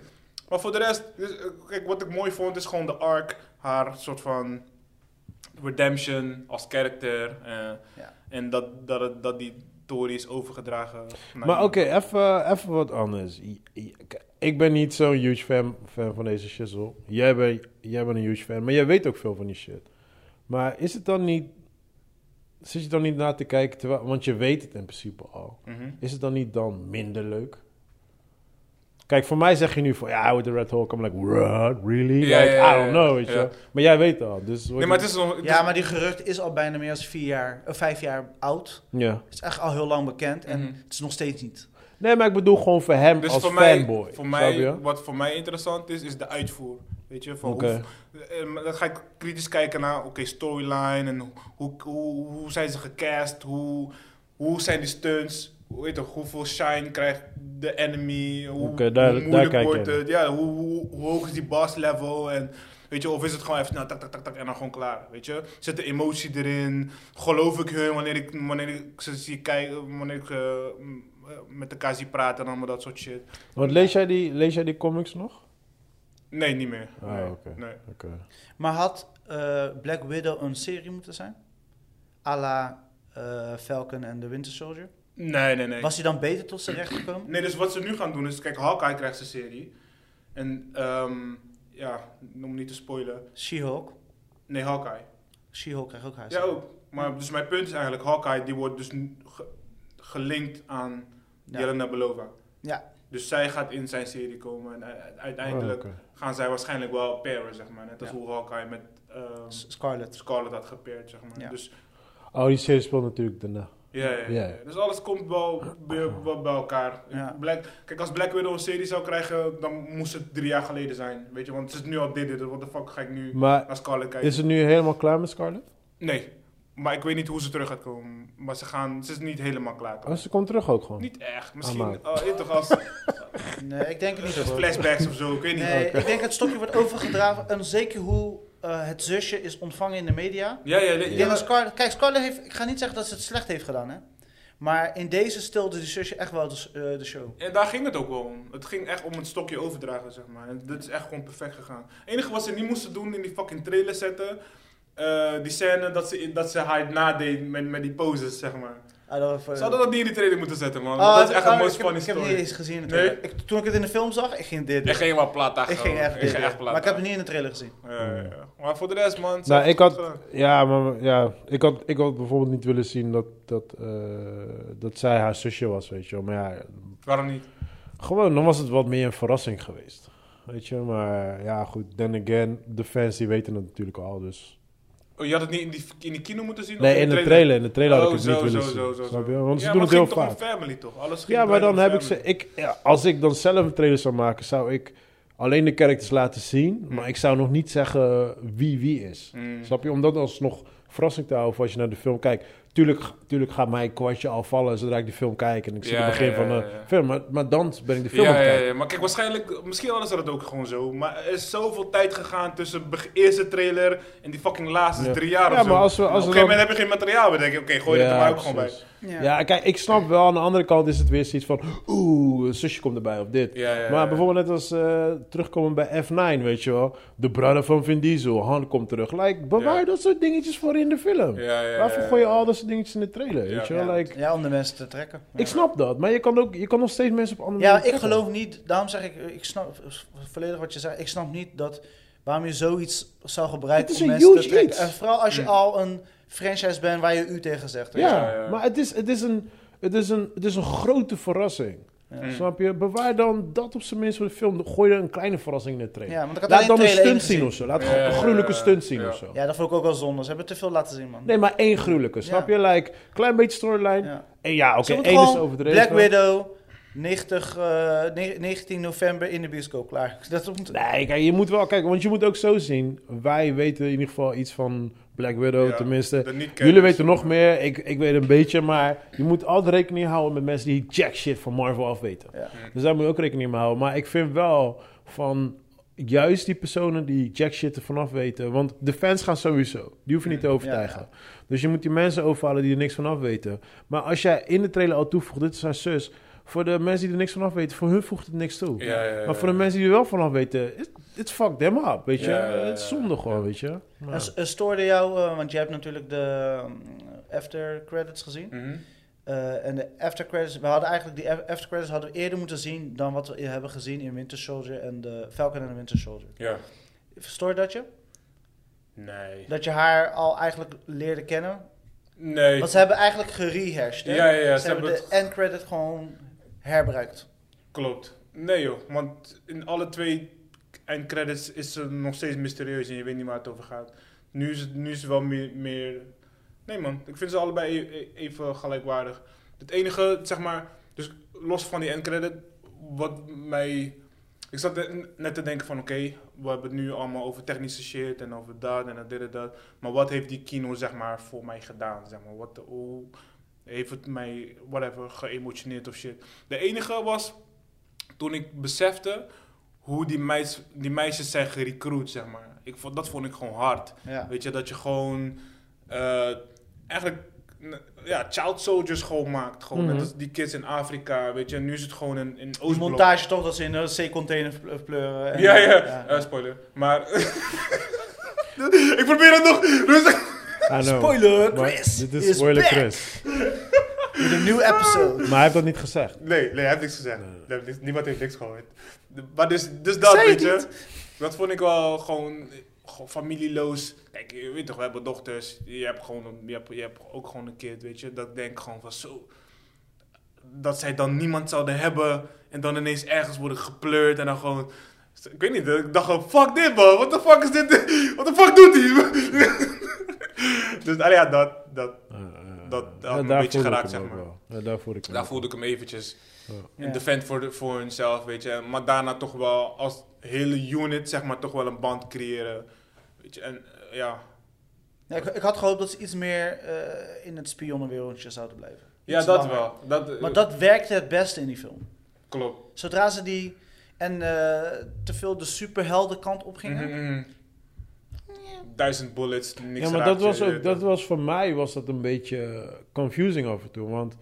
B: Maar voor de rest, dus, eh, kijk, wat ik mooi vond is gewoon de arc. Haar soort van redemption als karakter. eh,
A: Ja.
B: En dat, dat, het- dat die Tory is overgedragen. naar
C: Maar
B: die-
C: oké, even- even wat anders. I- I- k- Ik ben niet zo'n huge fan, fan van deze shizzle. Jij bent, jij bent een huge fan, maar jij weet ook veel van die shit. Maar is het dan niet... Zit je dan niet na te kijken, terwijl, want je weet het in principe al.
B: Mhm.
C: Is het dan niet dan minder leuk? Kijk, voor mij zeg je nu van, ja, I with the Red Hulk. I'm like, what, really?
B: Ja,
C: like,
B: ja, ja,
C: I don't know, weet
B: ja.
C: je. Maar jij weet al, dus...
B: Nee, maar het is nog... het
A: Ja,
B: is-
A: maar die gerucht is al bijna meer dan vier jaar, of vijf jaar oud.
C: Ja.
A: Het is echt al heel lang bekend en
B: Mhm.
A: het is nog steeds niet.
C: Nee, maar ik bedoel gewoon voor hem
B: Dus
C: als
B: voor mij,
C: fanboy.
B: voor
C: snap
B: mij,
C: je?
B: wat voor mij interessant is, is de uitvoer. Weet je, van
C: Oké.
B: hoe, eh, maar dan ga ik kritisch kijken naar, oké, storyline en hoe, hoe, hoe, hoe zijn ze gecast, hoe, hoe zijn die stunts, hoe, weet je, toch, hoeveel shine krijgt de enemy, hoe
C: Oké, daar-
B: hoe
C: daar
B: moeilijk
C: kijk je
B: wordt
C: naar.
B: het, ja, hoe, hoe, hoe hoog is die boss level en Weet je, of is het gewoon even, nou, tak, tak, tak, tak, en dan gewoon klaar. Weet je, zet de emotie erin. Geloof ik hun wanneer ik, wanneer ik ze zie kijken, wanneer ik eh, m, eh, met elkaar zie praten en allemaal dat soort shit.
C: Want lees jij die, lees jij die comics nog?
B: Nee, niet meer.
C: Ah,
B: nee,
C: oké.
B: nee.
C: Oké.
A: Maar had eh, Black Widow een serie moeten zijn? A la eh, Falcon en The Winter Soldier?
B: Nee, nee, nee.
A: Was hij dan beter tot zijn recht gekomen?
B: Nee, dus wat ze nu gaan doen is, kijk, Hawkeye krijgt zijn serie. En, ehm, ja, om niet te spoilen.
A: She-Hulk?
B: Nee, Hawkeye.
A: She-Hulk krijgt ook haar
B: Ja,
A: serie.
B: ook. Maar dus mijn punt is eigenlijk, Hawkeye die wordt dus nu ge- gelinkt aan
A: Ja.
B: Jelena Belova.
A: Ja.
B: Dus zij gaat in zijn serie komen en u- uiteindelijk
C: Ah, oké.
B: gaan zij waarschijnlijk wel pairen, zeg maar. Net als
A: Ja.
B: hoe Hawkeye met ehm,
A: S- Scarlet.
B: Scarlet had gepaired, zeg maar.
A: Ja.
B: Dus
C: Oh, die serie speelt natuurlijk daarna.
B: ja, ja, ja.
C: Ja.
B: Dus alles komt wel weer wel bij elkaar.
A: Ja.
B: Black, kijk, als Black Widow een serie zou krijgen, dan moest het drie jaar geleden zijn. Weet je, want het is nu al dit, dit, wat de fuck ga ik nu
C: Maar
B: naar Scarlet kijken?
C: is het nu helemaal klaar met Scarlett?
B: Nee, maar ik weet niet hoe ze terug gaat komen. Maar ze gaan, ze is niet helemaal klaar.
C: Oh, ze komt terug ook gewoon.
B: Niet echt, misschien
C: maar-
B: oh, je toch als
C: [LAUGHS]
A: Nee, ik denk het niet. hoor.
B: flashbacks of zo, ik weet niet.
A: Nee, ik denk het stokje wordt overgedragen. En zeker hoe eh, het zusje is ontvangen in de media.
B: Ja, ja, nee,
A: Ik
B: ja,
A: denk dat Scarlett... Kijk, Scarlett heeft... Ik ga niet zeggen dat ze het slecht heeft gedaan, hè. Maar in deze stilde die zusje echt wel de, s- eh, de show.
B: En daar ging het ook wel om. Het ging echt om het stokje overdragen, zeg maar. En dit is echt gewoon perfect gegaan. Het enige wat ze niet moesten doen in die fucking trailer zetten... eh, die scène dat ze, dat ze haar nadeed met, met die poses, zeg maar.
A: Ah, dat was-
B: Ze hadden dat niet in die trailer moeten zetten, man.
A: Ah,
B: dat is echt
A: ah,
B: een most
A: ik heb-
B: funny
A: Ik heb het niet
B: story.
A: eens gezien in de
B: Nee?
A: trailer. Ik- toen ik het in de film zag, ik ging dit
B: Ik
A: doen.
B: ging wel plat
A: Ik ging echt dit doen. Maar ik heb het niet in de trailer gezien.
B: Maar voor de rest, man. ze
C: Nou,
B: heeft
C: ik
B: het
C: had,
B: goed gedaan.
C: ja, maar, ja, ik had, ik had bijvoorbeeld niet willen zien dat, dat, eh, dat zij haar zusje was, weet je wel. Maar ja,
B: Waarom niet?
C: gewoon, dan was het wat meer een verrassing geweest. Weet je, maar ja, goed. Then again, de fans die weten het natuurlijk al, dus...
B: Oh, je had het niet in, die, in de kino moeten zien? of
C: Nee, in de trailer, in de trailer had ik
B: Oh,
C: het niet
B: zo,
C: willen
B: zo,
C: zien.
B: zo, zo,
C: snap
B: zo.
C: je? Want ze
B: Ja,
C: doen
B: maar
C: het heel
B: ging toch
C: vaak.
B: om family, toch? Alles ging
C: Ja, maar
B: draait
C: dan
B: om
C: heb ik ze.
B: family.
C: Ik, ja, als ik dan zelf een trailer zou maken, zou ik alleen de characters laten zien.
B: Hmm.
C: Maar ik zou nog niet zeggen wie wie is.
B: Mm.
C: Snap je? Om dat alsnog verrassing te houden voor als je naar de film kijkt. Tuurlijk, tuurlijk gaat mijn kwartje al vallen zodra ik die film kijk. En ik zit
B: Ja,
C: in het begin
B: ja, ja,
C: van de
B: ja, ja.
C: film. Maar, maar dan ben ik de film aan
B: Ja,
C: het
B: ja,
C: kijken.
B: ja, maar kijk, waarschijnlijk, misschien hadden ze dat ook gewoon zo. Maar er is zoveel tijd gegaan tussen de eerste trailer en die fucking laatste
C: Ja.
B: drie jaar
C: Ja,
B: of zo.
C: maar als we-
B: Op een
C: als we
B: gegeven
C: dan-
B: moment heb je geen materiaal meer, denk je, oké, gooi het er maar ook gewoon bij.
C: precies. Ja, kijk, ik snap wel. Aan de andere kant is het weer zoiets van... Oeh, een zusje komt erbij of dit.
B: Ja, ja, ja.
C: Maar bijvoorbeeld net als eh, terugkomen bij F9, weet je wel. De brother van Vin Diesel, Han komt terug. Like, bewaar
B: Ja.
C: dat soort dingetjes voor in de film.
B: Ja, ja, ja,
C: Waarvoor
B: ja.
C: gooi je al dat soort dingetjes in de trailer,
B: Ja.
C: weet je wel?
A: Ja,
C: Like,
A: ja, om de mensen te trekken.
C: Ik snap dat, maar je kan, ook, je kan nog steeds mensen op andere
A: Ja,
C: manieren
A: ik
C: trekken.
A: geloof niet, daarom zeg ik, ik snap volledig wat je zegt. Ik snap niet dat, waarom je zoiets zou gebruiken
C: Het is
A: om
C: een
A: mensen te
C: huge
A: trekken.
C: iets.
A: En vooral als je al een franchise bent waar je u tegen zegt. weet je.
C: Mm. Ja,
B: Ja, ja.
C: maar het is, het, is een, het, is een, het is een grote verrassing.
A: Mm.
C: Snap je? Bewaar dan dat op zijn minst voor de film. Gooi er een kleine verrassing in de trailer.
A: Ja, want ik had
C: Laat
A: alleen
C: dan een
A: trailer
C: stunt
A: één
C: zien
A: gezien.
C: of zo. Laat
B: Ja,
C: gewoon
B: ja,
C: een
B: ja,
C: gruwelijke
B: ja.
C: stunt zien
B: Ja.
C: of zo.
A: Ja, dat vond ik ook wel zonde. Ze hebben te veel laten zien, man.
C: Nee, maar één gruwelijke, snap je? Like, klein beetje storyline.
A: Ja.
C: En ja, oké,
A: Ze moeten
C: één is
A: gewoon
C: overdreven.
A: Black Widow, 90, eh, ne- 19 november in de bioscoop, klaar. Dat moet...
C: Nee, kijk, je moet wel kijken, want je moet ook zo zien. Wij weten in ieder geval iets van Black Widow,
B: Ja,
C: tenminste.
B: de niet-kenners.
C: Jullie weten nog meer, ik, ik weet een beetje, maar je moet altijd rekening houden met mensen die jack shit van Marvel afweten.
A: Ja.
C: Dus daar moet je ook rekening mee houden. Maar ik vind wel van juist die personen die jack shit er vanaf weten, want de fans gaan sowieso, die hoef je niet te overtuigen. Dus je moet die mensen overhalen die er niks van af weten. Maar als jij in de trailer al toevoegt, dit is haar zus. Voor de mensen die er niks van af weten, voor hun voegt het niks toe.
B: Ja, ja, ja,
C: maar voor
B: ja.
C: de mensen die er wel vanaf weten, it- it's fucked them up, weet je.
B: Ja, ja, ja,
C: Het is zonde gewoon, weet je. Maar-
A: En s- eh, stoorde jou, eh, want je hebt natuurlijk de eh, after credits gezien.
B: Mhm.
A: Eh, en de after credits, we hadden eigenlijk die af- after credits hadden we eerder moeten zien dan wat we i- hebben gezien in Winter Soldier en de Falcon en de Winter Soldier.
B: Ja.
A: Verstoort dat je?
B: Nee.
A: Dat je haar al eigenlijk leerde kennen?
B: Nee.
A: Want ze hebben eigenlijk gerehashed. hè?
B: Ja, ja, ja,
A: Ze, hebben de end credit gewoon herbruikt.
B: Klopt. Nee joh, want in alle twee eindcredits is ze nog steeds mysterieus en je weet niet waar het over gaat. Nu is het, nu is het wel meer, meer... Nee man, ik vind ze allebei e- e- even gelijkwaardig. Het enige, zeg maar, dus los van die eindcredit, wat mij... Ik zat er net te denken van oké, we hebben het nu allemaal over technische shit en over dat en dat, dit en dat. Maar wat heeft die kino zeg maar voor mij gedaan? Zeg maar? Wat, hoe heeft het mij, whatever, geëmotioneerd of shit? De enige was toen ik besefte hoe die, meis, die meisjes zijn gerecruit, zeg maar. Ik vond, dat vond ik gewoon hard.
A: Ja.
B: Weet je, dat je gewoon eh, eigenlijk n- ja, child soldiers gewoon maakt. Gewoon.
C: Mhm.
B: Net als die kids in Afrika, weet je. En nu is het gewoon in, in
A: Die
B: Oostblok.
A: montage toch dat ze in een C-container vl- pleuren. en-
B: Ja, ja. Eh, spoiler. Maar... [LAUGHS] ik probeer het nog rustig.
C: I know.
A: Spoiler,
C: Maar
A: Chris!
C: Dit
A: is
C: is spoiler
A: back
C: Chris.
A: In een nieuwe episode.
C: Maar hij heeft dat niet gezegd.
B: Nee, nee, hij heeft niks gezegd. Hij heeft niks- niemand heeft niks gehoord. De- Maar dus, dus dat,
A: Zei
B: weet
A: je
B: je. Dat vond ik wel gewoon, gewoon familieloos. Kijk, je weet toch, we hebben dochters. Je hebt, gewoon, een- je, hebt, je hebt ook gewoon een kind, weet je. Dat ik denk gewoon van zo... Dat zij dan niemand zouden hebben. En dan ineens ergens worden gepleurd. En dan gewoon... Ik weet niet, ik dacht gewoon, fuck dit man. What the fuck is dit? [LAUGHS] What the fuck doet hij? [LAUGHS] dus nou ja, dat... dat.
C: Eh, eh,
B: Dat-
C: eh,
B: dat had me een
C: daar
B: beetje
C: voelde ik
B: geraakt, zeg
C: hem ook
B: maar.
C: wel. Ja, daar voelde ik hem
B: Daar
C: ook
B: voelde ik hem eventjes
A: Ja.
B: een defend voor, de, voor hunzelf, weet je. Maar daarna toch wel als hele unit, zeg maar, toch wel een band creëren. Weet je, en eh, ja.
A: Ja, ik, ik had gehoopt dat ze iets meer eh, in het spionnenwereldje zouden blijven.
B: Ja,
A: Iets
B: dat
A: langer.
B: wel. Dat, eh,
A: Maar dat werkte het beste in die film.
B: klopt.
A: Zodra ze die en eh, te veel de superhelden kant op gingen.
B: Mhm, mhm. Duizend bullets, niks
C: mhm.
B: eh,
C: Ja, maar
B: raakt
C: dat was
B: je,
C: ook,
B: je-
C: dat was voor mij was dat een beetje eh, confusing af en toe. Want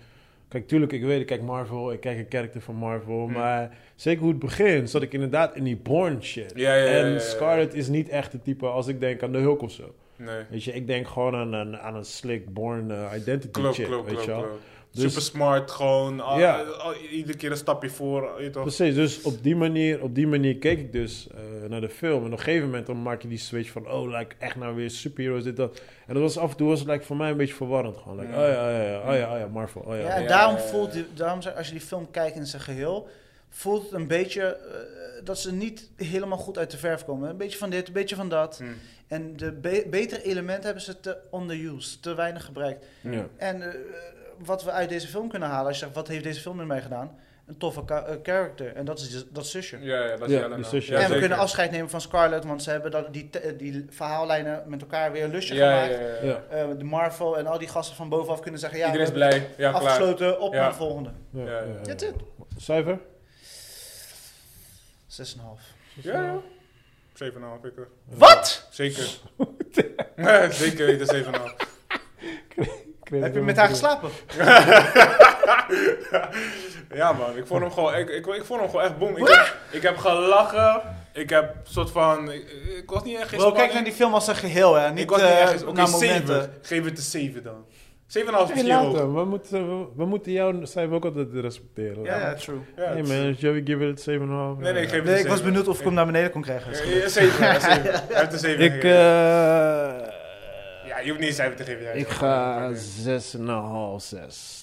C: kijk, tuurlijk, ik weet, ik kijk Marvel, ik kijk een karakter van Marvel.
B: Hmm.
C: Maar zeker hoe het begint, zat ik inderdaad in die Born shit.
B: Ja, ja, ja,
C: en
B: ja, ja.
C: Scarlet is niet echt het type als ik denk aan de Hulk of zo.
B: Nee,
C: Weet je, ik denk gewoon aan een, aan een slick Born eh, identity
B: klopt,
C: chick,
B: klopt,
C: weet
B: klopt,
C: je wel.
B: klopt.
C: Dus-
B: Super smart, gewoon. al-
C: Ja.
B: al- iedere keer een stapje voor, eh, weet je toch.
C: Precies, dus op die manier, op die manier keek ik dus eh, naar de film. En op een gegeven moment dan maak je die switch van, oh, like, echt nou weer superheroes, dit, dat. En dat was af en toe was het like, voor mij een beetje verwarrend. Gewoon, like, oh ja, oh ja, oh ja, oh ja, Marvel, oh ja.
A: Ja, en
B: ja,
A: daarom
B: ja, ja.
A: voelt, die- daarom, zeg- als je die film kijkt in zijn geheel, voelt het een beetje eh, dat ze niet helemaal goed uit de verf komen. Een beetje van dit, een beetje van dat.
B: Hm.
A: En de be- betere elementen hebben ze te underused, te weinig gebruikt.
C: Ja.
A: En eh, wat we uit deze film kunnen halen, als je zegt, wat heeft deze film met mij gedaan? Een toffe ka- eh, character. En dat is dus- dat zusje.
B: Ja, ja, dat is
C: Ja, dus
B: Jelena.
C: die zusje.
A: en we
B: zeker.
A: kunnen afscheid nemen van Scarlett, want ze hebben dat, die, te- die verhaallijnen met elkaar weer een lusje
B: Ja, ja,
A: gemaakt.
B: ja, ja.
C: Ja.
A: Eh, de Marvel en al die gasten van bovenaf kunnen zeggen, ja,
B: Iedereen is
A: we hebben
B: blij. Ja, klaar.
A: afgesloten, op
B: Ja.
A: naar de volgende.
C: Ja,
B: Ja, ja.
C: ja, ja.
A: That's it.
C: Cijfer?
A: 6,5.
B: Ja, ja. 7,5 ik er.
A: Wat?
C: [LAUGHS]
B: Zeker. [LAUGHS] Ja, Zeker weten, 7,5.
A: Heb je met haar geslapen?
B: [LAUGHS] Ja man, ik vond hem gewoon, ik, ik, ik vond hem gewoon echt boem. Ik heb, ik heb gelachen. Ik heb soort van, ik, ik was niet echt geen
A: Bro, kijk
B: spanning.
A: naar die film als een geheel, hè. Niet
B: Ik was niet echt
A: eh,
B: Oké,
A: naar momenten.
B: 7. Geef het een 7 dan. 7,5 is
C: Hey,
B: misschien hoog.
C: later. We moeten, we, we moeten jouw cijfer ook altijd respecteren.
A: Ja, ja, true.
B: Ja,
C: Hey
B: het-
C: man, Joey, give it 7,5.
B: Nee, nee, ik geef het
A: Nee,
B: een
A: ik was
B: zeven.
A: benieuwd of ik hem naar beneden kon krijgen.
B: Ja, ja, zeven, ja,
A: [LAUGHS]
B: zeven. Hij heeft een 7
C: Ik, eh,
B: Ja, je hoeft niet een cijfer te geven. jij.
C: ik ga 6,5, 6.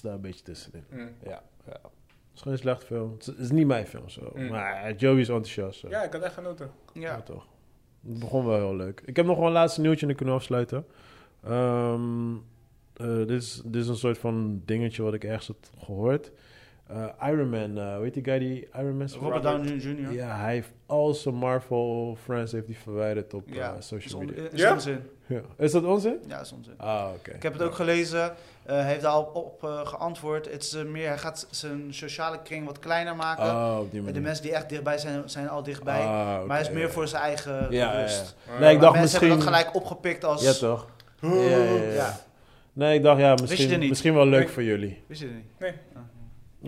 C: Daar een beetje tussenin.
B: Mm.
C: Ja, ja. Het is geen slecht film. Het is- Het is niet mijn film zo.
B: Mm.
C: Maar eh, Joey is enthousiast. Zo.
B: Ja, ik had echt genoten.
C: Ja, toch. Het begon wel heel leuk. Ik heb nog wel een laatste nieuwtje en dan kunnen we afsluiten. Ehm, eh, dit, is, dit is een soort van dingetje wat ik ergens had gehoord. Eh, Iron Man, eh, weet die guy die Iron Man speelt?
A: Dus Robert Downey Jr.
C: Ja, hij heeft al zijn Marvel friends heeft hij verwijderd op eh,
A: is,
C: social
A: on-
C: media.
A: is
B: Ja?
A: onzin.
C: Ja. Is dat onzin?
A: Ja, is onzin.
C: Ah, oké.
A: Ik heb het ook gelezen. eh, hij heeft daar al op eh, geantwoord. Het is eh, meer, hij gaat zijn sociale kring wat kleiner maken.
C: Ah, op die
A: En
C: manier.
A: de mensen die echt dichtbij zijn, zijn al dichtbij.
C: Ah, oké,
A: maar hij is meer
C: ja.
A: voor zijn eigen
C: Ja, ja,
A: rust.
C: ja. Nee, ik
A: Maar
B: Eh,
C: dacht
A: mensen
C: misschien...
A: hebben dat gelijk opgepikt als...
C: Ja, toch? Ja, ja, ja, ja.
A: Ja.
C: Nee, ik dacht, ja,
A: Wist je
C: misschien,
A: dit niet?
C: misschien wel leuk
B: Nee.
C: voor jullie.
A: Wist je het niet?
B: Nee.
A: Ah.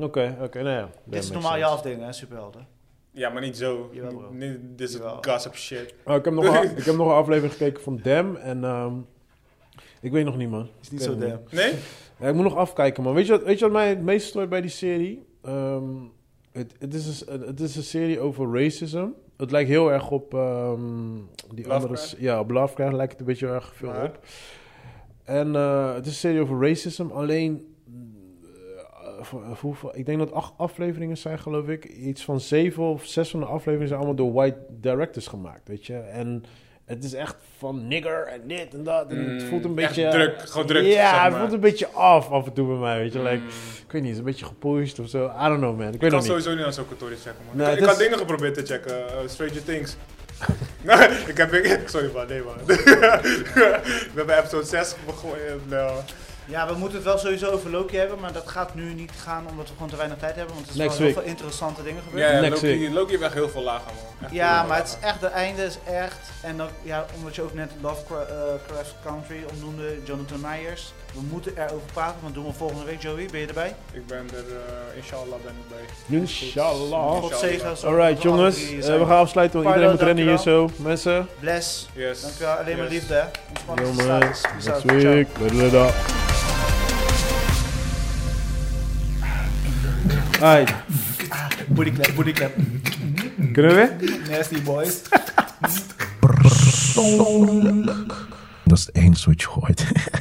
C: Oké, oké, nou ja. dat
A: Dit
C: makes
A: is normaal
C: sense.
A: je afdeling, hè, superhelden.
B: Ja, maar niet zo.
A: Jawel, bro.
B: Niet- Dit is
A: Jawel.
B: gossip shit.
C: Oh, ik, heb nog een, [LAUGHS] ik heb nog een aflevering gekeken van Dem en... ehm, ik weet nog niet, man.
A: Is niet
C: Ik
A: zo
C: weet nog
A: damn.
B: Nee?
C: Ja, ik moet nog afkijken, man. Weet je wat, weet je wat mij het meest stoort bij die serie? Ehm, het, het, is een, het is een serie over racism. Het lijkt heel erg op ehm, die andere...
B: Lovecraft?
C: Ja, op Lovecraft lijkt het een beetje erg veel
B: Maar?
C: op. En eh, het is een serie over racism. Alleen, eh, voor- voor hoeveel- ik denk dat acht afleveringen zijn, geloof ik. Iets van zeven of zes van de afleveringen zijn allemaal door white directors gemaakt, weet je. En het is echt van nigger en dit en dat. En het
B: Mm,
C: voelt een
B: echt
C: beetje...
B: druk, gedrukt,
C: Ja,
B: zeg
C: het
B: maar.
C: voelt een beetje af af en toe bij mij, weet je.
B: Mm.
C: Like, ik weet niet, het is een beetje gepusht of zo. I don't know, man. Ik weet
B: Ik
C: nog
B: kan
C: niet.
B: sowieso niet aan zo'n kantoor iets checken, man.
C: Nee,
B: ik ik
C: dat
B: had
C: is-
B: dingen geprobeerd te checken. eh, Stranger
C: [LAUGHS]
B: Things. nee, ik [LAUGHS] heb... ik- Sorry, man. Nee, man. We hebben episode 6 begonnen. eh, nou,
A: Ja, we moeten het wel sowieso over Loki hebben, maar dat gaat nu niet gaan omdat we gewoon te weinig tijd hebben. Want er zijn
C: Next
A: wel heel
C: week.
A: veel interessante dingen gebeurd.
D: Ja,
C: Next
D: Loki,
C: week.
D: Loki heeft echt heel veel lagen, man. Echt heel
A: Ja,
D: veel
A: maar het
D: lagen.
A: is echt, de einde is echt. En dat, ja, omdat je ook net Lovecraft eh, Country opnoemde, Jonathan Myers. We moeten erover praten, want doen we volgende week, Joey. Ben je erbij?
D: Ik ben er, eh, inshallah ben ik bij.
C: Inshallah.
A: God zegen. zorg
C: Alright
A: dat we alle
C: jongens,
A: drie
C: eh,
A: zijn.
C: we gaan afsluiten want iedereen
A: Pardo,
C: moet rennen hier
A: dankjewel.
C: zo. Mensen,
A: Bless.
D: Yes.
A: Dankjewel. Alleen maar
D: Yes.
A: liefde, hè. Ontspannen
C: jongens,
A: status. Peace
C: next
A: out. Ciao.
C: week. Later, later. Alright,
A: Booty clap, booty clap.
C: kunnen we?
A: Nasty boys.
E: persoonlijk. Dat is het enige wat je hoort.